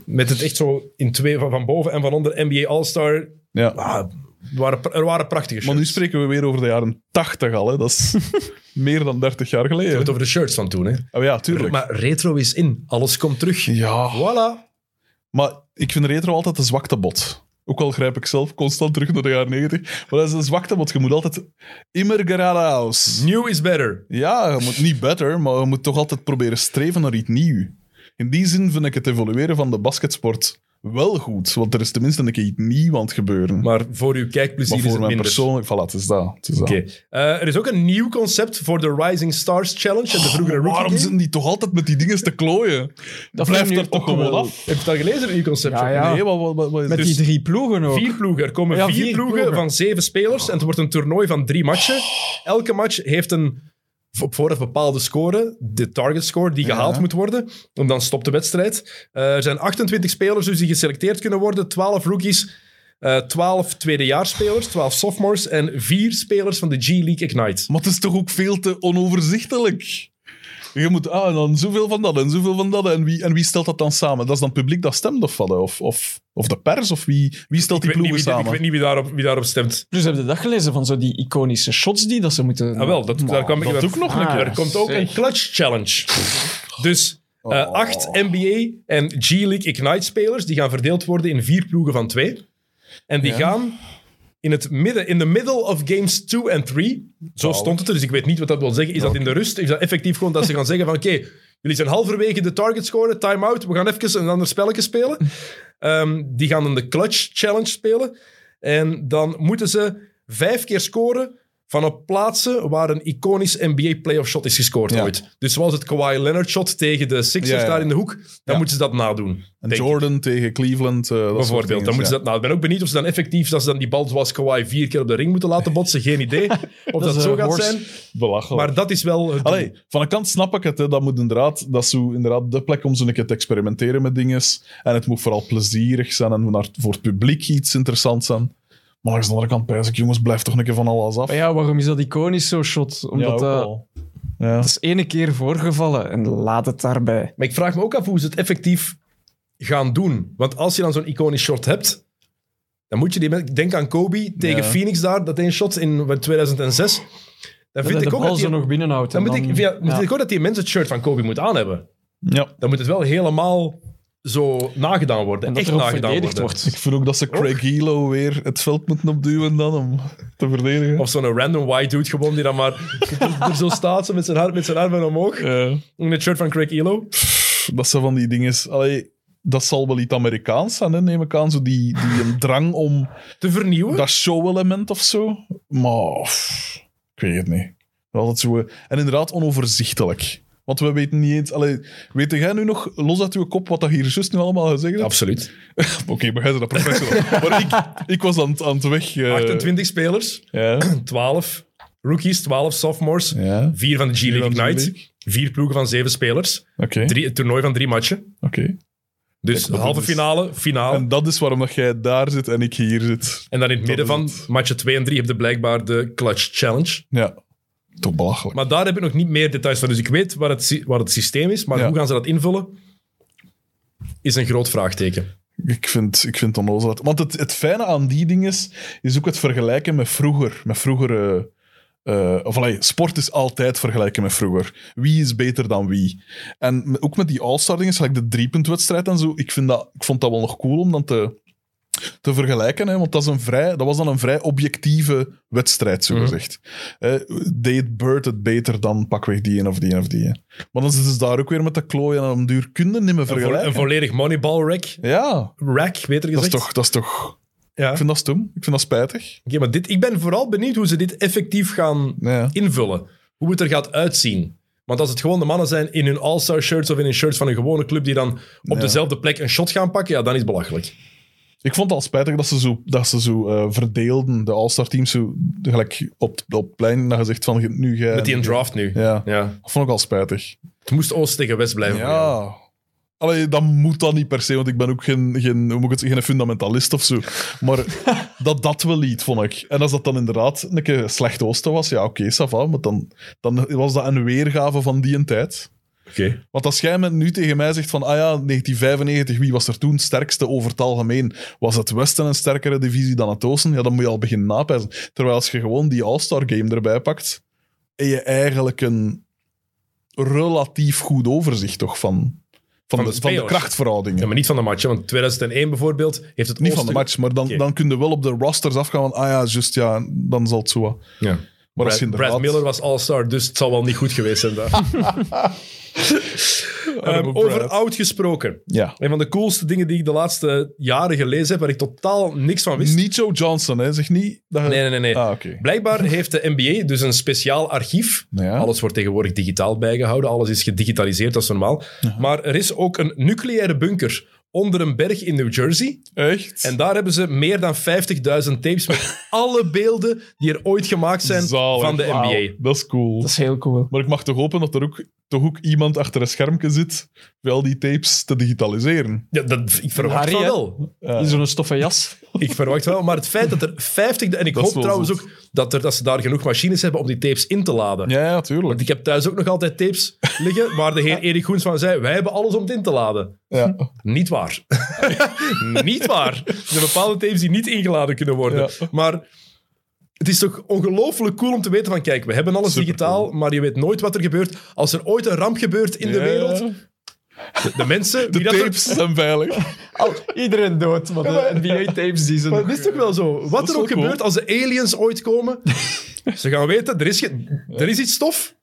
B: met het echt zo in twee van, van boven en van onder NBA All-Star.
C: ja.
B: Ah, er waren, er waren prachtige
C: Maar
B: shirts.
C: nu spreken we weer over de jaren 80 al. Hè. Dat is meer dan 30 jaar
B: We hebben
C: geleden.
B: het over de shirts van toen. Hè.
C: Oh ja, tuurlijk.
B: Maar retro is in. Alles komt terug.
C: ja.
B: Voilà.
C: Maar ik vind retro altijd een zwaktebod. Ook al grijp ik zelf constant terug naar de jaren 90. Maar dat is een zwaktebod. Je moet altijd immer geradeaus.
B: New is better.
C: Ja, je moet niet better, maar je moet toch altijd proberen streven naar iets nieuws. In die zin vind ik het evolueren van de basketsport wel goed. Want er is tenminste een keer iets nieuws aan het gebeuren. Maar,
B: Maar voor uw kijkplezier is
C: voor
B: het
C: mijn
B: minder.
C: persoonlijk... Voilà, het is dat. Het is dat.
B: Oké. Eh, er is ook een nieuw concept voor de Rising Stars Challenge en de vroegere
C: Oh,
B: Rookie
C: waarom
B: Game.
C: zijn die toch altijd met die dingen te klooien? Dat blijft
D: nu
C: er toch
D: ook
C: gewoon
D: wel.
C: af?
B: Heb je dat gelezen, een nieuw concept?
D: Ja, ja.
C: Nee, wat, wat, wat, wat is
D: Met
C: dus-
D: die drie ploegen ook.
B: Vier ploegen. Er komen
D: Ja,
B: vier,
D: vier
B: ploegen,
D: ploegen.
B: van zeven spelers. En het wordt een toernooi van drie matchen. Elke match heeft een op vooraf bepaalde score, de target score, die gehaald moet worden. En dan stopt de wedstrijd. Eh, er zijn 28 spelers dus die geselecteerd kunnen worden. 12 rookies, eh 12 tweedejaarspelers, 12 sophomores en vier spelers van de G-League Ignite.
C: Maar het is toch ook veel te onoverzichtelijk? Je moet, ah, en dan zoveel van dat en zoveel van dat. En wie, en wie stelt dat dan samen? Dat is dan het publiek dat stemt of wat? Of, of, of de pers? Of wie, wie stelt
B: Ik
C: die
B: weet, niet
C: ploegen
B: wie, ik
C: samen?
B: weet niet wie daarop, wie daarop stemt.
D: Plus heb je dat gelezen van zo die iconische shots die dat ze moeten...
B: Ah, wel, dat, daar kwam ik
C: dat ook nog een keer.
B: Er komt ook een clutch challenge. Dus eh,
C: Oh.
B: acht NBA en G-League Ignite spelers die gaan verdeeld worden in vier ploegen van twee. En die gaan in het midden, in the middle of games 2 en 3. Zo stond het er, dus ik weet niet wat dat wil zeggen. Is dat in de rust? Is dat effectief gewoon dat ze gaan zeggen van oké, jullie zijn halverwege de target scoren, time-out, we gaan even een ander spelletje spelen. Ehm, die gaan dan de clutch challenge spelen. En dan moeten ze vijf keer scoren van op plaatsen waar een iconisch NBA playoff shot is gescoord
C: Ja.
B: ooit. Dus zoals het Kawhi Leonard shot tegen de Sixers
C: Ja, ja.
B: daar in de hoek, dan moeten ze dat nadoen.
C: En
B: denk ik.
C: Jordan tegen Cleveland. eh, dat soort
B: Bijvoorbeeld, dan
C: dingen,
B: moeten ze
C: ja.
B: dat, nou, ik ben ook benieuwd of ze dan effectief, dat ze dan die bal zoals Kawhi vier keer op de ring moeten laten botsen, geen idee of dat,
D: is,
B: zo
D: eh,
B: gaat
D: horse.
B: zijn.
C: Belachelijk.
B: Maar dat is wel het
C: Allee, van een kant snap ik het. Hè. Dat moet inderdaad, dat is zo, inderdaad de plek om zo'n keer te experimenteren met dingen. En het moet vooral plezierig zijn en naar- voor het publiek iets interessants zijn. Maar langs de andere kant pijs ik, jongens, blijf toch een keer van alles af.
D: Maar ja, waarom is dat iconisch zo'n shot?
C: Ja,
D: Omdat eh,
C: ook
D: dat,
C: wel. Ja.
D: dat is ene keer voorgevallen en laat het daarbij.
B: Maar ik vraag me ook af hoe ze het effectief gaan doen. Want als je dan zo'n iconisch shot hebt, dan moet je die... men- Denk aan Kobe tegen
C: Ja.
B: Phoenix daar, dat één shot in 2006. Dan
D: Dat
B: vind
D: hij
B: ik
D: de
B: ook dat
D: bal zo
B: die...
D: nog binnenhoudt.
B: Dan
D: en
B: moet ik, ja,
D: ja.
B: vind ik ook dat die mensen het shirt van Kobe moet aan hebben.
C: ja.
B: Dan moet het wel helemaal zo nagedaan worden.
D: En dat
B: echt
D: er ook
B: nagedaan
D: verdedigd
B: worden.
D: wordt.
C: Ik vind ook dat ze Craig Hilo weer het veld moeten opduwen dan om te verdedigen.
B: Of zo'n random white dude gewoon die dan maar er zo staat zo met zijn, haar- met zijn armen omhoog.
C: Eh,
B: In het shirt van Craig Elo.
C: dat ze van die dingen... Allee, dat zal wel iets Amerikaans zijn, hè, neem ik aan. Zo die, die een drang om
B: Te vernieuwen.
C: dat show-element of zo. Maar pff, ik weet het niet. Altijd zo, eh, en inderdaad onoverzichtelijk. Want we weten niet eens... Allee, weet jij nu nog, los uit uw kop, wat dat hier juist nu allemaal gezegd hebt?
B: Absoluut.
C: Oké, maar jij bent dat professional. maar ik, ik was aan, het- aan het weg... eh,
B: 28 spelers.
C: Ja.
B: 12 rookies, 12 sophomores.
C: ja.
B: Vier van de G-League
C: Vier van de
B: Ignite.
C: G-League.
B: Vier ploegen van zeven spelers.
C: Oké.
B: Drie, het toernooi van drie matchen.
C: Oké.
B: Dus
C: Kijk,
B: halve
C: dat is-
B: finale, finale.
C: En
B: En,
C: dat is waarom dat jij daar zit en ik hier zit.
B: dan in het midden
C: is
B: van
C: het.
B: matchen 2 en 3 heb je blijkbaar de Clutch Challenge.
C: Ja. Toch belachelijk.
B: Maar daar heb ik nog niet meer details van. Dus ik weet waar het, sy- waar het systeem is. Maar
C: Ja.
B: hoe gaan ze dat invullen? Is een groot vraagteken.
C: Ik vind, ik vind het onnozel. Want het, het fijne aan die dingen is, is ook het vergelijken met vroeger. Met vroeger eh, eh, of allee, sport is altijd vergelijken met vroeger. Wie is beter dan wie? En m- ook met die All-Star dingen, gelijk de driepuntwedstrijd en zo. Ik, vind dat, ik vond dat wel nog cool om dan te, te vergelijken. Hè, want dat, is een vrij, dat was dan een vrij objectieve wedstrijd, zogezegd. gezegd. Eh, deed Bird het beter dan pakweg die en of die en of die. hè. Maar dan zitten ze daar ook weer met de klooien en om duur kunnen niet meer
B: Een, vo- een
C: vergelijken.
B: volledig moneyball rack.
C: ja,
B: Rack, beter
C: dat is
B: gezegd.
C: toch... Dat is toch
B: Ja.
C: ik vind dat stom. Ik vind dat spijtig.
B: Oké, maar dit, ik ben vooral benieuwd hoe ze dit effectief gaan
C: Ja.
B: invullen. Hoe het er gaat uitzien. Want als het gewoon de mannen zijn in hun all-star shirts of in hun shirts van een gewone club die dan op dezelfde plek een shot gaan pakken, ja, dan is het belachelijk.
C: Ik vond het al spijtig dat ze zo, dat ze zo eh, verdeelden, de All-Star teams, zo, gelijk op, op het plein, dat je zegt van nu jij...
B: Met die draft nu.
C: Ja,
B: Ja.
C: dat vond ik al spijtig.
B: Het moest Oost tegen West blijven.
C: Ja. Allee, dat moet dan niet per se, want ik ben ook geen, geen, hoe moet ik het, zeggen, geen fundamentalist of zo. Maar dat dat wel liet, vond ik. En als dat dan inderdaad een keer slecht oosten was, ja, oké, ça va. Maar dan, dan was dat een weergave van die een tijd.
B: Oké.
C: Want als jij me nu tegen mij zegt van, ah ja, 1995, wie was er toen sterkste over het algemeen? Was het Westen een sterkere divisie dan het Oosten? Ja, dan moet je al beginnen napijzen. Terwijl als je gewoon die All-Star Game erbij pakt, en je eigenlijk een relatief goed overzicht toch van, van,
B: de
C: de, van de
B: spelers.
C: krachtverhoudingen.
B: Ja, maar niet van de match. hè, Want 2001 bijvoorbeeld heeft het
C: Niet van de
B: Oosten-
C: match, maar dan,
B: Oké.
C: dan kun je wel op de rosters afgaan van, ah ja, just ja, dan zal het zo wat.
B: Ja.
C: Maar als je
B: Brad,
C: inderdaad...
B: Brad Miller was all-star, dus het zal wel niet goed geweest zijn daar. Ehm,
C: Brad.
B: over oud gesproken.
C: Ja.
B: Een van de coolste dingen die ik de laatste jaren gelezen heb, waar ik totaal niks van wist.
C: Niet Joe Johnson, hè. Zeg niet... Dat je-
B: Nee, nee, nee. nee.
C: Ah, oké.
B: Blijkbaar heeft de NBA dus een speciaal archief.
C: Ja.
B: Alles wordt tegenwoordig digitaal bijgehouden. Alles is gedigitaliseerd, dat is normaal. Maar er is ook een nucleaire bunker onder een berg in New Jersey.
C: Echt?
B: En daar hebben ze meer dan 50.000 tapes met alle beelden die er ooit gemaakt zijn
C: Zalig.
B: van de NBA.
C: Wauw, Dat is cool.
E: Dat is heel cool.
C: Maar ik mag toch hopen dat er ook, toch ook iemand achter een schermpje zit bij al die tapes te digitaliseren.
B: Ja, dat, ik verwacht
E: Harry,
B: van
E: hè?
B: wel.
E: In Zo'n stoffen jas.
B: Ik verwacht wel. Maar het feit dat er 50... En ik
C: Dat is
B: hoop
C: wel
B: trouwens
C: zot.
B: ook dat, er, dat ze daar genoeg machines hebben om die tapes in te laden.
C: Ja, ja, tuurlijk.
B: Want ik heb thuis ook nog altijd tapes liggen waar de heer Erik Goens van zei, wij hebben alles om het in te laden.
C: Ja.
B: Niet waar. niet waar. Er zijn bepaalde tapes die niet ingeladen kunnen worden.
C: Ja.
B: Maar het is toch ongelooflijk cool om te weten van, kijk, we hebben alles digitaal, maar je weet nooit wat er gebeurt. Als er ooit een ramp gebeurt in de
C: Ja.
B: wereld, de, de mensen...
C: De
B: die dat er-
C: tapes zijn veilig.
E: Iedereen dood, maar de NBA-tapes die ze...
B: Maar het is toch wel zo. Wat er
C: is
B: ook
C: wel cool.
B: gebeurt als de aliens ooit komen, ze gaan weten, er is, ge- er is iets stof,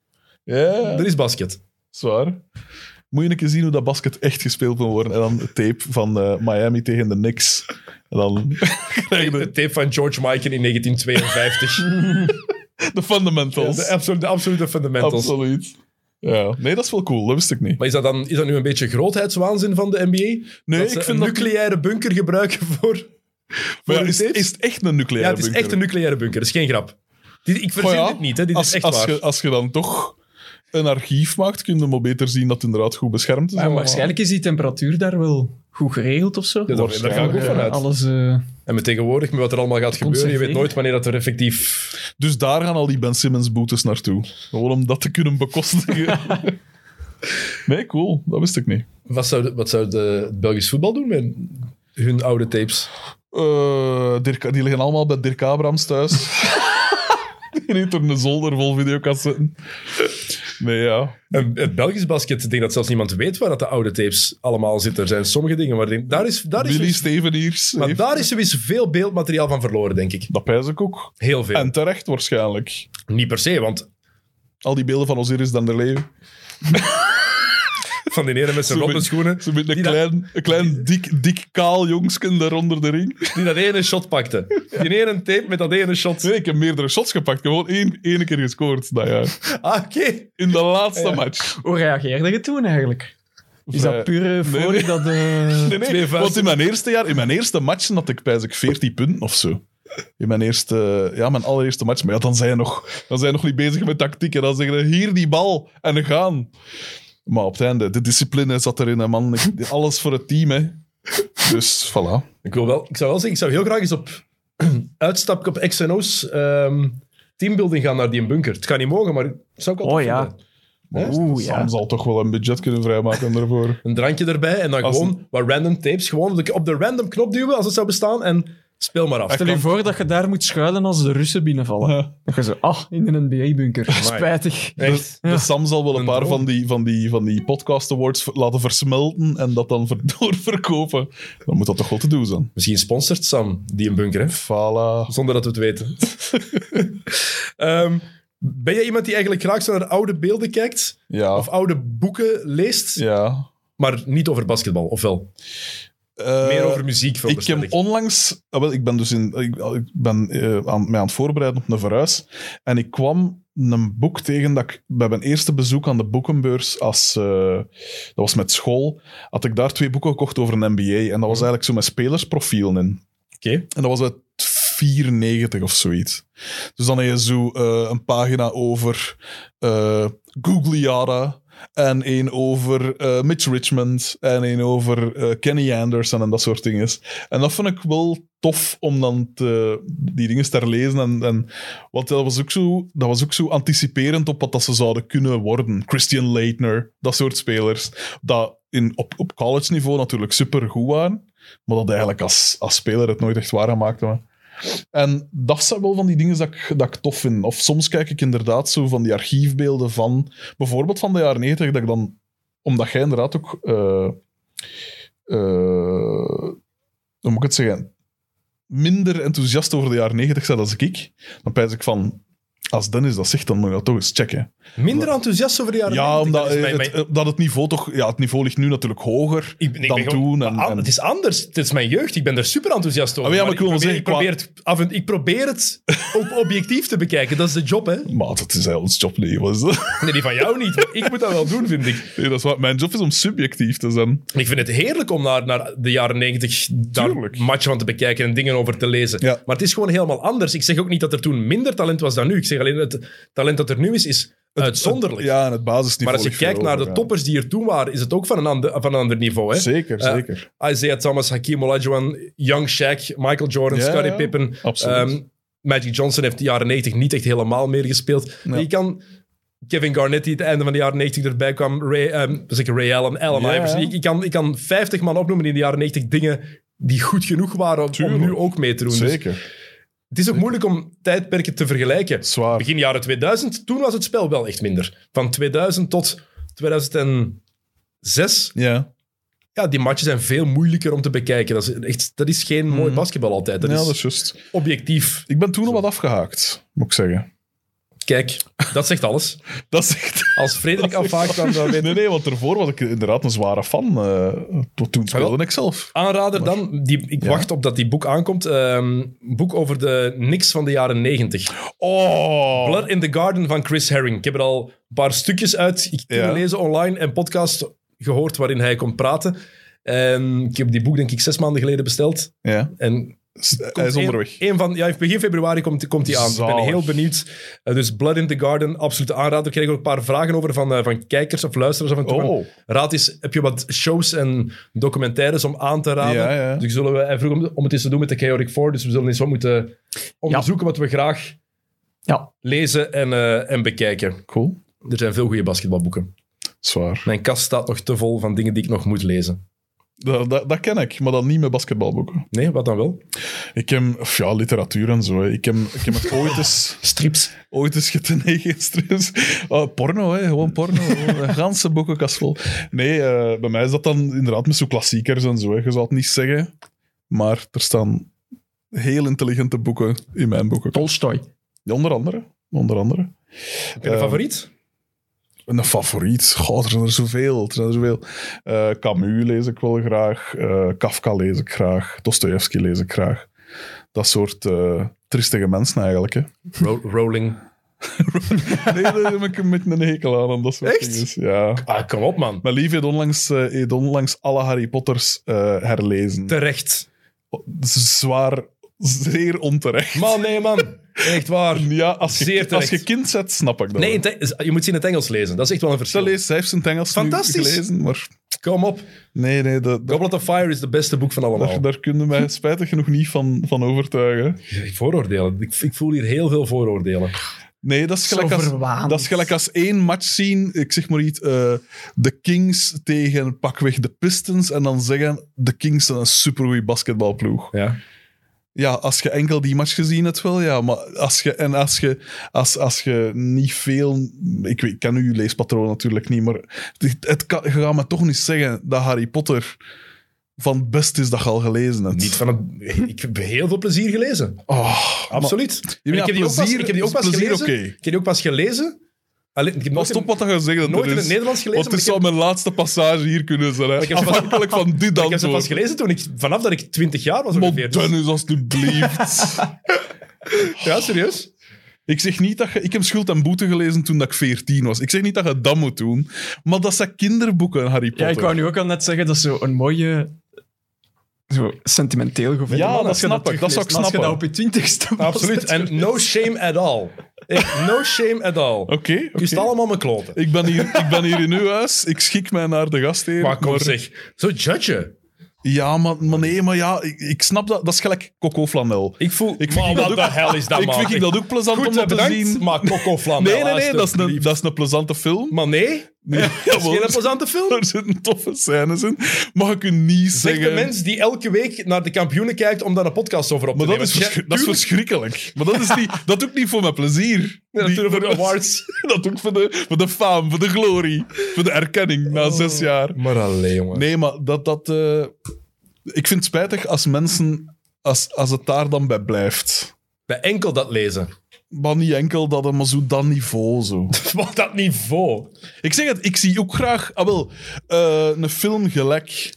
C: Ja,
B: er is basket.
C: zwaar. Moet je een keer zien hoe dat basket echt gespeeld kan worden. En dan de tape van eh, Miami tegen de Knicks. En dan krijg je
B: De tape van George Mikan in 1952.
C: de, de fundamentals.
B: de, absolute, de absolute fundamentals.
C: Absoluut. Ja. Nee, dat is wel cool. Dat wist ik niet.
B: Maar is dat, dan, is dat nu een beetje grootheidswaanzin van de NBA?
C: Nee,
B: dat ze
C: ik vind
B: een
C: dat-
B: nucleaire bunker gebruiken voor...
C: Maar ja,
B: de
C: is,
B: tapes?
C: is het echt een
B: Ja,
C: nucleaire
B: het is
C: bunker?
B: echt een nucleaire bunker. Dat is geen grap. Dit, ik verzin
C: Maar ja,
B: dit niet, hè. Dit
C: als,
B: is echt
C: als
B: waar.
C: Je, als je dan toch een archief maakt, kun je maar beter zien dat het inderdaad goed beschermd is.
E: Maar
C: allemaal.
E: waarschijnlijk is die temperatuur daar wel goed geregeld of zo.
B: Ja, daar, daar ga ik ook
E: Ja,
B: vanuit.
E: Alles... eh,
B: En met tegenwoordig, met wat er allemaal gaat gebeuren, je
E: zich
B: weet
E: tegen.
B: nooit wanneer dat er effectief...
C: Dus daar gaan al die Ben Simmons boetes naartoe. Gewoon om dat te kunnen bekostigen. nee, cool. Dat wist ik niet.
B: Wat zou, de- wat zou de, het Belgisch voetbal doen met hun oude tapes?
C: Eh, Dirk, die liggen allemaal bij Dirk Abrams thuis. die heeft er een zolder vol videocassetten. Nee, ja.
B: En het Belgisch basket, ik denk dat zelfs niemand weet waar dat de oude tapes allemaal zitten. Er zijn sommige dingen waar... ik denk- Daar is, daar is dus-
C: Billy Steveniers.
B: Maar
C: heeft-
B: daar is sowieso veel beeldmateriaal van verloren, denk ik.
C: Dat pijs ik ook.
B: Heel veel.
C: En terecht waarschijnlijk.
B: Niet per se, want
C: Al die beelden van Osiris dan de leven.
B: van die ene met zijn
C: Zo
B: rotte
C: met-
B: schoenen,
C: Zo met een
B: Die dat-
C: klein, een klein dik, dik kaal jongsken daar onder de ring.
B: die dat ene shot pakte. Die ene tape met dat ene shot.
C: Nee, ik heb meerdere shots gepakt. Gewoon één, één keer gescoord dat jaar.
B: Ah, oké.
C: In de laatste match.
E: Hoe reageerde je toen eigenlijk? Is
C: Vrij-
B: eh,
E: dat puur voor
C: nee.
E: dat... eh,
C: Nee, nee,
B: Twee vuisten.
C: Want in mijn eerste jaar, in mijn eerste matchen had ik bijzonder 14 punten of zo. In mijn eerste, ja, mijn allereerste match. Maar ja, dan zijn je nog, dan zijn je nog niet bezig met tactiek. En dan zeggen je, hier die bal en gaan. Maar op het einde, de discipline zat erin, hè, man. Ik- alles voor het team, hè. Dus, voilà.
B: Ik, wil wel, ik zou wel zeggen, ik zou heel graag eens op uitstap op XNO's ehm teambuilding gaan naar die bunker. Het kan niet mogen, maar zou ik wel
E: Oh
B: tof
E: ja.
B: vinden.
E: Oeh,
C: Sam
E: ja.
C: zal toch wel een budget kunnen vrijmaken daarvoor.
B: Een drankje erbij en dan
C: Als-
B: gewoon wat random tapes. Gewoon op de- op de random knop duwen als het zou bestaan en speel maar af.
E: Stel je voor dat je daar moet schuilen als de Russen binnenvallen.
C: Ja.
E: Dat je zo, ah, in een NBA-bunker. Spijtig.
B: Echt.
C: De Sam zal wel een
B: Een
C: paar
B: droom.
C: van die, van, die, van die podcast awards ver- laten versmelten en dat dan ver- doorverkopen. Dan moet dat toch wel te doen zijn.
B: Misschien sponsort Sam die een bunker, hè?
C: Voilà.
B: Zonder dat we het weten. Ehm, ben jij iemand die eigenlijk graag zo naar oude beelden kijkt?
C: Ja.
B: Of oude boeken leest?
C: Oh. Ja.
B: Maar niet over basketbal, ofwel?
C: eh,
B: Meer over muziek veel
C: ik heb onlangs, ah, wel, ik ben dus in, ik, ik ben, eh, aan, mij aan het voorbereiden op een verhuis. En ik kwam een boek tegen dat ik bij mijn eerste bezoek aan de boekenbeurs, als, eh, dat was met school, had ik daar twee boeken gekocht over een MBA. En dat was eigenlijk zo met spelersprofielen in.
B: Oké.
C: En dat was uit 94 of zoiets. Dus dan heb je zo eh, een pagina over eh Gugliara. En één over eh, Mitch Richmond. En één over eh, Kenny Anderson en dat soort dingen. En dat vond ik wel tof om dan te- die dingen te herlezen. En, en, want dat was, ook zo, dat was ook zo anticiperend op wat dat ze zouden kunnen worden. Christian Leitner, dat soort spelers. Dat in, op, op college niveau natuurlijk super goed waren. Maar dat eigenlijk als, als speler het nooit echt waar gemaakt hebben. En dat zijn wel van die dingen dat ik, dat ik tof vind. Of soms kijk ik inderdaad zo van die archiefbeelden van... Bijvoorbeeld van de jaren 90, dat ik dan... Omdat jij inderdaad ook... eh, eh, hoe moet ik het zeggen? Minder enthousiast over de jaren 90 zijn als ik. Dan pijs ik van... Als Dennis dat zegt, dan moet je dat toch eens checken.
B: Minder enthousiast over de jaren
C: Ja,
B: 90.
C: omdat
B: Dat is mijn-
C: eh,
B: mijn-
C: het, eh, dat het niveau toch... Ja, het niveau ligt nu natuurlijk hoger
B: Ik ben- ik
C: dan
B: ben gewoon-
C: toen. En,
B: Ah,
C: en-
B: Het is anders. Het is mijn jeugd. Ik ben er super enthousiast over.
C: Ah, ja, maar ik wil wel
B: probeer,
C: zeggen,
B: probeer het, af en- ik probeer het op objectief te bekijken. Dat is de job, hè?
C: Maar dat is heel ons job, nee. Wat is dat?
B: Nee, die van jou niet. maar Ik moet dat wel doen, vind ik.
C: Nee, dat is wat, mijn job is om subjectief te zijn.
B: Ik vind het heerlijk om naar, naar de jaren negentig
C: Tuurlijk.
B: matchen van te bekijken en dingen over te lezen.
C: Ja.
B: Maar het is gewoon helemaal anders. Ik zeg ook niet dat er toen minder talent was dan nu. Ik zeg alleen het talent dat er nu is, is uitzonderlijk.
C: Ja, en het basisniveau.
B: Maar als je
C: ligt veel
B: kijkt naar
C: hoger,
B: de
C: ja.
B: toppers die er toen waren, is het ook van een ander, van een ander niveau. Hè?
C: Zeker,
B: Eh,
C: zeker.
B: Isaiah Thomas, Hakim Olajuwon, Young Shaq, Michael Jordan,
C: Ja,
B: Scottie
C: ja,
B: Pippen.
C: absoluut.
B: ehm, Magic Johnson heeft de jaren 90 niet echt helemaal meer gespeeld.
C: Ja.
B: Die kan... Kevin Garnett, die het einde van de jaren 90 erbij kwam. Ray, ehm, zeker Ray Allen, Allen
C: Ja,
B: Iverson.
C: ja.
B: Ik, ik kan, ik kan 50 man opnoemen die in de jaren 90 dingen die goed genoeg waren om, om
C: Tuurlijk.
B: nu ook mee te doen. Dus
C: Zeker.
B: het is ook moeilijk om tijdperken te vergelijken.
C: Zwaar.
B: Begin jaren 2000, toen was het spel wel echt minder. Van 2000 tot 2006.
C: Ja.
B: Ja, die matchen zijn veel moeilijker om te bekijken. Dat is, echt, dat is geen mooi basketbal altijd. Dat
C: Mm. ja,
B: is
C: dat is juist.
B: objectief.
C: Ik ben toen al wat afgehaakt, moet ik zeggen.
B: Kijk, dat zegt alles.
C: Dat is echt...
B: Als Frederik afhaakt, dan dan weet
C: Nee, nee, want daarvoor was ik inderdaad een zware fan. eh, tot toen speelde ik zelf.
B: Aanrader dan, die, ik
C: Ja.
B: wacht op dat die boek aankomt. Ehm, boek over de niks van de jaren 90.
C: Oh!
B: Blood in the Garden van Chris Herring. Ik heb er al een paar stukjes uit ik kunnen
C: Ja.
B: lezen online en podcast gehoord waarin hij komt praten. En ik heb die boek denk ik zes maanden geleden besteld.
C: Ja,
B: En
C: S- hij
B: komt
C: is
B: één-
C: onderweg.
B: één van, ja, begin februari komt, komt die aan. Ik ben
C: Zalig.
B: heel benieuwd. Eh, dus Blood in the Garden, absolute aanrader. Ik kreeg ook een paar vragen over van, eh, van kijkers of luisteraars. Af en toe.
C: Oh.
B: Raad is, heb je wat shows en documentaires om aan te raden?
C: Ja, ja.
B: Dus zullen we, hij vroeg om, om het eens te doen met de Chaotic Four. Dus we zullen eens wat moeten onderzoeken wat we graag
E: Ja.
B: lezen en, eh, en bekijken.
C: Cool.
B: Er zijn veel goede basketbalboeken.
C: Zwaar.
B: Mijn kast staat nog te vol van dingen die ik nog moet lezen.
C: Dat, dat, dat ken ik, maar dan niet met basketbalboeken.
B: Nee, wat dan wel?
C: Ik heb... of ja, literatuur en zo. hè. Ik heb, ik heb het ooit eens...
B: Strips.
C: Ooit eens getegen stress. Oh, porno, hè? gewoon porno. Gewoon een ganse boekenkast vol. Nee, eh, bij mij is dat dan inderdaad met zo klassiekers en zo. Hè. Je zou het niet zeggen, maar er staan heel intelligente boeken in mijn boeken.
E: Tolstoy.
C: Ja, onder andere. Onder andere.
B: Heb je een
C: Ehm,
B: favoriet?
C: Een favoriet? Goh, er zijn er zoveel. Er zijn er zoveel. Eh, Camus lees ik wel graag. eh, Kafka lees ik graag. Dostoevsky lees ik graag. Dat soort eh, triestige mensen eigenlijk. Hè.
B: Ro- rolling.
C: Nee, daar heb ik een beetje een hekel aan. aan dat soort
B: Echt?
C: dinges. Ja.
B: Ah, kom op man.
C: Mijn lief heeft onlangs, eh, heeft onlangs alle Harry Potters eh, herlezen. Oh,
B: Terecht.
C: Z- Zwaar, zeer onterecht.
B: Man, nee, man. Echt waar.
C: Ja, als
B: Zeer
C: je, als
B: terecht.
C: je kind zet, snap ik dat.
B: Nee,
C: wel.
B: in het Eng- je moet ze in het Engels lezen. Dat is echt wel een
C: Ze
B: verschil.
C: leest, zij heeft zijn Engels
B: Fantastisch.
C: nu gelezen, maar
B: Kom op.
C: nee, nee, dat, dat,
B: Goblet of Fire is het beste boek van allemaal.
C: daar, daar kunnen mij spijtig genoeg niet van, van overtuigen.
B: Vooroordelen. Ik, ik voel hier heel veel vooroordelen.
C: Nee, dat is gelijk, als,
E: verwaand.
C: dat is gelijk als één match zien, ik zeg maar iets, eh, de Kings tegen pakweg de Pistons, en dan zeggen de Kings zijn een supergoeie basketbalploeg.
B: Ja.
C: Ja, als je enkel die match gezien hebt wel, ja. Maar als je, en als je, als, als je niet veel... Ik, weet, ik ken uw leespatroon natuurlijk niet, maar het, het kan, je gaat me toch niet zeggen dat Harry Potter van het best is dat je al gelezen hebt.
B: Niet van het, ik heb heel veel plezier gelezen.
C: Oh, maar-
B: Absoluut. En
C: ja,
B: ik, heb die ook pas,
C: plezier-
B: ik heb die ook pas
C: plezier
B: gelezen.
C: oké.
B: Ik heb die ook pas gelezen Allee, ik heb
C: Pas
B: nooit,
C: op
B: in,
C: wat je gaat zeggen. Dat
B: nooit
C: er
B: in
C: is.
B: het Nederlands gelezen. maar
C: Want het
B: ik heb-
C: zou mijn laatste passage hier kunnen zijn. hè.
B: ik heb ze-
C: Afhankelijk van dit
B: Ik heb ze pas
C: antwoord.
B: gelezen toen ik, vanaf dat ik 20 jaar was ongeveer. Dus-
C: Dennis, alstublieft.
B: ja, serieus?
C: ik zeg niet dat je... Ik heb Schuld en Boete gelezen toen dat ik 14 was. Ik zeg niet dat je dat moet doen. Maar dat zijn kinderboeken, Harry Potter.
E: Ja, ik wou nu ook al net zeggen, dat is zo een mooie... Zo sentimenteel gevoel.
C: Ja,
E: Als
C: dat
E: je
C: snap ik. Dat zou ik
E: terugleest. Maar Als je
C: snappen.
E: dat op je twintigste was,
B: Absoluut.
E: dat
B: En no shame at all. Echt, no shame at all.
C: Oké, oké.
B: Kust allemaal mijn kloten.
C: Ik ben, hier, ik ben hier in uw huis, ik schik mij naar de gastheer.
B: Maar kom zeg, zo judgen.
C: Ja, maar, maar nee, maar ja, ik, ik snap dat. Dat is gelijk coco-flanel.
B: Ik voel,
C: Ik vind
B: maar
C: ik dat
B: wat de
C: ook-
B: hel is dat,
C: ik
B: man?
C: vind ik dat ook plezant
B: Goed,
C: om dat te
B: bedankt,
C: zien.
B: maar Coco Flam.
C: Nee, nee, nee, dat is, een, dat is een plezante film.
B: Maar nee,
C: Nee,
B: dat is
C: jawel,
B: geen plezante film.
C: Er zitten toffe scènes in. Mag ik u niet
B: Zegt de
C: zeggen...
B: mens die elke week naar de kampioenen kijkt om daar een podcast over op te
C: maar dat
B: nemen.
C: is, verschri- dat is verschrikkelijk. Maar dat is niet, dat doe ik niet voor mijn plezier.
B: Ja,
C: Die-
B: natuurlijk voor de awards.
C: Dat doe ik voor de, voor de faam, voor de glorie, voor de erkenning
B: Oh.
C: na zes jaar.
B: Maar alleen, jongen.
C: Nee, maar dat... dat eh, ik vind het spijtig als mensen... Als, als het daar dan bij blijft.
B: Bij enkel dat lezen.
C: Maar niet enkel dat, eh, maar zo dat niveau zo.
B: Wat dat niveau.
C: Ik zeg het, ik zie ook graag... Ah, wel, eh, een film gelijk...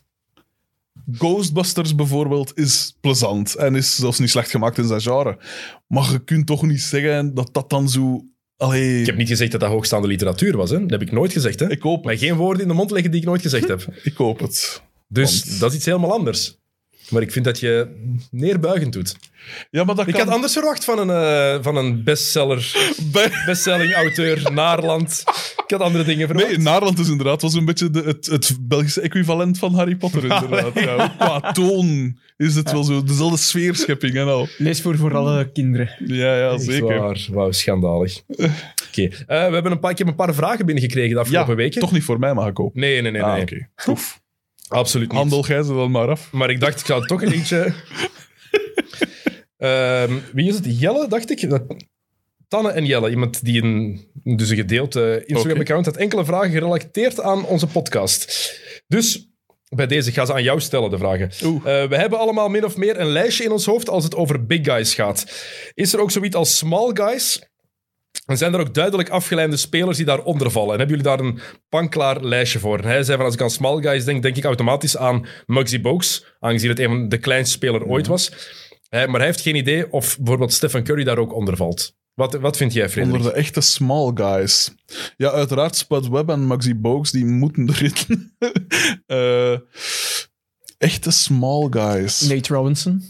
C: Ghostbusters bijvoorbeeld is plezant en is zelfs niet slecht gemaakt in zijn genre. Maar je kunt toch niet zeggen dat dat dan zo... Allee,
B: Ik heb niet gezegd dat dat hoogstaande literatuur was. Hè? Dat heb ik nooit gezegd. Hè?
C: ik hoop
B: Mij
C: het.
B: geen woorden in de mond leggen die ik nooit gezegd heb.
C: Ik hoop het.
B: Dus
C: Want-
B: dat is iets helemaal anders. Maar ik vind dat je neerbuigend doet.
C: Ja, maar dat
B: Ik
C: kan...
B: had anders verwacht van een, eh, van een bestseller,
C: Bij-
B: bestselling auteur, Naarland. Ik had andere dingen verwacht.
C: Nee, Naarland is inderdaad was een beetje de, het, het Belgische equivalent van Harry Potter, inderdaad. Ja, qua toon is het wel zo, dezelfde sfeerschepping en al.
E: Lees voor voor alle kinderen.
C: Ja, ja,
B: Echt
C: zeker.
B: Waar. Wauw, schandalig. Oké, eh, we hebben een paar, ik heb een paar vragen binnengekregen de afgelopen
C: Ja,
B: weken.
C: toch niet voor mij, maar ik koop.
B: Nee, nee, nee.
C: Ah,
B: nee.
C: oké.
B: Absoluut niet.
C: Handel jij ze dan maar af.
B: Maar ik dacht, ik ga toch een eentje... Ehm, wie is het? Jelle, dacht ik? Dat- Tanne en Jelle. Iemand die een, dus een gedeelte Instagram-account had enkele vragen gerelateerd aan onze podcast. Dus... Bij deze, ik ga ze aan jou stellen, de vragen.
C: Oeh.
B: Eh, we hebben allemaal min of meer een lijstje in ons hoofd als het over big guys gaat. Is er ook zoiets als small guys? En zijn er ook duidelijk afgeleide spelers die daaronder vallen? En hebben jullie daar een panklaar lijstje voor? En hij zei van, als ik aan small guys denk, denk ik automatisch aan Muggsy Bogues, aangezien het een van de kleinste speler ooit was. Eh, maar hij heeft geen idee of bijvoorbeeld Stephen Curry daar ook onder valt. Wat, wat vind jij, Frederik?
C: Onder de echte small guys. Ja, uiteraard Spud Webb en Maxi Bogues, die moeten erin. Eh echte small guys.
E: Nate Robinson.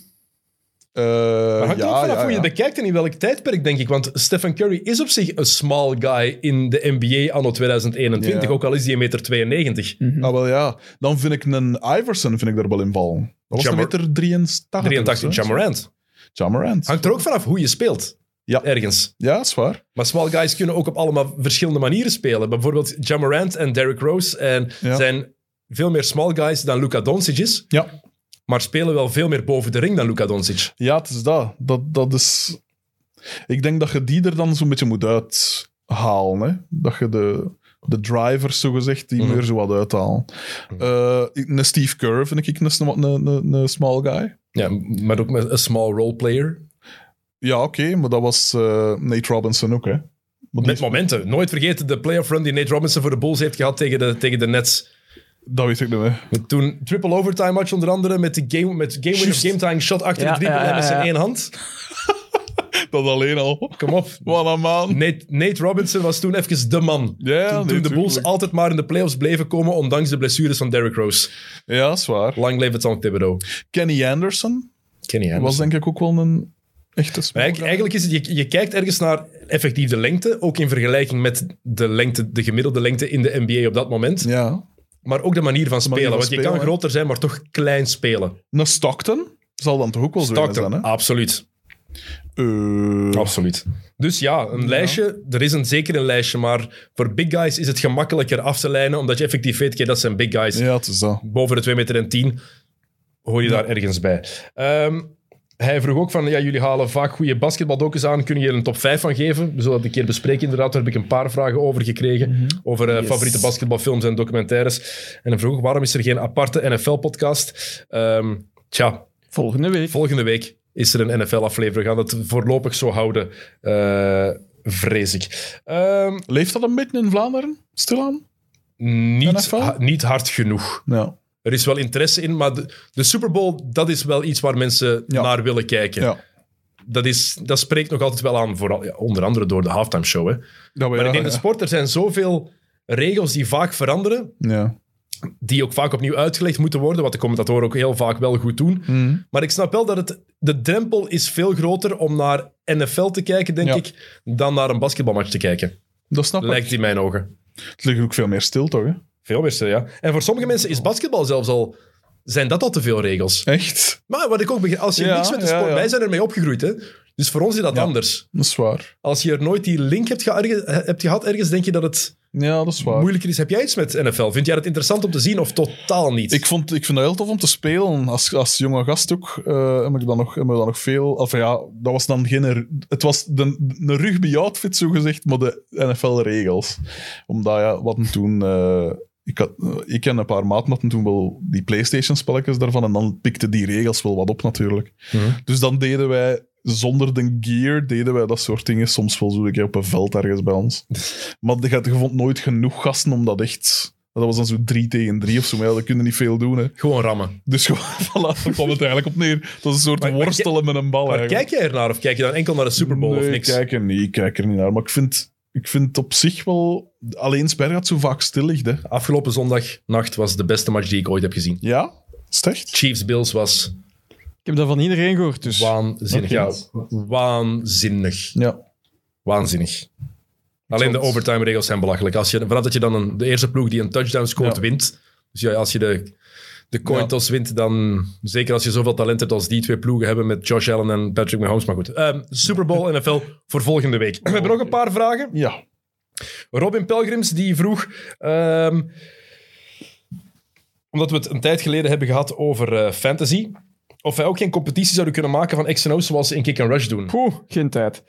C: Eh,
B: Maar hangt er ook
C: ja,
B: vanaf
C: ja,
B: hoe je
C: ja.
B: bekijkt en in welk tijdperk, denk ik. Want Stephen Curry is op zich een small guy in de NBA anno 2021,
C: Ja.
B: ook al is hij 1,92 meter. 92.
C: Ah, wel ja. Dan vind ik een Iverson vind ik daar wel in vallen. Dat was een
B: Jammer-
C: meter 83.
B: 83,
C: of zo.
B: Jamorant.
C: Jamarant.
B: Hangt er ook vanaf hoe je speelt.
C: Ja.
B: Ergens.
C: Ja, is waar.
B: Maar small guys kunnen ook op allemaal verschillende manieren spelen. Bijvoorbeeld Jamorant en Derrick Rose en
C: Ja.
B: zijn veel meer small guys dan Luka Doncic is.
C: Ja.
B: Maar spelen wel veel meer boven de ring dan Luka Doncic.
C: Ja, het is dat. Dat, dat is... Ik denk dat je die er dan zo'n beetje moet uithalen. Hè? Dat je de, de drivers, zogezegd, die
B: Mhm.
C: meer zo wat uithalen. Eh, ik- een Steve Kerr vind ik een, een, een, een small guy.
B: Ja, maar ook met een small role player.
C: Ja, oké, maar dat was eh, Nate Robinson ook, hè. Maar die-
B: Met momenten. Nooit vergeten de playoff run die Nate Robinson voor de Bulls heeft gehad tegen de, tegen de Nets.
C: Dat weet ik niet meer.
B: Toen triple overtime match onder andere met de game, met game winner
C: Juist.
B: game tying shot achter
E: Ja,
B: de driepunt
E: ja, ja,
B: en met zijn
E: ja.
B: één hand.
C: Dat alleen al.
B: Kom op.
C: Wat een man.
B: Nate, Nate Robinson was toen even de man.
C: Ja,
B: toen
C: nee,
B: toen de Bulls
C: tuurlijk.
B: altijd maar in de playoffs bleven komen, ondanks de blessures van Derrick Rose.
C: Ja, is waar.
B: Lang leef het Tom Thibodeau.
C: Kenny Anderson
B: Kenny Anderson.
C: was denk ik ook wel een echte
B: Maar
C: small
B: eigenlijk, eigenlijk is het, je, je kijkt ergens naar effectief de lengte, ook in vergelijking met de, lengte, de gemiddelde lengte in de NBA op dat moment.
C: guy. Ja.
B: Maar ook de manier van spelen.
C: manier van
B: want je kan
C: spelen, hè.
B: groter zijn, maar toch klein spelen.
C: Een Stockton zal dan toch ook wel zo een zijn,
B: Stockton, Ah.
C: hè?
B: absoluut.
C: Eh,
B: Absoluut. Dus ja, een lijstje. Er is een, zeker een lijstje, maar voor big guys is het gemakkelijker af te lijnen, omdat je effectief weet, oké, dat zijn big guys.
C: Ja, het is dat.
B: Boven de 2 meter en 10 hoor je daar ergens bij. Ehm, hij vroeg ook van, ja, jullie halen vaak goede basketbaldocus aan. Kunnen jullie er een top 5 van geven? We zullen dat een keer bespreken, inderdaad. Daar heb ik een paar vragen over gekregen. Over eh, favoriete basketbalfilms en documentaires. En hij vroeg ook, waarom is er geen aparte NFL-podcast? Ehm tja,
E: Volgende week.
B: Volgende week is er een NFL-aflevering. We gaan het voorlopig zo houden. Eh, vrees ik. Ehm,
C: Leeft dat een beetje in Vlaanderen, stilaan?
B: niet,
C: NFL?
B: ha- niet hard genoeg.
C: Ja.
B: Er is wel interesse in, maar de, de Super Bowl, dat is wel iets waar mensen
C: Ja.
B: naar willen kijken.
C: ja.
B: Dat, is, dat spreekt nog altijd wel aan, vooral, ja, onder andere door de halftime show. Hè.
C: Dat we- eh,
B: Maar
C: Oh ja,
B: ik denk de
C: ja.
B: sport, er zijn zoveel regels die vaak veranderen,
C: Ja.
B: die ook vaak opnieuw uitgelegd moeten worden, wat de commentatoren ook heel vaak wel goed doen.
C: Mhm.
B: Maar ik snap wel dat het, de drempel is veel groter om naar NFL te kijken, denk
C: Ja.
B: ik, dan naar een basketbalmatch te kijken.
C: Dat snap ik.
B: Lijkt in mijn ogen.
C: Het ligt ook veel meer stil, toch? Hè?
B: Veel meer, ja. En voor sommige mensen is basketbal zelfs al... Zijn dat al te veel regels?
C: Echt?
B: Maar wat ik ook begrijp, als je
C: Ja,
B: niks met de
C: ja,
B: sport...
C: ja.
B: Wij zijn ermee opgegroeid, hè. Dus voor ons is dat
C: Ja.
B: anders.
C: Dat is waar.
B: Als je er nooit die link hebt, gearge- hebt gehad ergens, denk je dat het
C: Ja, dat is waar.
B: moeilijker is. Heb jij iets met NFL? Vind jij dat interessant om te zien of totaal niet?
C: Ik, vond, ik vind dat heel tof om te spelen. Als, als jonge gast ook eh, heb, ik dan nog, heb ik dan nog veel... Of ja, dat was dan geen... ru- Het was de, een rugby-outfit, zogezegd, maar de NFL-regels. Omdat, ja, wat toen... eh, ik, had, eh, ik en een paar maatmatten toen wel die PlayStation-spelletjes daarvan. En dan pikten die regels wel wat op, natuurlijk. Dus dan deden wij... Zonder de gear deden wij dat soort dingen soms wel zo een keer op een veld ergens bij ons. Maar je, had- je vond nooit genoeg gasten om dat echt... Dat was dan zo drie tegen drie of zo. Maar ja, dat kun je niet veel doen, hè.
B: Gewoon rammen.
C: Dus gewoon, voilà, daar kwam het eigenlijk op neer. Dat is een soort
B: Maar- maar
C: worstelen met een bal
B: Maar
C: eigenlijk.
B: kijk jij ernaar of kijk je dan enkel naar de Super Bowl
C: nee,
B: of niks?
C: Ik kijk, er niet, ik kijk er niet naar. Maar ik vind, ik vind het op zich wel... Alleen Sper gaat zo vaak stil liggen, hè.
B: Afgelopen zondagnacht was de beste match die ik ooit heb gezien.
C: Ja? Is het echt?
B: Chiefs-Bills was
D: Ik heb dat van iedereen gehoord, dus...
B: waanzinnig. Ja, waanzinnig.
C: Ja.
B: Waanzinnig. Alleen de overtime-regels zijn belachelijk. Als je, vanaf dat je dan een, de eerste ploeg die een touchdown scoort,
C: Ja.
B: wint. Dus ja, als je de, de coin
C: Ja.
B: toss wint, dan... Zeker als je zoveel talent hebt als die twee ploegen hebben met Josh Allen en Patrick Mahomes. Maar goed, Ehm Super Bowl NFL voor volgende week. We hebben nog een paar vragen.
C: Ja.
B: Robin Pelgrims die vroeg. ehm, omdat we het een tijd geleden hebben gehad over eh, fantasy. Of wij ook geen competitie zouden kunnen maken van X&O's zoals ze in Kick and Rush doen.
D: Poeh, geen tijd.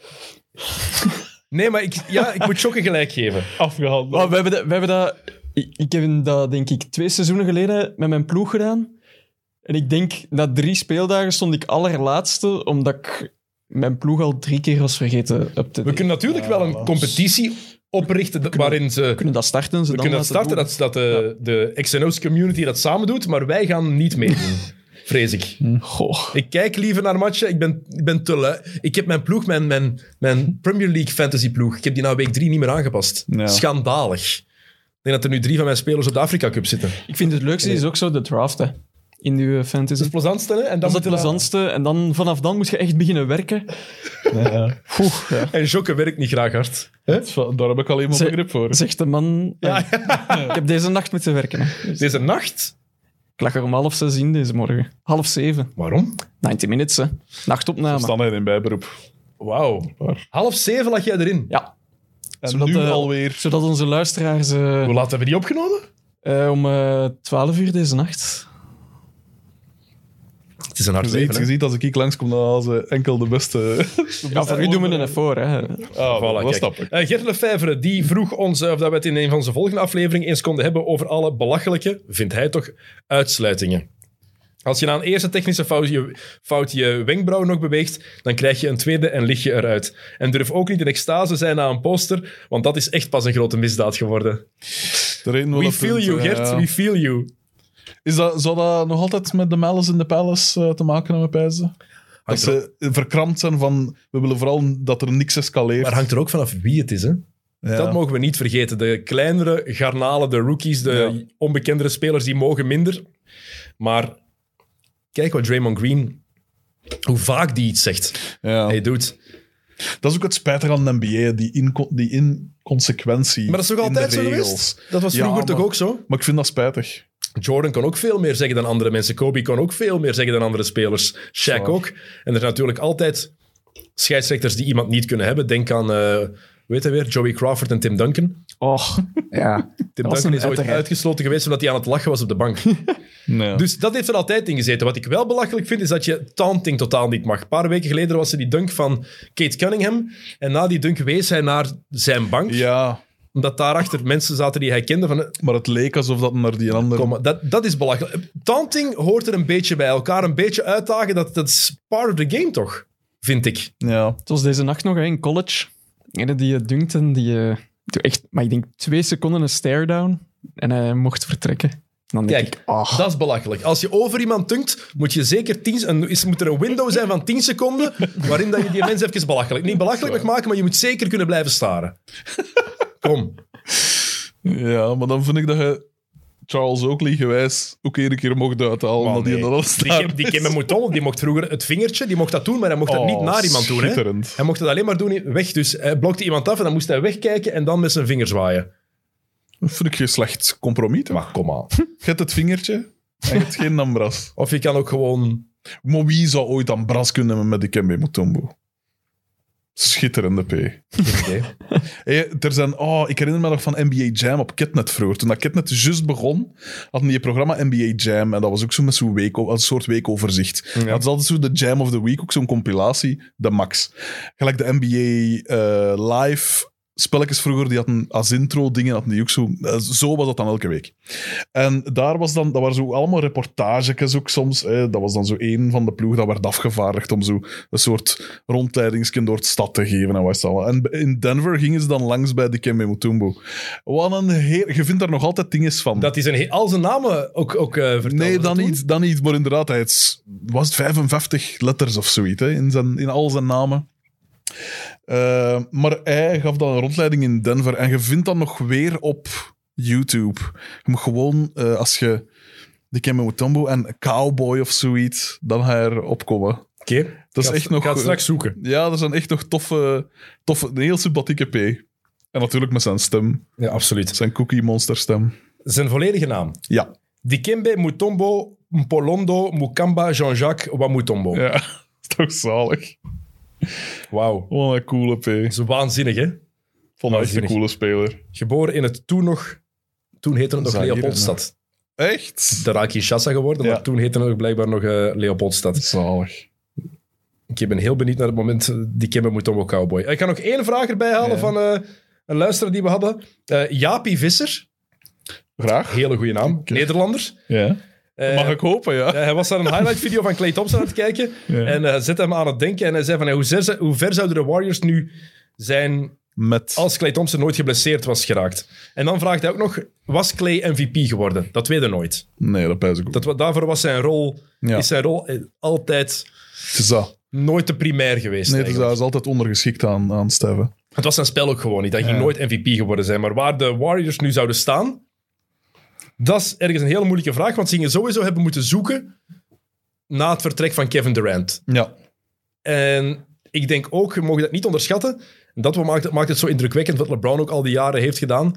B: Nee, maar ik, ja, ik moet Jokke gelijk geven.
D: Oh, we hebben dat... We hebben dat ik, ik heb dat, denk ik, twee seizoenen geleden met mijn ploeg gedaan. En ik denk, na drie speeldagen stond ik allerlaatste, omdat ik mijn ploeg al drie keer was vergeten op te
B: We kunnen natuurlijk wel een competitie oprichten dat- waarin ze...
D: kunnen dat starten. Ze
B: We
D: dan
B: kunnen dat
D: laten
B: starten,
D: doen.
B: dat, dat de, de X&O's community dat samen doet, maar wij gaan niet meedoen. Vrees ik.
D: Goh.
B: Ik kijk liever naar matchen. Ik ben, ik ben te lui. Ik heb mijn ploeg, mijn, mijn, mijn Premier League fantasy ploeg, ik heb die na week drie niet meer aangepast.
C: Ja.
B: Schandalig. Ik denk dat er nu drie van mijn spelers op de Afrika Cup zitten.
D: Ik vind het leukste is ook zo de draft, hè. In uw fantasy.
B: Het plezantste, hè? En dan
D: Dat is het
B: moet je-
D: plezantste. En dan, vanaf dan moet je echt beginnen werken. Poeh, ja.
B: En Jokke werkt niet graag hard.
C: Dat is wel- Daar heb ik alleen maar
D: Ze-
C: begrip voor.
D: Zegt de man... eh, Ik heb deze nacht moeten werken. hè.
B: Deze nacht?
D: Ik lag er om half zes in deze morgen. Half zeven.
B: Waarom?
D: 90 minutes, hè.
C: Er
D: Nachtopname.
C: staan er in bijberoep.
B: Wauw. Half zeven lag jij erin.
D: Ja.
C: En
D: Zodat,
C: nu
D: eh,
C: alweer...
D: Zodat onze luisteraars eh,
B: Hoe laat hebben we die opgenomen?
D: eh, om eh 12 uur deze nacht...
B: Het is een hard
C: Je ziet,
B: leven,
C: je
B: hè?
C: ziet als ik hier langskom, dan halen ze enkel de beste...
D: Ja, voor u doen we een voor, hè.
C: Ah,
B: Voilà,
C: dat
B: kijk.
C: snap ik.
B: Eh, Gert Lefevre die vroeg ons eh, of dat we het in een van zijn volgende afleveringen eens konden hebben over alle belachelijke, vindt hij toch, uitsluitingen. Als je na een eerste technische fout je, fout je wenkbrauw nog beweegt, dan krijg je een tweede en lig je eruit. En durf ook niet in extase zijn na een poster, want dat is echt pas een grote misdaad geworden.
C: Er is nog
B: We
C: dat
B: feel
C: punt,
B: you,
C: ja,
B: Gert,
C: ja.
B: we feel you.
C: Is dat, zou dat nog altijd met de Malice in the Palace eh, te maken hebben, Pijzen? Dat
B: Hangt er, ook-
C: ze verkrampt zijn van... We willen vooral dat er niks escaleert.
B: maar hangt er ook vanaf wie het is, hè?
C: Ja.
B: Dat mogen we niet vergeten. De kleinere garnalen, de rookies, de
C: Ja.
B: onbekendere spelers, die mogen minder. Maar kijk wat Draymond Green, hoe vaak die iets zegt.
C: Ja.
B: Hey, dude.
C: Dat is ook het spijtige aan de NBA, die, inco die inconsequentie.
B: Maar dat is toch
C: in de
B: altijd zo
C: regels.
B: geweest? Dat was
C: Ja,
B: vroeger toch
C: maar-
B: ook zo?
C: Maar ik vind dat spijtig.
B: Jordan kon ook veel meer zeggen dan andere mensen. Kobe kon ook veel meer zeggen dan andere spelers. Shaq ook. En er zijn natuurlijk altijd scheidsrechters die iemand niet kunnen hebben. Denk aan, eh weet je weer, Joey Crawford en Tim Duncan.
D: Och, ja.
B: Tim Duncan
D: was een
B: is ooit
D: uiterheid.
B: uitgesloten geweest omdat hij aan het lachen was op de bank.
C: Nee.
B: Dus dat heeft er altijd in gezeten. Wat ik wel belachelijk vind, is dat je taunting totaal niet mag. Een paar weken geleden was er die dunk van Kate Cunningham. En na die dunk wees hij naar zijn bank.
C: ja,
B: Omdat daarachter mensen zaten die hij kende. Van, eh,
C: maar het leek alsof dat naar die andere...
B: kom, maar, dat, dat is belachelijk. Taunting hoort er een beetje bij. Elkaar een beetje uitdagen, dat, dat is part of the game toch? Vind ik.
C: Ja.
D: Het was deze nacht nog hè, in college. Ene die eh, Duncan, die eh, doet echt, maar ik denk twee seconden een stare-down en hij mocht vertrekken. En Dan denk
B: Kijk,
D: ik, ah,
B: dat is belachelijk. Als je over iemand tunkt, moet je zeker 10 en is, moet er een window zijn van 10 seconden waarin dat je die mensen even belachelijk. Niet belachelijk mag maken, maar je moet zeker kunnen blijven staren. Kom.
C: Ja, maar dan vind ik dat je Charles Oakley gewijs ook één keer mocht uithalen.
B: Maar
C: omdat
B: nee.
C: hij dan al
B: Die
C: staat.
B: Kim, die Kim Mouton, die mocht vroeger het vingertje, die mocht dat doen, maar hij mocht dat niet naar iemand doen. Hè.
C: Oh, Schitterend.
B: Hij mocht het alleen maar doen in- weg. Dus hij blokte iemand af en dan moest hij wegkijken en dan met zijn vinger zwaaien.
C: Dat vind ik geen slecht compromis. toch?
B: Maar kom aan.
C: Je hebt het vingertje en je hebt geen ambras.
B: Of je kan ook gewoon...
C: Maar wie zou ooit ambras kunnen hebben met die Kembe Mutombo? Schitterende P.
B: Geen idee.
C: Hey, er zijn, oh, ik herinner me nog van NBA Jam op Kitnet vroeger. Toen dat Kitnet juist begon, hadden die het programma NBA Jam. En dat was ook zo met zo'n week, als een soort weekoverzicht. Dat is altijd zo de Jam of the Week, ook zo'n compilatie, de max. Gelijk de NBA eh, Live spelletjes vroeger, die hadden als intro dingen, hadden die ook zo. eh, Zo was dat dan elke week. En daar was dan, dat waren zo allemaal reportages ook soms. Hè. Dat was dan zo één van de ploeg dat werd afgevaardigd om zo een soort rondleidingskind door de stad te geven. En, wat is dat allemaal. en in Denver gingen ze dan langs bij Dikembe Mutombo. Wat een heer... Je vindt daar nog altijd dingen van.
B: Dat is een he- al zijn namen ook, ook eh verteld. Was
C: nee,
B: dat
C: dan
B: toen?
C: niet, dan niet. Maar inderdaad, hij is- was het 55 letters of zoiets hè, in, zijn, in al zijn namen. Eh, maar hij gaf dan een rondleiding in Denver. En je vindt dat nog weer op YouTube. Je moet gewoon, eh, als je de Kemba Mutombo en Cowboy of zoiets, dan ga je erop komen.
B: Oké.
C: Dat is
B: Ga-
C: echt nog... eh,
B: Ga het straks zoeken.
C: Ja, er zijn echt nog toffe, toffe een heel sympathieke P. En natuurlijk met zijn stem,
B: Ja, absoluut.
C: zijn Cookie Monster stem.
B: Zijn volledige naam.
C: Ja.
B: Dikembe Mutombo Mpolondo Mukamba Jean-Jacques Wamutombo.
C: Ja, is toch zalig.
B: Wauw. Dat
C: Wat een coole P.
B: is waanzinnig, hè?
C: Vond hij echt een
B: Waanzinnig.
C: coole speler.
B: Geboren in het toen nog... Toen heette het nog
C: Zaire,
B: Leopoldstad.
C: Echt?
B: De Kinshasa geworden,
C: Ja.
B: maar toen heette het nog blijkbaar nog eh, Leopoldstad.
C: Zalig.
B: Ik ben heel benieuwd naar het moment eh, die Kimbe Mutombo Cowboy. Ik kan nog één vraag erbij halen
C: Ja.
B: van eh, een luisteraar die we hadden. Eh Jaapie Visser.
C: Graag.
B: Hele goede naam.
C: Oké.
B: Nederlander.
C: Ja.
B: Eh,
C: Mag ik hopen, ja.
B: Eh, hij was naar een highlight-video van Clay Thompson aan het kijken.
C: Ja.
B: En eh zette hem aan het denken. En hij zei van, eh, hoe, ver, hoe ver zouden de Warriors nu zijn
C: Met...
B: als Clay Thompson nooit geblesseerd was geraakt? En dan vraagt hij ook nog, was Clay MVP geworden? Dat weet hij nooit.
C: Nee, dat pijs ik ook.
B: Dat, wa- daarvoor was zijn rol,
C: Ja.
B: is zijn rol eh, altijd
C: Het is dat.
B: nooit de primair geweest.
C: Nee, het is,
B: eigenlijk.
C: dus dat. Hij is altijd ondergeschikt aan, aan Steven.
B: Het was zijn spel ook gewoon niet. Hij ging nooit MVP geworden zijn. Maar waar de Warriors nu zouden staan, dat is ergens een hele moeilijke vraag. Want ze gingen sowieso hebben moeten zoeken na het vertrek van Kevin Durant.
C: Ja.
B: En ik denk ook, we mogen dat niet onderschatten. En dat maakt het, maakt het zo indrukwekkend wat LeBron ook al die jaren heeft gedaan.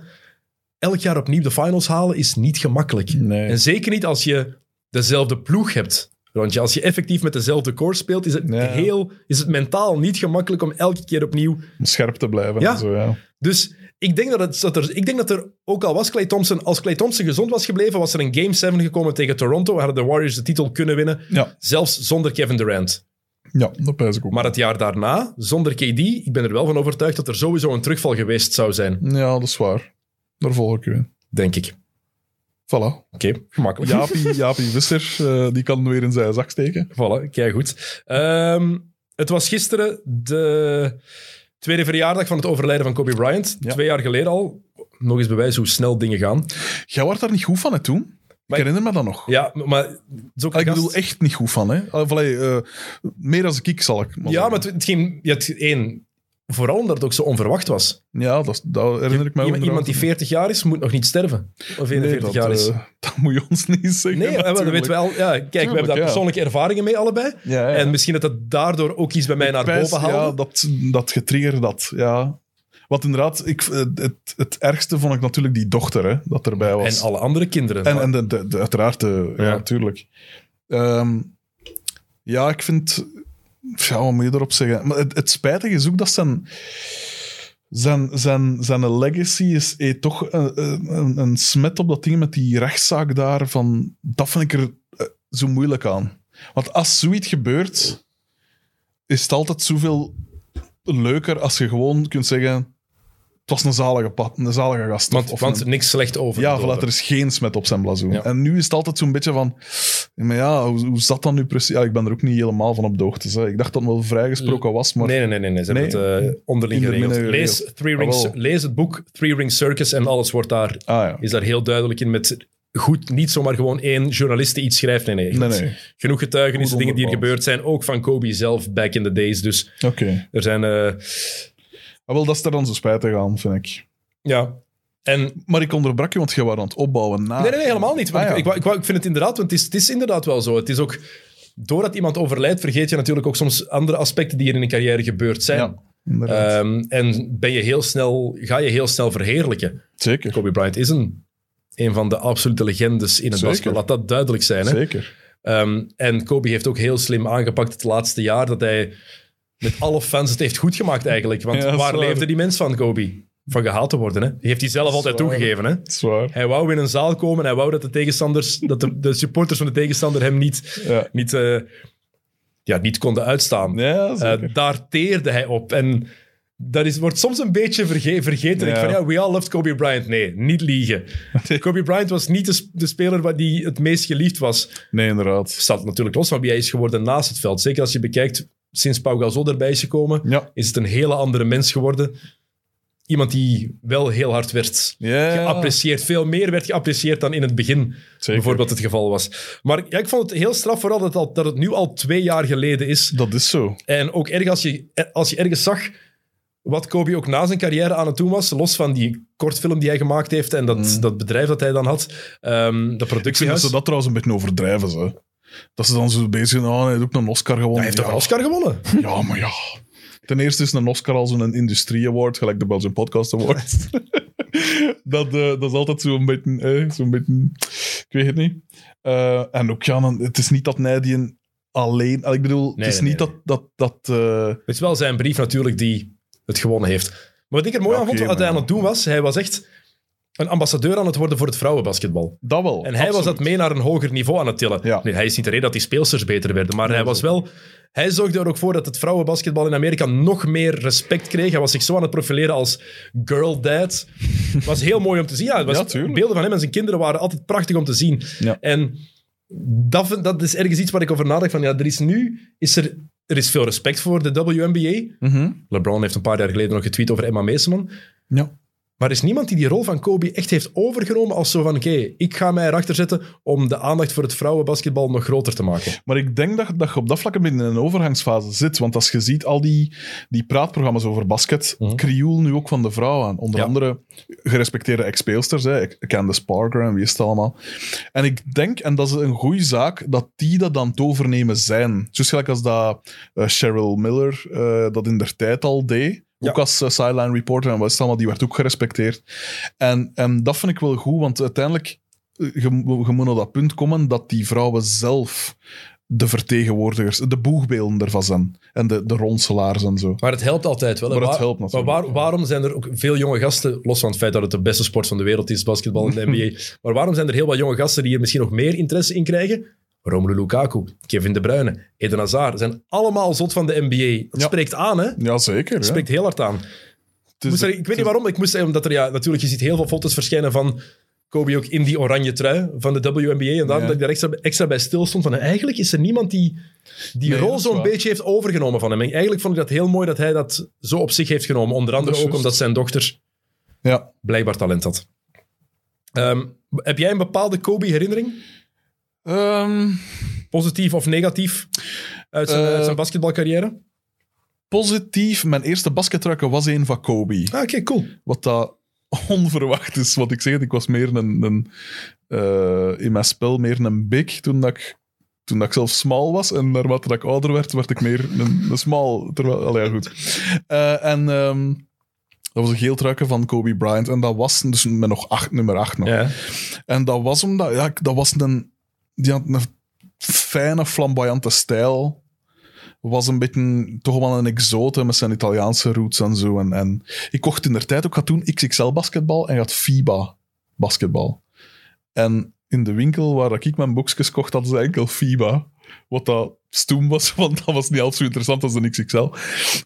B: Elk jaar opnieuw de finals halen is niet gemakkelijk.
C: Nee.
B: En zeker niet als je dezelfde ploeg hebt. Want als je effectief met dezelfde core speelt, is het,
C: Ja.
B: heel, is het mentaal niet gemakkelijk om elke keer opnieuw.
C: Om scherp te blijven
B: Ja.
C: en zo, ja.
B: Dus ik denk dat, het, dat, er, ik denk dat er, ook al was Clay Thompson, als Clay Thompson gezond was gebleven, was er een Game 7 gekomen tegen Toronto. Hadden de Warriors de titel kunnen winnen,
C: Ja,
B: zelfs zonder Kevin Durant.
C: ja dat pijs ik ook.
B: Maar het jaar daarna, zonder KD, ik ben er wel van overtuigd dat er sowieso een terugval geweest zou zijn,
C: Ja, dat is waar. Daar volg ik u in.
B: denk ik.
C: Voilà.
B: Oké, gemakkelijk.
C: Jaapie, Jaapie Visser, eh, die kan weer in zijn zak steken.
B: Voilà, kijk goed. Ehm, het was gisteren de tweede verjaardag van het overlijden van Kobe Bryant.
C: Ja.
B: Twee jaar geleden al. Nog eens bewijs hoe snel dingen gaan.
C: Jij werd daar niet goed van, hè, toen?
B: Maar-
C: ik herinner me dat nog. Ah,
B: Ja, maar het is ook een
C: ik
B: gast-
C: bedoel, echt niet goed van, hè. Of, allee, eh, meer als ik, zal ik.
B: Ja,
C: zeggen.
B: maar het, het ging... Ja, het, één, vooral omdat het ook zo onverwacht was.
C: Ja, dat, is- dat herinner ik me
B: Iemand,
C: ook
B: iemand die 40 jaar is, moet nog niet sterven. Of 41
C: Nee, dat,
B: jaar is.
C: eh, dat moet je ons niet zeggen.
B: nee, maar dat
C: natuurlijk.
B: weten we al. Ja, kijk, we hebben daar
C: ja.
B: persoonlijke ervaringen mee allebei.
C: Ja, ja.
B: En misschien dat dat daardoor ook iets bij mij naar
C: Pijs,
B: boven haalde.
C: Ja, dat, dat getriggerd dat, ja. Want inderdaad, ik, eh, het, het ergste vond ik natuurlijk die dochter, hè, dat erbij was.
B: en alle andere kinderen.
C: En, en de, de, de- uiteraard, de, ja,
B: Ja.
C: natuurlijk. Ehm, ja, ik vind... Ja, wat moet je erop zeggen? Maar het, het spijtige is ook dat zijn... Zijn, zijn, zijn legacy is eh, toch eh, eh, een, een smet op dat ding met die rechtszaak daar. Van, dat vind ik er eh, zo moeilijk aan. Want als zoiets gebeurt, is het altijd zoveel leuker als je gewoon kunt zeggen... was een zalige, pad, een zalige gast.
B: Want,
C: Of
B: want
C: een-
B: niks slecht over.
C: ja,
B: de
C: voilà,
B: doden.
C: er is geen smet op zijn blazoen.
B: Ja.
C: En nu is het altijd zo'n beetje van... Maar ja, hoe, hoe zat dat nu precies? Ja, ik ben er ook niet helemaal van op de hoogte. Zeg. Ik dacht dat het wel vrijgesproken was, maar...
B: Nee, nee, nee, nee, nee, Ze
C: Nee.
B: hebben het eh, onderling
C: In de Ah,
B: geregeld.
C: midden
B: Lees,
C: geregeld.
B: Three Ring,
C: Jawel.
B: lees het boek Three Ring Circus en alles wordt daar,
C: Ah ja.
B: is daar heel duidelijk in. Met goed, niet zomaar gewoon één journalist die iets schrijft. Nee, nee. echt.
C: Nee, nee.
B: Genoeg getuigenissen,
C: Goed
B: dingen die er
C: onderbouwd.
B: gebeurd zijn. Ook van Kobe zelf, back in the days. Dus
C: Oké.
B: er zijn... eh,
C: Ah, wel, dat is er dan zo spijtig aan, vind ik.
B: ja. En
C: Maar ik onderbrak je, want je was aan het opbouwen na...
B: Nee, nee, nee, helemaal niet. Maar
C: Ah,
B: ik-
C: ja.
B: ik, wou- ik, wou- ik vind het inderdaad, want het is, het is inderdaad wel zo. Het is ook, doordat iemand overlijdt, vergeet je natuurlijk ook soms andere aspecten die er in een carrière gebeurd zijn.
C: Ja, inderdaad.
B: Ehm, en ben je heel snel, ga je heel snel verheerlijken.
C: Zeker.
B: Kobe Bryant is een, een van de absolute legendes in het
C: Zeker.
B: basketbal. Laat dat duidelijk zijn. Hè?
C: Zeker.
B: Ehm, en Kobe heeft ook heel slim aangepakt het laatste jaar dat hij met alle fans het heeft goed gemaakt eigenlijk. Want
C: Ja, dat is
B: waar
C: waar.
B: leefde die mens van, Kobe? Van gehaald te worden. Hè? Die heeft hij zelf altijd
C: waar.
B: toegegeven. Hè?
C: Zwaar.
B: Hij wou in een zaal komen. Hij wou dat de tegenstanders, dat de, de supporters van de tegenstander hem niet,
C: Ja.
B: niet, eh, ja, niet konden uitstaan.
C: Ja,
B: Eh,
C: zeker.
B: daar teerde hij op. En dat is, wordt soms een beetje verge- vergeten. Ik
C: Ja.
B: van, ja, we all loved Kobe Bryant. Nee, niet liegen. Kobe Bryant was niet de, sp- de speler wa- die het meest geliefd was.
C: nee, inderdaad.
B: Staat natuurlijk los van wie hij is geworden naast het veld. Zeker als je bekijkt, sinds Pau Gasol erbij is gekomen,
C: Ja.
B: is het een hele andere mens geworden. Iemand die wel heel hard werd
C: Ja.
B: geapprecieerd. Veel meer werd geapprecieerd dan in het begin bijvoorbeeld het geval was. Maar ja, ik vond het heel straf vooral dat het, al- dat het nu al twee jaar geleden is.
C: Dat is zo.
B: En ook erg als je, eh, als je ergens zag wat Kobe ook na zijn carrière aan het doen was, los van die kortfilm die hij gemaakt heeft en dat, dat bedrijf dat hij dan had, ehm dat
C: Ik vind dat
B: productiehuis.
C: ze dat trouwens een beetje overdrijven, ze. Dat ze dan zo bezig zijn, oh, hij heeft ook een Oscar gewonnen.
B: hij heeft toch
C: Ja.
B: een Oscar gewonnen?
C: Ja, maar ja. Ten eerste is een Oscar al zo'n industrie award, gelijk de Belgian Podcast Award. dat, eh, dat is altijd zo'n beetje, eh, zo'n beetje... Ik weet het niet. Eh, en ook, ja, dan- het is niet dat Nijdiën alleen... Ah, Ik bedoel,
B: Nee,
C: het is
B: nee,
C: niet
B: nee,
C: dat... dat, dat eh,
B: Het is wel zijn brief natuurlijk die het gewonnen heeft. Maar wat ik er mooi
C: Ja,
B: aan vond,
C: oké,
B: wat hij aan
C: maar-
B: het doen was, hij was echt een ambassadeur aan het worden voor het vrouwenbasketbal.
C: dat wel.
B: En hij was dat
C: absoluut.
B: mee naar een hoger niveau aan het tillen.
C: Ja.
B: Nee, hij is niet de reden dat die speelsters beter werden, maar hij was wel... Hij zorgde er ook voor dat het vrouwenbasketbal in Amerika nog meer respect kreeg. Hij was zich zo aan het profileren als girl dad. Het was heel mooi om te zien. Ja, het was-
C: Ja, tuurlijk.
B: beelden van hem en zijn kinderen waren altijd prachtig om te zien.
C: Ja.
B: En dat, vind- dat is ergens iets waar ik over nadacht. Van, ja, er is nu is er, er is veel respect voor de WNBA.
C: Mhm.
B: LeBron heeft een paar jaar geleden nog getweet over Emma Meeseman.
C: Ja.
B: Maar er is niemand die die rol van Kobe echt heeft overgenomen als zo van, oké, ik ga mij erachter zetten om de aandacht voor het vrouwenbasketbal nog groter te maken.
C: Maar ik denk dat, dat je op dat vlak een beetje in een overgangsfase zit. Want als je ziet al die, die praatprogramma's over basket,
B: Mhm.
C: krioel nu ook van de vrouw aan. Onder
B: Ja.
C: andere gerespecteerde ex-speelsters, hè, Candace Parker en wie is het allemaal. En ik denk, en dat is een goede zaak, dat die dat aan het overnemen zijn. Zoals gelijk als dat eh, Cheryl Miller eh, dat in der tijd al deed.
B: Ja.
C: Ook als eh, sideline reporter en wat is het allemaal, die werd ook gerespecteerd. En, en dat vind ik wel goed, want uiteindelijk eh, je, mo- je moet naar dat punt komen dat die vrouwen zelf de vertegenwoordigers, de boegbeelden ervan zijn. En de, de ronselaars en zo.
B: Maar het helpt altijd wel. hè.
C: Maar het
B: Waar-
C: helpt natuurlijk,
B: Maar waar-
C: ja.
B: waarom zijn er ook veel jonge gasten, los van het feit dat het de beste sport van de wereld is, basketbal en de NBA, maar waarom zijn er heel wat jonge gasten die er misschien nog meer interesse in krijgen? Romelu Lukaku, Kevin De Bruyne, Eden Hazard, zijn allemaal zot van de NBA. Dat
C: Ja.
B: spreekt aan, hè?
C: Jazeker.
B: Dat spreekt heel hard aan.
C: Het is-
B: Moest er- ik weet niet waarom, ik moest zeggen, omdat er ja, natuurlijk, je ziet heel veel foto's verschijnen van Kobe ook in die oranje trui van de WNBA. En daarom
C: Ja.
B: dat ik daar extra, extra bij stil stond van, eh, eigenlijk is er niemand die die
C: Nee,
B: rol
C: dat is
B: zo'n
C: waar.
B: beetje heeft overgenomen van hem. En eigenlijk vond ik dat heel mooi dat hij dat zo op zich heeft genomen. Onder andere
C: Dat
B: ook
C: is juist.
B: omdat zijn dochter
C: Ja.
B: blijkbaar talent had. Ehm, heb jij een bepaalde Kobe-herinnering?
C: Ehm,
B: Positief of negatief? Uit zijn,
C: Eh.
B: uit zijn basketbalcarrière?
C: positief, mijn eerste basketruiken was een van Kobe.
B: Ah, oké, cool.
C: Wat dat onverwacht is. Wat ik zeg, ik was meer een, een eh, in mijn spel meer een big toen dat ik, toen dat ik zelf smal was. En naarmate dat ik ouder werd, werd ik meer een, een smal. Terwijl, allee, ja, goed. Eh, en ehm, dat was een geel truiken van Kobe Bryant. En dat was dus met nog acht, nummer 8 nog.
B: Ja.
C: En dat was omdat, ja, ik- dat was een, die had een fijne, flamboyante stijl. Was een beetje toch wel een exote met zijn Italiaanse roots en zo. En, en ik kocht in der tijd ook, gaat toen XXL basketbal en gaat FIBA basketbal. En in de winkel waar ik mijn boekjes kocht, hadden ze enkel FIBA. Wat dat stoem was, want dat was niet half zo interessant als de XXL.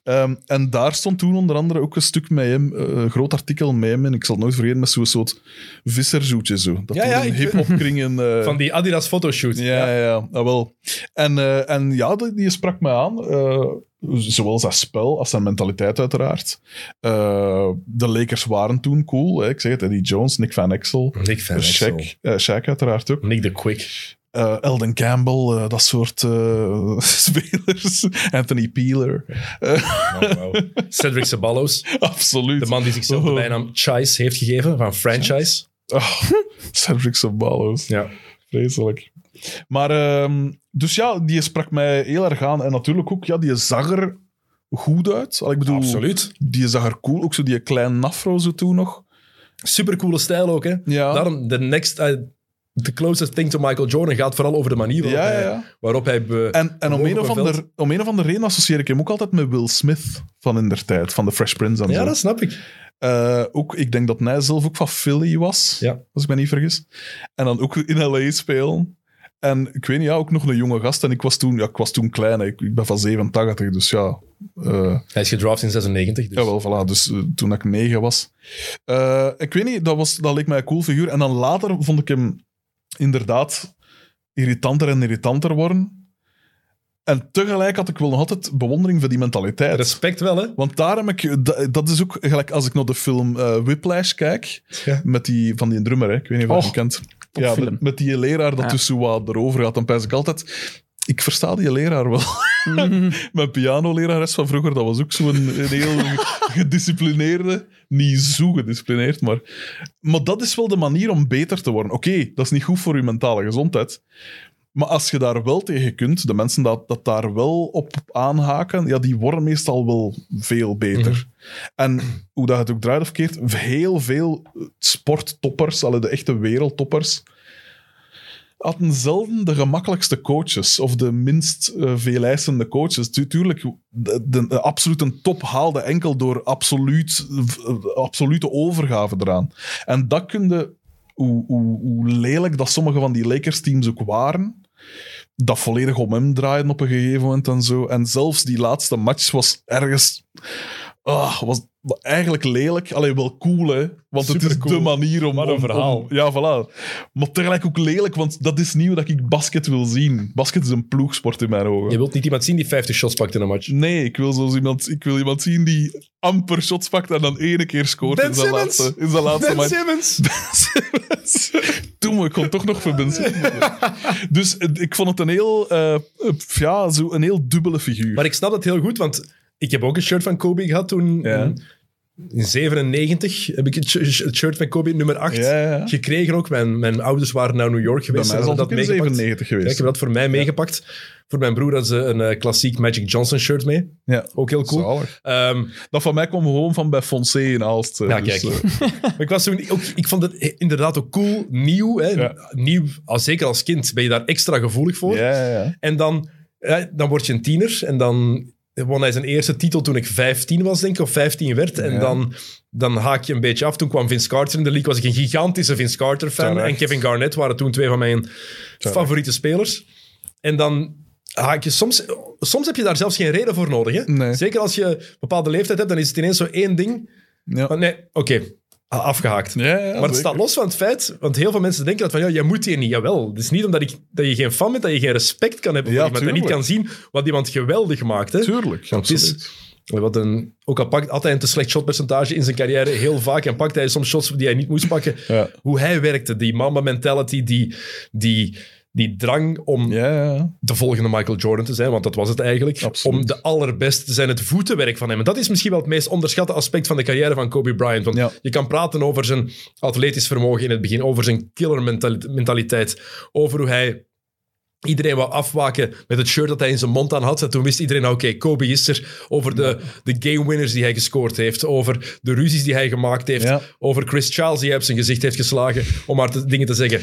C: Ehm, en daar stond toen onder andere ook een stuk met hem, eh, een groot artikel met hem, en ik zal het nooit vergeten, met zo'n soort visserzoetje zo. Dat
B: Ja,
C: toen
B: ja,
C: een
B: ik-
C: hip opkringen... eh,
B: Van die Adidas fotoshoot.
C: ja, ja, ja, ah, wel. En, eh, en ja, die, die sprak mij aan. eh, zowel zijn spel als zijn mentaliteit, uiteraard. Eh, de Lakers waren toen cool. Hè? Ik zeg het, Eddie Jones, Nick Van Exel.
B: Nick Van Exel.
C: Shaq, eh, Shaq uiteraard ook.
B: Nick de Quick.
C: Eh, Elden Campbell, eh, dat soort eh, spelers. Anthony Peeler.
B: Oh, wow. Cedric Ceballos.
C: Absoluut.
B: De man die zichzelf de
C: Oh.
B: bijnaam Chice heeft gegeven, van Franchise.
C: Oh, Cedric Sabalos.
B: Ja.
C: Vreselijk. Maar, ehm, dus ja, die sprak mij heel erg aan. En natuurlijk ook, ja, die zag er goed uit. Al, ik bedoel,
B: Absoluut.
C: Die zag er cool. Ook zo die kleine nafro zo toen nog.
B: Supercoole stijl ook, hè.
C: Ja.
B: Daarom, the next... eh, the closest thing to Michael Jordan gaat vooral over de manier waarop
C: Ja, ja,
B: hij...
C: ja.
B: Waarop hij be-
C: En, en om,
B: Hoog
C: een
B: op
C: of
B: een veld.
C: ander, om een of andere reden associeer ik hem ook altijd met Will Smith van in der tijd, van de Fresh Prince en
B: ja,
C: zo.
B: dat snap ik.
C: Eh, ook, ik denk dat hij zelf ook van Philly was,
B: Ja.
C: als ik me niet vergis. En dan ook in LA spelen. En ik weet niet, ja, ook nog een jonge gast. En ik was toen, ja, ik was toen klein, hè. ik, ik ben van 87, dus ja. eh,
B: Hij is gedraft in 96, dus...
C: Jawel, voilà. Dus eh, toen ik negen was. Eh, ik weet niet, dat, was, dat leek mij een cool figuur. En dan later vond ik hem inderdaad irritanter en irritanter worden. En tegelijk had ik wel nog altijd bewondering voor die mentaliteit.
B: Respect wel, hè.
C: Want daar heb ik... da- Dat is ook gelijk als ik naar de film eh, Whiplash kijk.
B: Ja.
C: Met die, van die drummer, hè. ik weet niet of je
E: Och,
C: hem kent. Ja, met, met die leraar dat
E: Ja.
C: tussen wat erover gaat. Dan pijs ik altijd... Ik versta die leraar wel. Mijn pianolerares van vroeger, dat was ook zo'n een heel gedisciplineerde. Niet zo gedisciplineerd, maar... Maar dat is wel de manier om beter te worden. Oké, dat is niet goed voor je mentale gezondheid. Maar als je daar wel tegen kunt, de mensen dat, dat daar wel op aanhaken, ja, die worden meestal wel veel beter. En hoe dat het ook draait of keert, heel veel sporttoppers, alle de echte wereldtoppers, hadden zelden de gemakkelijkste coaches of de minst eh, veel eisende coaches. Tu- tuurlijk, de, de, de absolute top haalde enkel door absoluut, v- eh, absolute overgave eraan. En dat kunde, hoe, hoe, hoe lelijk dat sommige van die Lakers-teams ook waren, dat volledig om hem draaien op een gegeven moment en zo. En zelfs die laatste match was ergens... ah, was eigenlijk lelijk. Alleen wel cool, hè. Want het is
B: Supercool.
C: de manier om...
B: Maar een
C: om-
B: verhaal.
C: om- ja, voilà. Maar tegelijk ook lelijk, want dat is niet hoe dat ik basket wil zien. Basket is een ploegsport in mijn ogen.
B: Je wilt niet iemand zien die 50 shots pakt in een match.
C: Nee, ik wil, zoals iemand, ik wil iemand zien die amper shots pakt en dan ene keer scoort
B: Ben
C: in zijn
B: Simmons!
C: laatste, in zijn laatste
B: Ben
C: match.
B: Simmons!
C: Toen, ik kon toch nog voor Ben Simmons. Dus eh, ik vond het een heel, eh, eh, ja, zo een heel dubbele figuur.
B: Maar ik snap dat heel goed, want ik heb ook een shirt van Kobe gehad toen.
C: Ja.
B: In, in 97 heb ik het shi- shi- het shirt van Kobe nummer 8
C: Ja, ja, ja.
B: gekregen ook. Mijn, mijn ouders waren naar New York
C: Bij
B: geweest.
C: mij is
B: en
C: dat
B: hadden
C: ook in
B: meegepakt.
C: 97
B: Ja, ik
C: geweest.
B: heb dat voor mij meegepakt. Voor mijn broer hadden ze een eh, klassiek Magic Johnson shirt mee.
C: Ja.
B: Ook heel cool.
C: Zalig.
B: Ehm,
C: Dat van mij kwam gewoon van bij Fonse in Aalst. eh,
B: Ja,
C: dus,
B: kijk.
C: eh,
B: Maar ik, was toen, ook, ik vond het inderdaad ook cool, nieuw. Hè?
C: Ja.
B: nieuw als, zeker als kind ben je daar extra gevoelig voor.
C: ja, ja, ja.
B: En dan, ja, dan word je een tiener. En dan won hij zijn eerste titel toen ik 15 was, denk ik, of 15 werd. En
C: Ja.
B: dan, dan haak je een beetje af. Toen kwam Vince Carter in de league. Was ik een gigantische Vince Carter-fan.
C: Terecht.
B: En Kevin Garnett waren toen twee van mijn favoriete spelers. En dan haak je soms... Soms heb je daar zelfs geen reden voor nodig. Hè?
C: Nee.
B: Zeker als je een bepaalde leeftijd hebt, dan is het ineens zo één ding.
C: Ja.
B: Maar nee, oké. a- Afgehaakt.
C: Ja, ja,
B: Maar het
C: zeker.
B: staat los van het feit, want heel veel mensen denken dat van, ja, jij moet hier niet. Jawel, het is niet omdat ik, dat je geen fan bent, dat je geen respect kan hebben voor
C: Ja,
B: iemand en niet kan
C: tuurlijk.
B: zien wat iemand geweldig maakt. Hè?
C: Tuurlijk,
B: Want het is- eh,
C: absoluut.
B: Wat een, ook al pakt, had hij een te slecht shotpercentage in zijn carrière heel vaak en pakt hij soms shots die hij niet moest pakken.
C: Ja.
B: Hoe hij werkte, die mama mentality, die, die, die drang om
C: Ja, ja, ja.
B: de volgende Michael Jordan te zijn, want dat was het eigenlijk.
C: Absoluut.
B: Om de allerbeste te zijn, het voetenwerk van hem. En dat is misschien wel het meest onderschatte aspect van de carrière van Kobe Bryant. Want
C: Ja.
B: je kan praten over zijn atletisch vermogen in het begin, over zijn killer mentali- mentaliteit, over hoe hij iedereen wou afwaken met het shirt dat hij in zijn mond aan had. En toen wist iedereen, nou, oké, Kobe is er. Over de, de game winners die hij gescoord heeft, over de ruzies die hij gemaakt heeft,
C: Ja.
B: over Chris Charles die hij op zijn gezicht heeft geslagen, om maar te- dingen te zeggen.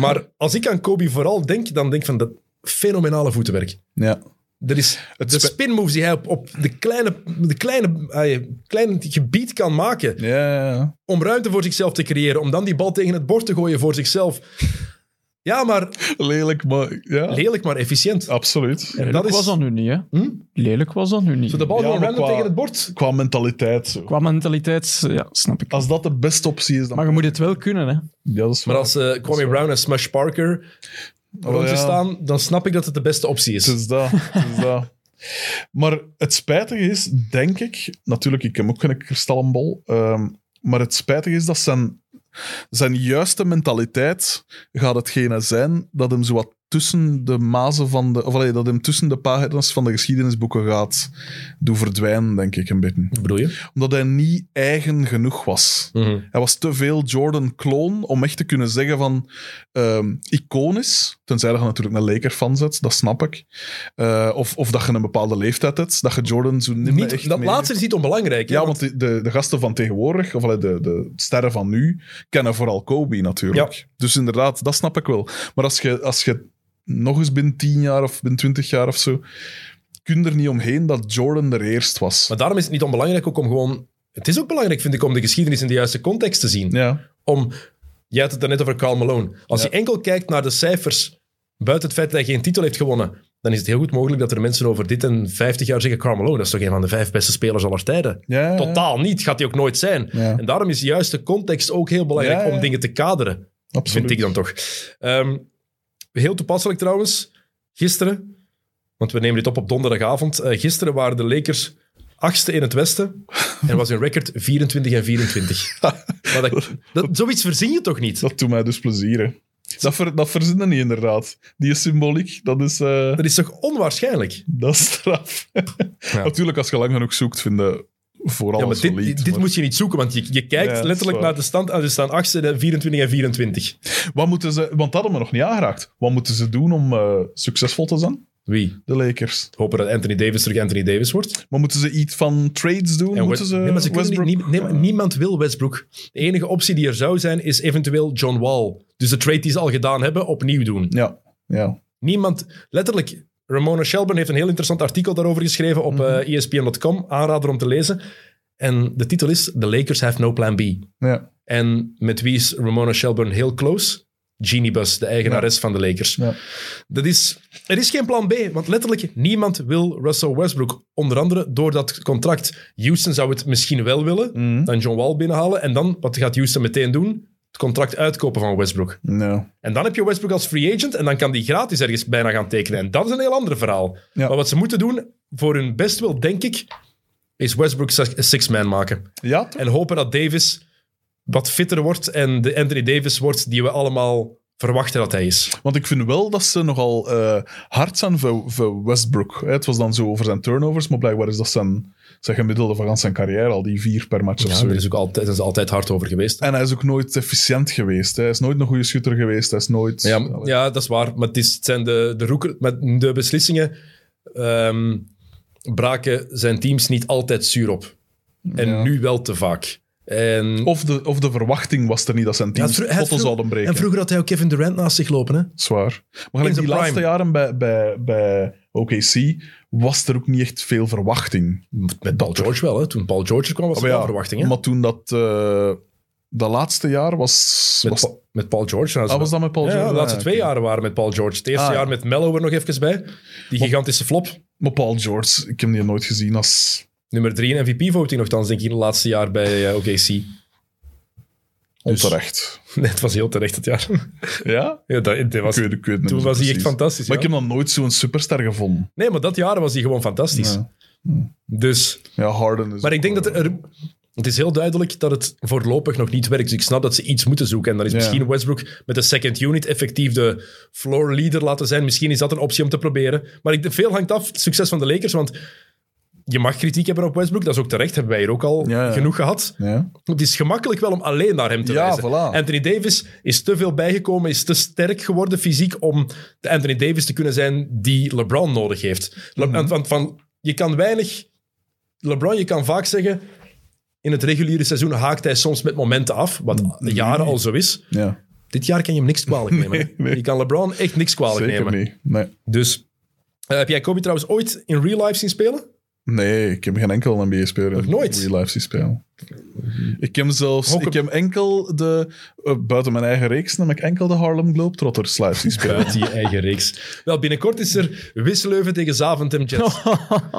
B: Maar als ik aan Kobe vooral denk, dan denk ik van dat fenomenale voetenwerk.
C: ja.
B: Er is
C: Het
B: de
C: spe-
B: spin moves die hij op, op de kleine, de kleine, eh, kleine gebied kan maken
C: Ja, ja, ja.
B: om ruimte voor zichzelf te creëren, om dan die bal tegen het bord te gooien voor zichzelf. Ja, maar
C: Lelijk, maar ja,
B: lelijk, maar efficiënt.
C: Oh, absoluut.
B: En
E: Lelijk
B: dat is
E: was dat nu niet, hè?
B: Hm?
E: Lelijk was dat nu niet.
B: zo de bal
C: Ja,
B: gewoon
C: maar
B: random
C: qua-
B: tegen het bord.
C: Qua mentaliteit. Zo.
E: Qua mentaliteit, ja, snap ik.
C: Als dat de beste optie is, dan...
E: Maar je moet het wel kunnen, hè?
C: ja, dat is
B: Maar
C: waar.
B: als eh Kwame Brown en Smash Parker rond
C: Oh, ja.
B: je staan, dan snap ik dat het de beste optie is.
C: Het is dat. Het is dat. Maar het spijtige is, denk ik... Natuurlijk, ik heb ook geen kristallenbol. ehm, maar het spijtige is dat zijn, zijn juiste mentaliteit gaat hetgene zijn dat hem zo wat tussen de mazen van de... Of allee, dat hem tussen de pagina's van de geschiedenisboeken gaat doen verdwijnen, denk ik, een beetje.
B: Wat bedoel je?
C: Omdat hij niet eigen genoeg was. Hij was te veel Jordan-kloon om echt te kunnen zeggen van ehm iconisch. Tenzij dat je natuurlijk een Laker fan zet, dat snap ik. Eh, of, of dat je een bepaalde leeftijd hebt, dat je Jordan zo niet, meer echt
B: Niet, dat
C: mee-
B: laatste is niet onbelangrijk. hè,
C: Ja,
B: want-
C: want de, de, de gasten van tegenwoordig, of allee, de, de sterren van nu, kennen vooral Kobe natuurlijk. Dus inderdaad, dat snap ik wel. Maar als je, als je nog eens binnen 10 jaar of binnen 20 jaar of zo. kun je er niet omheen dat Jordan er eerst was.
B: Maar daarom is het niet onbelangrijk ook om gewoon... Het is ook belangrijk, vind ik, om de geschiedenis in de juiste context te zien.
C: Ja,
B: Om, jij had het daarnet over Karl Malone. Als je enkel kijkt naar de cijfers, buiten het feit dat hij geen titel heeft gewonnen, dan is het heel goed mogelijk dat er mensen over dit en 50 jaar zeggen Karl Malone, dat is toch een van de vijf beste spelers aller tijden.
C: ja, ja.
B: Totaal niet, gaat hij ook nooit zijn.
C: Ja.
B: En daarom is juist de context ook heel belangrijk
C: Ja, ja.
B: om dingen te kaderen.
C: absoluut.
B: Vind ik dan toch. Ehm, heel toepasselijk trouwens, gisteren, want we nemen dit op op donderdagavond. eh, gisteren waren de Lakers achtste in het Westen en was hun record 24 en 24. maar dat, dat- zoiets verzin je toch niet?
C: Dat doet mij dus plezier. hè. Dat, ver, dat verzinnen niet, inderdaad. Die is symboliek, dat is, eh,
B: Dat is toch onwaarschijnlijk?
C: dat is straf. Natuurlijk, als je lang genoeg zoekt, vinden vooral
B: Ja, maar dit,
C: solide.
B: dit dit
C: maar-
B: moet je niet zoeken, want je, je kijkt
C: Ja, dat is
B: letterlijk
C: waar.
B: naar de stand en ze staan achtste en 24 en 24.
C: Wat moeten ze, want dat hadden we nog niet aangeraakt. Wat moeten ze doen om eh, succesvol te zijn,
B: Wie?
C: de Lakers?
B: Hopen dat Anthony Davis terug Anthony Davis wordt.
C: Maar moeten ze iets van trades doen?
B: En
C: moeten
B: Wes-
C: ze,
B: nee, maar ze kunnen niet-
C: Westbrook-
B: niet- nee, maar niemand wil Westbrook. De enige optie die er zou zijn, is eventueel John Wall. Dus de trade die ze al gedaan hebben, opnieuw doen.
C: Ja, ja.
B: Niemand, letterlijk, Ramona Shelburne heeft een heel interessant artikel daarover geschreven
C: Mhm.
B: op eh, ESPN.com, aanrader om te lezen. En de titel is The Lakers Have No Plan B.
C: ja.
B: En met wie is Ramona Shelburne heel close? Jeannie Bus, de eigenares van de Lakers.
C: Ja.
B: Dat is, er is geen plan B, want letterlijk niemand wil Russell Westbrook. Onder andere door dat contract. Houston zou het misschien wel willen,
C: Mhm.
B: dan John Wall binnenhalen. En dan, wat gaat Houston meteen doen? Het contract uitkopen van Westbrook.
C: Nou,
B: En dan heb je Westbrook als free agent en dan kan die gratis ergens bijna gaan tekenen. En dat is een heel ander verhaal.
C: Ja.
B: Maar wat ze moeten doen, voor hun best wil, denk ik, is Westbrook zes- six-man maken.
C: Ja, toch?
B: En hopen dat Davis wat fitter wordt en de Anthony Davis wordt die we allemaal verwachten dat hij is.
C: Want ik vind wel dat ze nogal eh, hard zijn voor, voor Westbrook. hè. Het was dan zo over zijn turnovers, maar blijkbaar is dat zijn, zijn gemiddelde van gans zijn carrière al die vier per match of
B: Ja,
C: zo.
B: daar is ook altijd, daar is altijd hard over geweest.
C: En hij is ook nooit efficiënt geweest. hè. Hij is nooit een goede schutter geweest. Hij is nooit...
B: Ja,
C: Allee.
B: maar- ja, dat is waar. Maar het, is, het zijn de, de, roeker, maar de beslissingen ehm, braken zijn teams niet altijd zuur op. En
C: Ja.
B: nu wel te vaak. En,
C: Of, de, of de verwachting was er niet dat zijn
B: Ja,
C: teams
B: het vro-
C: potten
B: het vro-
C: zouden breken.
B: en vroeger had hij ook Kevin Durant naast zich lopen. Hè?
C: Zwaar. Maar
B: In zijn
C: gelijk die
B: prime.
C: laatste jaren bij, bij, bij OKC was er ook niet echt veel verwachting.
B: Met Paul George wel. Hè? Toen Paul George er kwam was er
C: Maar
B: wel
C: ja,
B: verwachting. Hè?
C: Maar toen dat... eh, dat laatste jaar was...
B: Met,
C: was
B: Pa- met Paul George. nou,
C: ah, was dat met Paul
B: ja,
C: George?
B: de laatste
C: Ah,
B: twee
C: oké.
B: jaren waren met Paul George. Het eerste
C: Ah, ja.
B: jaar met Mello er nog even bij. Die gigantische flop.
C: Maar Paul George, ik heb die nooit gezien als
B: Nummer drie in MVP-voting nogthans, denk ik, in het laatste jaar bij eh, OKC.
C: onterecht.
B: Nee, het was heel terecht het jaar.
C: Ja?
B: Dus- ja, dat, dat was,
C: Ik weet, ik weet het niet
B: toen
C: zo
B: was hij echt
C: precies.
B: fantastisch.
C: Maar
B: ja.
C: ik heb nog nooit zo'n superster gevonden.
B: Nee, maar dat jaar was hij gewoon fantastisch.
C: Ja.
B: Dus,
C: Ja, Harden is... eh,
B: maar ik denk
C: ook,
B: dat er... er- Het is heel duidelijk dat het voorlopig nog niet werkt. Dus ik snap dat ze iets moeten zoeken. En dan is
C: Ja.
B: misschien Westbrook met de second unit effectief de floor leader laten zijn. Misschien is dat een optie om te proberen. Maar ik, veel hangt af het succes van de Lakers. Want je mag kritiek hebben op Westbrook. Dat is ook terecht. Hebben wij hier ook al
C: Ja, ja.
B: genoeg gehad.
C: eh, Ja.
B: Het is gemakkelijk wel om alleen naar hem te
C: Ja,
B: wijzen.
C: voilà.
B: Anthony Davis is te veel bijgekomen, is te sterk geworden fysiek om de Anthony Davis te kunnen zijn die LeBron nodig heeft. Le-
C: Mhm.
B: want- Want van, je kan weinig... LeBron, je kan vaak zeggen... In het reguliere seizoen haakt hij soms met momenten af, wat
C: Mhm.
B: jaren al zo is.
C: ja.
B: Dit jaar kan je hem niks kwalijk nemen. hè.
C: nee.
B: Je kan LeBron echt niks kwalijk
C: Zeker
B: nemen.
C: niet. Nee.
B: Dus eh, heb jij Kobe trouwens ooit in real life zien spelen?
C: Nee, ik heb geen enkel NBA-speler
B: Nog
C: in
B: nooit?
C: real life zien spelen. Ik heb zelfs...
B: Ook-
C: Ik heb enkel de... eh, buiten mijn eigen reeks nam ik enkel de Harlem Globetrotters live zien spelen.
B: Buiten je eigen reeks. Wel, binnenkort is er Wisseleuven tegen Zaventem Jets.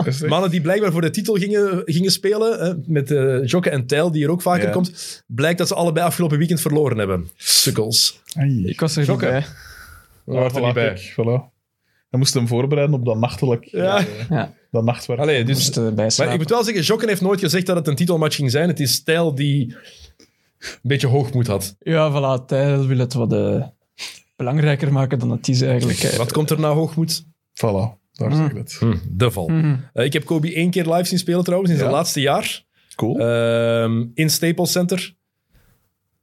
C: Is het?
B: Mannen die blijkbaar voor de titel gingen, gingen spelen, hè, met eh Jokke en Tijl, die er ook vaker
C: Ja.
B: komt, blijkt dat ze allebei afgelopen weekend verloren hebben. Sukkels.
C: Ai.
D: Ik was er niet
B: Jokke.
D: bij.
B: We waren er
C: Voilà,
B: niet bij.
C: kijk, voilà. Hij moest hem voorbereiden op dat nachtelijk...
B: Ja.
C: eh,
D: Ja.
C: dat nachtwerk.
B: Allee, dus,
D: Moest eh, erbij
B: maar ik
D: slapen.
B: moet wel zeggen, Jokken heeft nooit gezegd dat het een titelmatch ging zijn. Het is Tijl die een beetje hoogmoed had.
D: Ja, voilà. Tijl wil het wat eh, belangrijker maken dan het is eigenlijk. hè.
B: Wat komt er na hoogmoed?
C: Voilà, daar zeg ik het.
B: eh, Hm, de val. Eh, ik heb Kobe één keer live zien spelen trouwens, in zijn
C: Ja.
B: laatste jaar.
C: Cool.
B: Ehm, in Staples Center.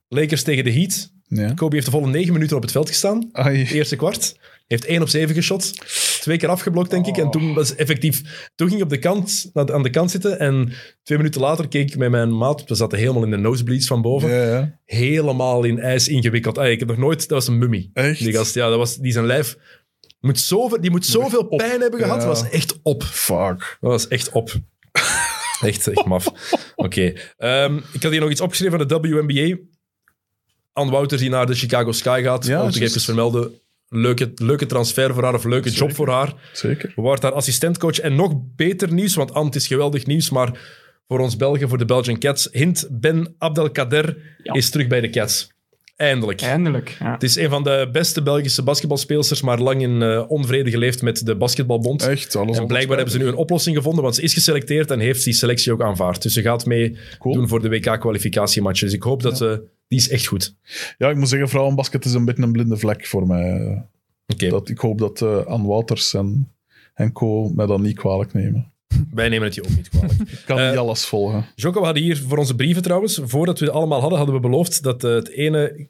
B: Lakers tegen de Heat.
C: ja.
B: Kobe heeft de volle negen minuten op het veld gestaan.
C: Ai.
B: Eerste kwart. Heeft 1 op 7 geschot. Twee keer afgeblokt, denk ik. En toen was effectief. Toen ging ik op de kant, aan de- aan de kant zitten. En twee minuten later keek ik met mijn maat. We zaten helemaal in de nosebleeds van boven.
C: Ja, ja.
B: Helemaal in ijs ingewikkeld. Ah, ik heb nog nooit. Dat was een mummie.
C: Echt?
B: Die gast, ja, dat was, die zijn lijf. Moet zoveel, die moet zoveel
C: op.
B: pijn hebben gehad.
C: Ja.
B: Dat was echt op.
C: Fuck.
B: Dat was echt op. Echt, echt maf. Oké. Ehm, ik had hier nog iets opgeschreven van de WNBA. Ann Wouters die naar de Chicago Sky gaat.
C: Ja,
B: om te
C: juist.
B: even vermelden. Leuke, leuke transfer voor haar of leuke job voor haar.
C: Zeker.
B: Wordt haar assistentcoach. En nog beter nieuws, want Ant is geweldig nieuws, maar voor ons Belgen, voor de Belgian Cats. Hint, Ben Abdelkader is terug bij de Cats. Eindelijk.
D: Eindelijk. Ja.
B: Het is een van de beste Belgische basketbalspeelsters, maar lang in eh, onvrede geleefd met de Basketbalbond.
C: Echt, alles
B: En Dus blijkbaar hebben ze nu een oplossing gevonden, want ze is geselecteerd en heeft die selectie ook aanvaard. Dus ze gaat mee
C: Cool.
B: doen voor de WK-kwalificatiematch. Dus ik hoop dat ze... Die is echt goed.
C: Ja, ik moet zeggen, vrouwenbasket is een beetje een blinde vlek voor mij. Eh,
B: Oké,
C: Dat, ik hoop dat eh Ann Wouters en, en co mij dat niet kwalijk nemen.
B: wij nemen het je ook niet kwalijk.
C: Ik kan
B: Eh,
C: niet alles volgen.
B: Jocko, we hadden hier voor onze brieven trouwens, voordat we het allemaal hadden, hadden we beloofd dat eh, het ene...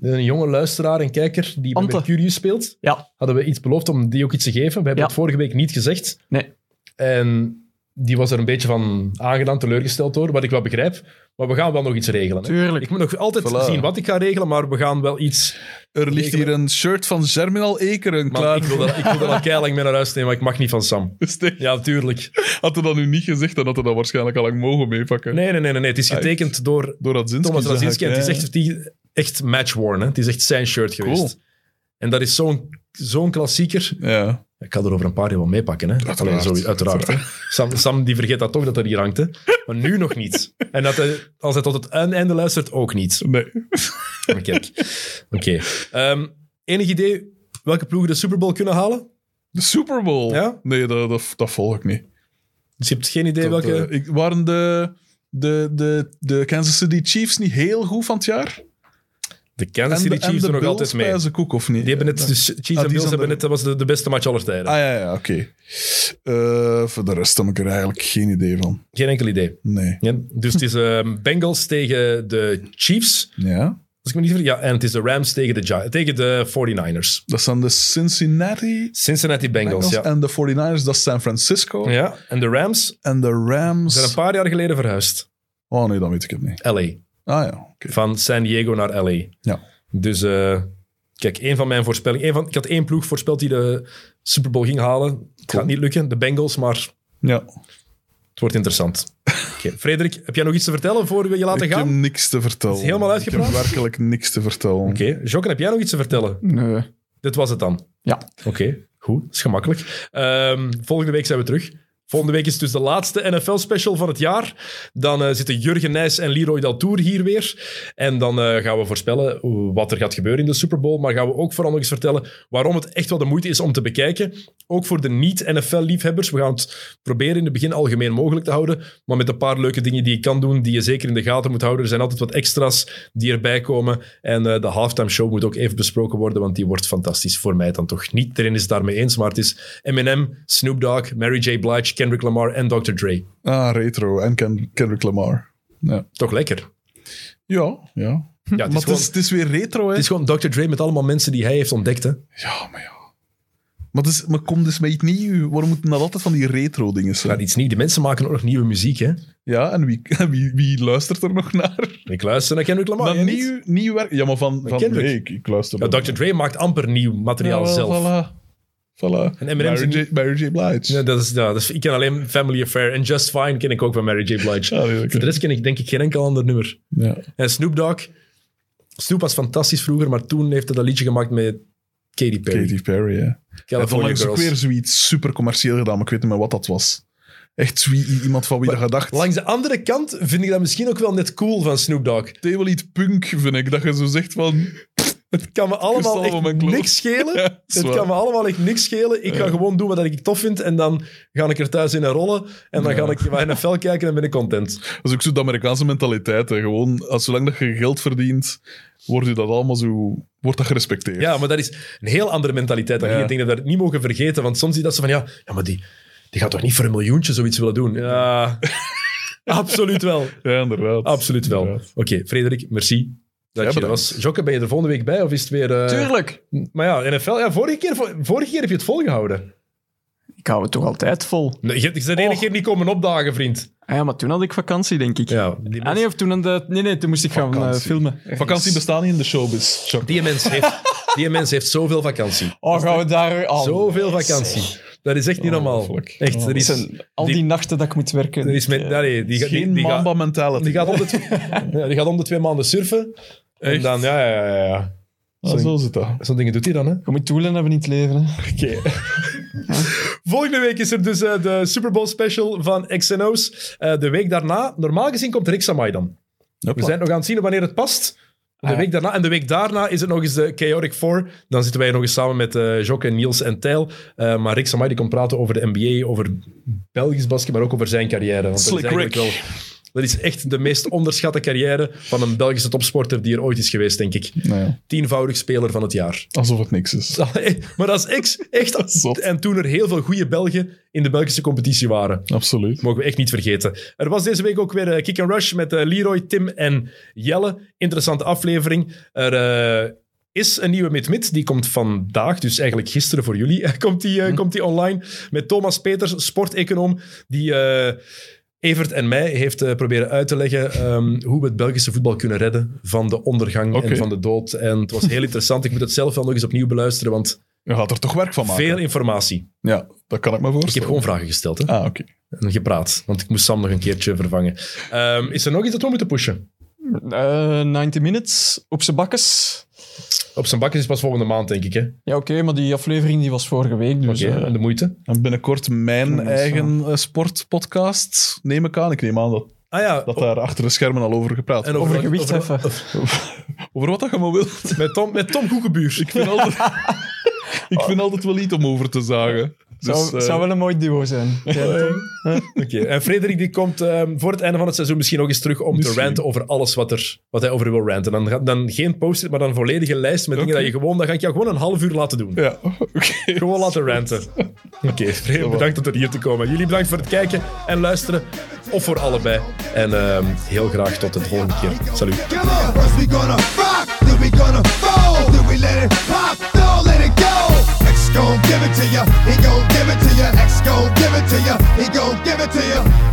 B: Een jonge luisteraar en kijker die bij
D: Ante.
B: Mercurius speelt,
D: Ja.
B: hadden we iets beloofd om die ook iets te geven. We hebben
D: Ja.
B: het vorige week niet gezegd.
D: Nee.
B: En die was er een beetje van aangedaan, teleurgesteld door, wat ik wel begrijp. Maar we gaan wel nog iets regelen. hè.
D: Tuurlijk.
B: Ik moet nog altijd
C: Voilà.
B: zien wat ik ga regelen, maar we gaan wel iets.
C: Er ligt hier een shirt van Germinal Ekeren
B: Maar
C: klaar.
B: ik wil dat, ik wil dat al keilang mee naar huis nemen, maar ik mag niet van Sam.
C: Steek.
B: Ja, tuurlijk.
C: Had hij dat nu niet gezegd, dan had hij dat waarschijnlijk al lang mogen meepakken.
B: Nee, nee, nee, nee, nee. Het is getekend door
C: Door dat zin.
B: Thomas Razinski. En het is echt, die, echt matchworn. hè. Het is echt zijn shirt geweest.
C: Cool.
B: En dat is zo'n zo'n klassieker.
C: Ja.
B: Ik ga er over een paar jaar wel meepakken. Hè?
C: Uiteraard.
B: Allee, sorry, uiteraard. hè. Sam, Sam die vergeet dat toch dat dat hier hangt. Hè? Maar nu nog niet. En dat hij, als hij tot het einde luistert, ook niet.
C: Nee.
B: Maar kijk. Oké. Ehm, enig idee welke ploegen de Super Bowl kunnen halen?
C: De Super Bowl.
B: Ja?
C: Nee, dat, dat, dat volg ik niet.
B: Dus je hebt geen idee
C: Dat,
B: welke.
C: eh, ik, waren de, de, de, de Kansas City Chiefs niet heel goed van het jaar?
B: de Kansas City
C: en de, en
B: Chiefs
C: de
B: doen nog
C: Bills
B: altijd mee.
C: bij ze koek, of niet?
B: Die hebben dus- het, de Chiefs
C: Ah,
B: en
C: die
B: Bills
C: zijn
B: hebben
C: er-
B: het, dat was de, de beste match aller tijden.
C: Ah ja, ja oké. Eh, voor de rest heb ik er eigenlijk geen idee van.
B: Geen enkel idee.
C: Nee.
B: Ja, dus het is ehm, Bengals tegen de Chiefs.
C: Ja.
B: Als ik me niet vergis. Ja, en het is de Rams tegen de, Gi- tegen de 49ers.
C: Dat zijn de Cincinnati
B: Cincinnati Bengals,
C: Bengals en de 49ers, dat is San Francisco.
B: ja. Ja, en de Rams
C: En de Rams.
B: zijn een paar jaar geleden verhuisd.
C: Oh nee, dan weet ik het niet.
B: LA.
C: Ah ja, oké.
B: Van San Diego naar LA.
C: Ja.
B: Dus eh, kijk, een van mijn voorspellingen. één van, ik had één ploeg voorspeld die de Super Bowl ging halen. Het gaat niet lukken, de Bengals, maar het
C: Ja.
B: wordt interessant. Oké, Frederik, heb jij nog iets te vertellen voor we je laten
C: Ik ehm, heb
B: gaan?
C: niks te vertellen.
B: Is helemaal
C: Ik
B: uitgepraat?
C: heb werkelijk niks te vertellen.
B: Oké, Jokken, heb jij nog iets te vertellen?
D: Nee.
B: Dit was het dan.
D: Ja.
B: Oké, goed. Dat is gemakkelijk. Ehm, volgende week zijn we terug. Volgende week is dus de laatste NFL-special van het jaar. Dan eh, zitten Jurgen Nijs en Leroy Daltour hier weer. En dan eh, gaan we voorspellen wat er gaat gebeuren in de Super Bowl. Maar gaan we ook vooral nog eens vertellen waarom het echt wel de moeite is om te bekijken. Ook voor de niet-NFL-liefhebbers. We gaan het proberen in het begin algemeen mogelijk te houden. Maar met een paar leuke dingen die je kan doen, die je zeker in de gaten moet houden. Er zijn altijd wat extra's die erbij komen. En eh, de halftime show moet ook even besproken worden, want die wordt fantastisch. Voor mij dan toch niet. Iedereen is het daarmee eens, maar het is Eminem, Snoop Dogg, Mary J. Blige, Kendrick Lamar en Dr. Dre.
C: Ah, retro en Ken- Kendrick Lamar. Ja.
B: Toch lekker.
C: Ja, ja.
B: Ja, het,
C: maar
B: is
C: het Hm, is,
B: gewoon,
C: het is weer retro, hè?
B: het is gewoon Dr. Dre met allemaal mensen die hij heeft ontdekt. Hè.
C: Ja, maar ja. Maar, het is, maar kom dus met iets nieuws. Waarom moeten dat altijd van die retro-dingen zijn?
B: Maar iets niet. Die mensen maken ook nog nieuwe muziek. Hè.
C: Ja, en wie, en wie, wie luistert er nog naar?
B: Ik luister naar Kendrick Lamar.
C: Maar
B: jij niet?
C: nieuw, nieuw werk. Ja, maar van, van
B: Kendrick.
C: nee, ik, ik luister
B: Ja,
C: naar-
B: Dr. Dre maakt amper nieuw materiaal
C: Jawel,
B: zelf.
C: Voilà. Voilà.
B: En M&M's
C: Mary,
B: in-
C: J, Mary J. Blige.
B: Ja, dat is, ja, dat is- ik ken alleen Family Affair en Just Fine ken ik ook van Mary J. Blige.
C: Ja, die ook, ja.
B: Voor de rest ken ik denk ik geen enkel ander nummer.
C: Ja.
B: En Snoop Dogg. Snoop was fantastisch vroeger, maar toen heeft hij dat liedje gemaakt met Katy Perry.
C: Katy Perry, ja. En
B: California
C: onlangs ook
B: Girls.
C: weer zoiets super commercieel gedaan, maar ik weet niet meer wat dat was. Echt zoiets- iemand van wie dat gedacht.
B: Langs de andere kant vind ik dat misschien ook wel net cool van Snoop Dogg.
C: Theolied punk, vind ik. Dat je zo zegt van...
B: Het kan me allemaal
C: Kristal
B: echt
C: van mijn kloot.
B: niks schelen.
C: Ja, dat is
B: het
C: waar.
B: kan me allemaal echt niks schelen. Ik ga gewoon doen wat ik tof vind en dan ga ik er thuis in rollen. En dan ga ik naar NFL kijken en ben ik content.
C: Dat is ook zo de Amerikaanse mentaliteit. Hè. Gewoon, als, zolang dat je geld verdient, wordt je dat allemaal zo... Wordt dat gerespecteerd.
B: Ja, maar dat is een heel andere mentaliteit. dan hier.
C: Ja.
B: Ik denk dat we dat niet mogen vergeten. Want soms zie je dat ze van, ja, ja maar die, die gaat toch niet voor een miljoentje zoiets willen doen? Ja, absoluut wel.
C: Ja, inderdaad.
B: Absoluut wel. Oké,
C: Inderdaad.
B: Frederik, merci. Dat je er
C: bedankt.
B: was. Jokke, ben je er volgende week bij of is het weer... eh,
D: Tuurlijk.
B: Maar ja, NFL, ja, vorige, keer, vor- vorige keer heb je het volgehouden.
E: Ik hou het toch altijd vol.
B: Nee, je bent de enige keer niet komen opdagen, vriend.
D: Ah ja, maar toen had ik vakantie, denk ik.
B: Ja, die
D: Ah nee, of toen... aan de- Nee, nee, toen moest ik gaan eh,
C: Vakantie.
D: filmen.
C: Vakantie bestaat niet in de showbiz. Chuck.
B: Die mens heeft, die mens heeft zoveel vakantie.
D: Oh, gaan we daar... al?
B: Zoveel vakantie. Dat is echt niet normaal.
C: Ongelooflijk.
B: Echt, er
D: Dat
B: is,
D: zijn al die,
B: die-
D: nachten dat ik moet werken.
B: er is met,
D: Ik, eh,
B: nee, die,
C: Het
B: gaat-
C: is
B: die,
C: Geen
B: die gaat-
C: mamba mentality.
B: die gaat om de twee- ja, die gaat om de twee maanden surfen. En
C: Echt?
B: dan, ja, ja, ja, ja.
C: Ah, zo zit dat.
B: Zo'n dingen doet hij dan, hè?
D: Je moet doelen hebben in het leven. Hè.
B: Volgende week is er dus eh, de Super Bowl special van XNO's. Eh de week daarna, normaal gezien komt Rick Samai dan. We zijn nog aan het zien wanneer het past. De week daarna. En de week daarna is het nog eens de Chaotic Four. Dan zitten wij nog eens samen met eh Jok en Niels en Tijl. Eh, maar Rick Samai die komt praten over de NBA, over Belgisch basket, maar ook over zijn carrière. Want dat is
C: Slick
B: eigenlijk
C: Rick.
B: dat is echt de meest onderschatte carrière van een Belgische topsporter die er ooit is geweest, denk ik.
C: Nou ja,
B: Tienvoudig speler van het jaar.
C: alsof het niks is.
B: maar dat is ex- echt...
C: Zot.
B: En toen er heel veel goede Belgen in de Belgische competitie waren.
C: Absoluut.
B: Mogen we echt niet vergeten. Er was deze week ook weer eh, Kick and Rush met eh, Leroy, Tim en Jelle. Interessante aflevering. Er eh, is een nieuwe Mid-Mid. Die komt vandaag, dus eigenlijk gisteren voor jullie, eh, komt die, eh,
C: Hm.
B: komt die online. Met Thomas Peters, sporteconoom, die... eh, Evert en mij heeft eh, proberen uit te leggen ehm, hoe we het Belgische voetbal kunnen redden van de ondergang
C: Oké.
B: en van de dood. En het was heel interessant. Ik moet het zelf wel nog eens opnieuw beluisteren, want
C: Je gaat er toch werk van maken.
B: veel informatie.
C: Ja, dat kan ik me
B: Ik heb
C: voorstellen.
B: gewoon vragen gesteld. Hè?
C: Ah, oké.
B: en gepraat. Want ik moest Sam nog een keertje vervangen. Ehm, is er nog iets dat we moeten pushen?
D: Eh, 90 minutes op zijn bakkes.
B: Op zijn bakken is pas volgende maand, denk ik. Hè?
D: Ja, oké, maar die aflevering die was vorige week. Dus,
B: Oké,
D: eh,
B: en de moeite.
C: En binnenkort mijn
D: mensen.
C: eigen eh, sportpodcast, neem ik aan. Ik neem aan dat,
B: Ah ja,
C: dat daar achter de schermen al over gepraat
B: en
C: wordt.
D: over gewicht heffen.
C: Over wat dat je maar wilt.
B: Met Tom, met Tom Goekebuur.
C: Ik vind altijd, ik vind altijd wel iets om over te zagen. Dus,
D: zou,
C: eh,
D: zou wel een mooi duo zijn. Ja, Tom?
B: Oké, En Frederik die komt ehm, voor het einde van het seizoen misschien nog eens terug om te
C: Misschien.
B: ranten over alles wat, er, wat hij over wil ranten. Dan, ga- dan geen post-it, maar dan een volledige lijst met dingen
C: Oké.
B: dat je gewoon... Dan ga ik jou gewoon een half uur laten doen.
C: Ja, oké.
B: Gewoon laten ranten. Oké, Frederik, bedankt om tot hier te komen. Jullie bedankt voor het kijken en luisteren. Of voor allebei. En ehm, heel graag tot de volgende keer. Salut.
A: Come on. First we gonna rock, then we gonna roll, then we let it pop, don't let it go. X gon' give it to ya, he gon' give it to ya. X gon' give it to ya, he gon' give it to ya.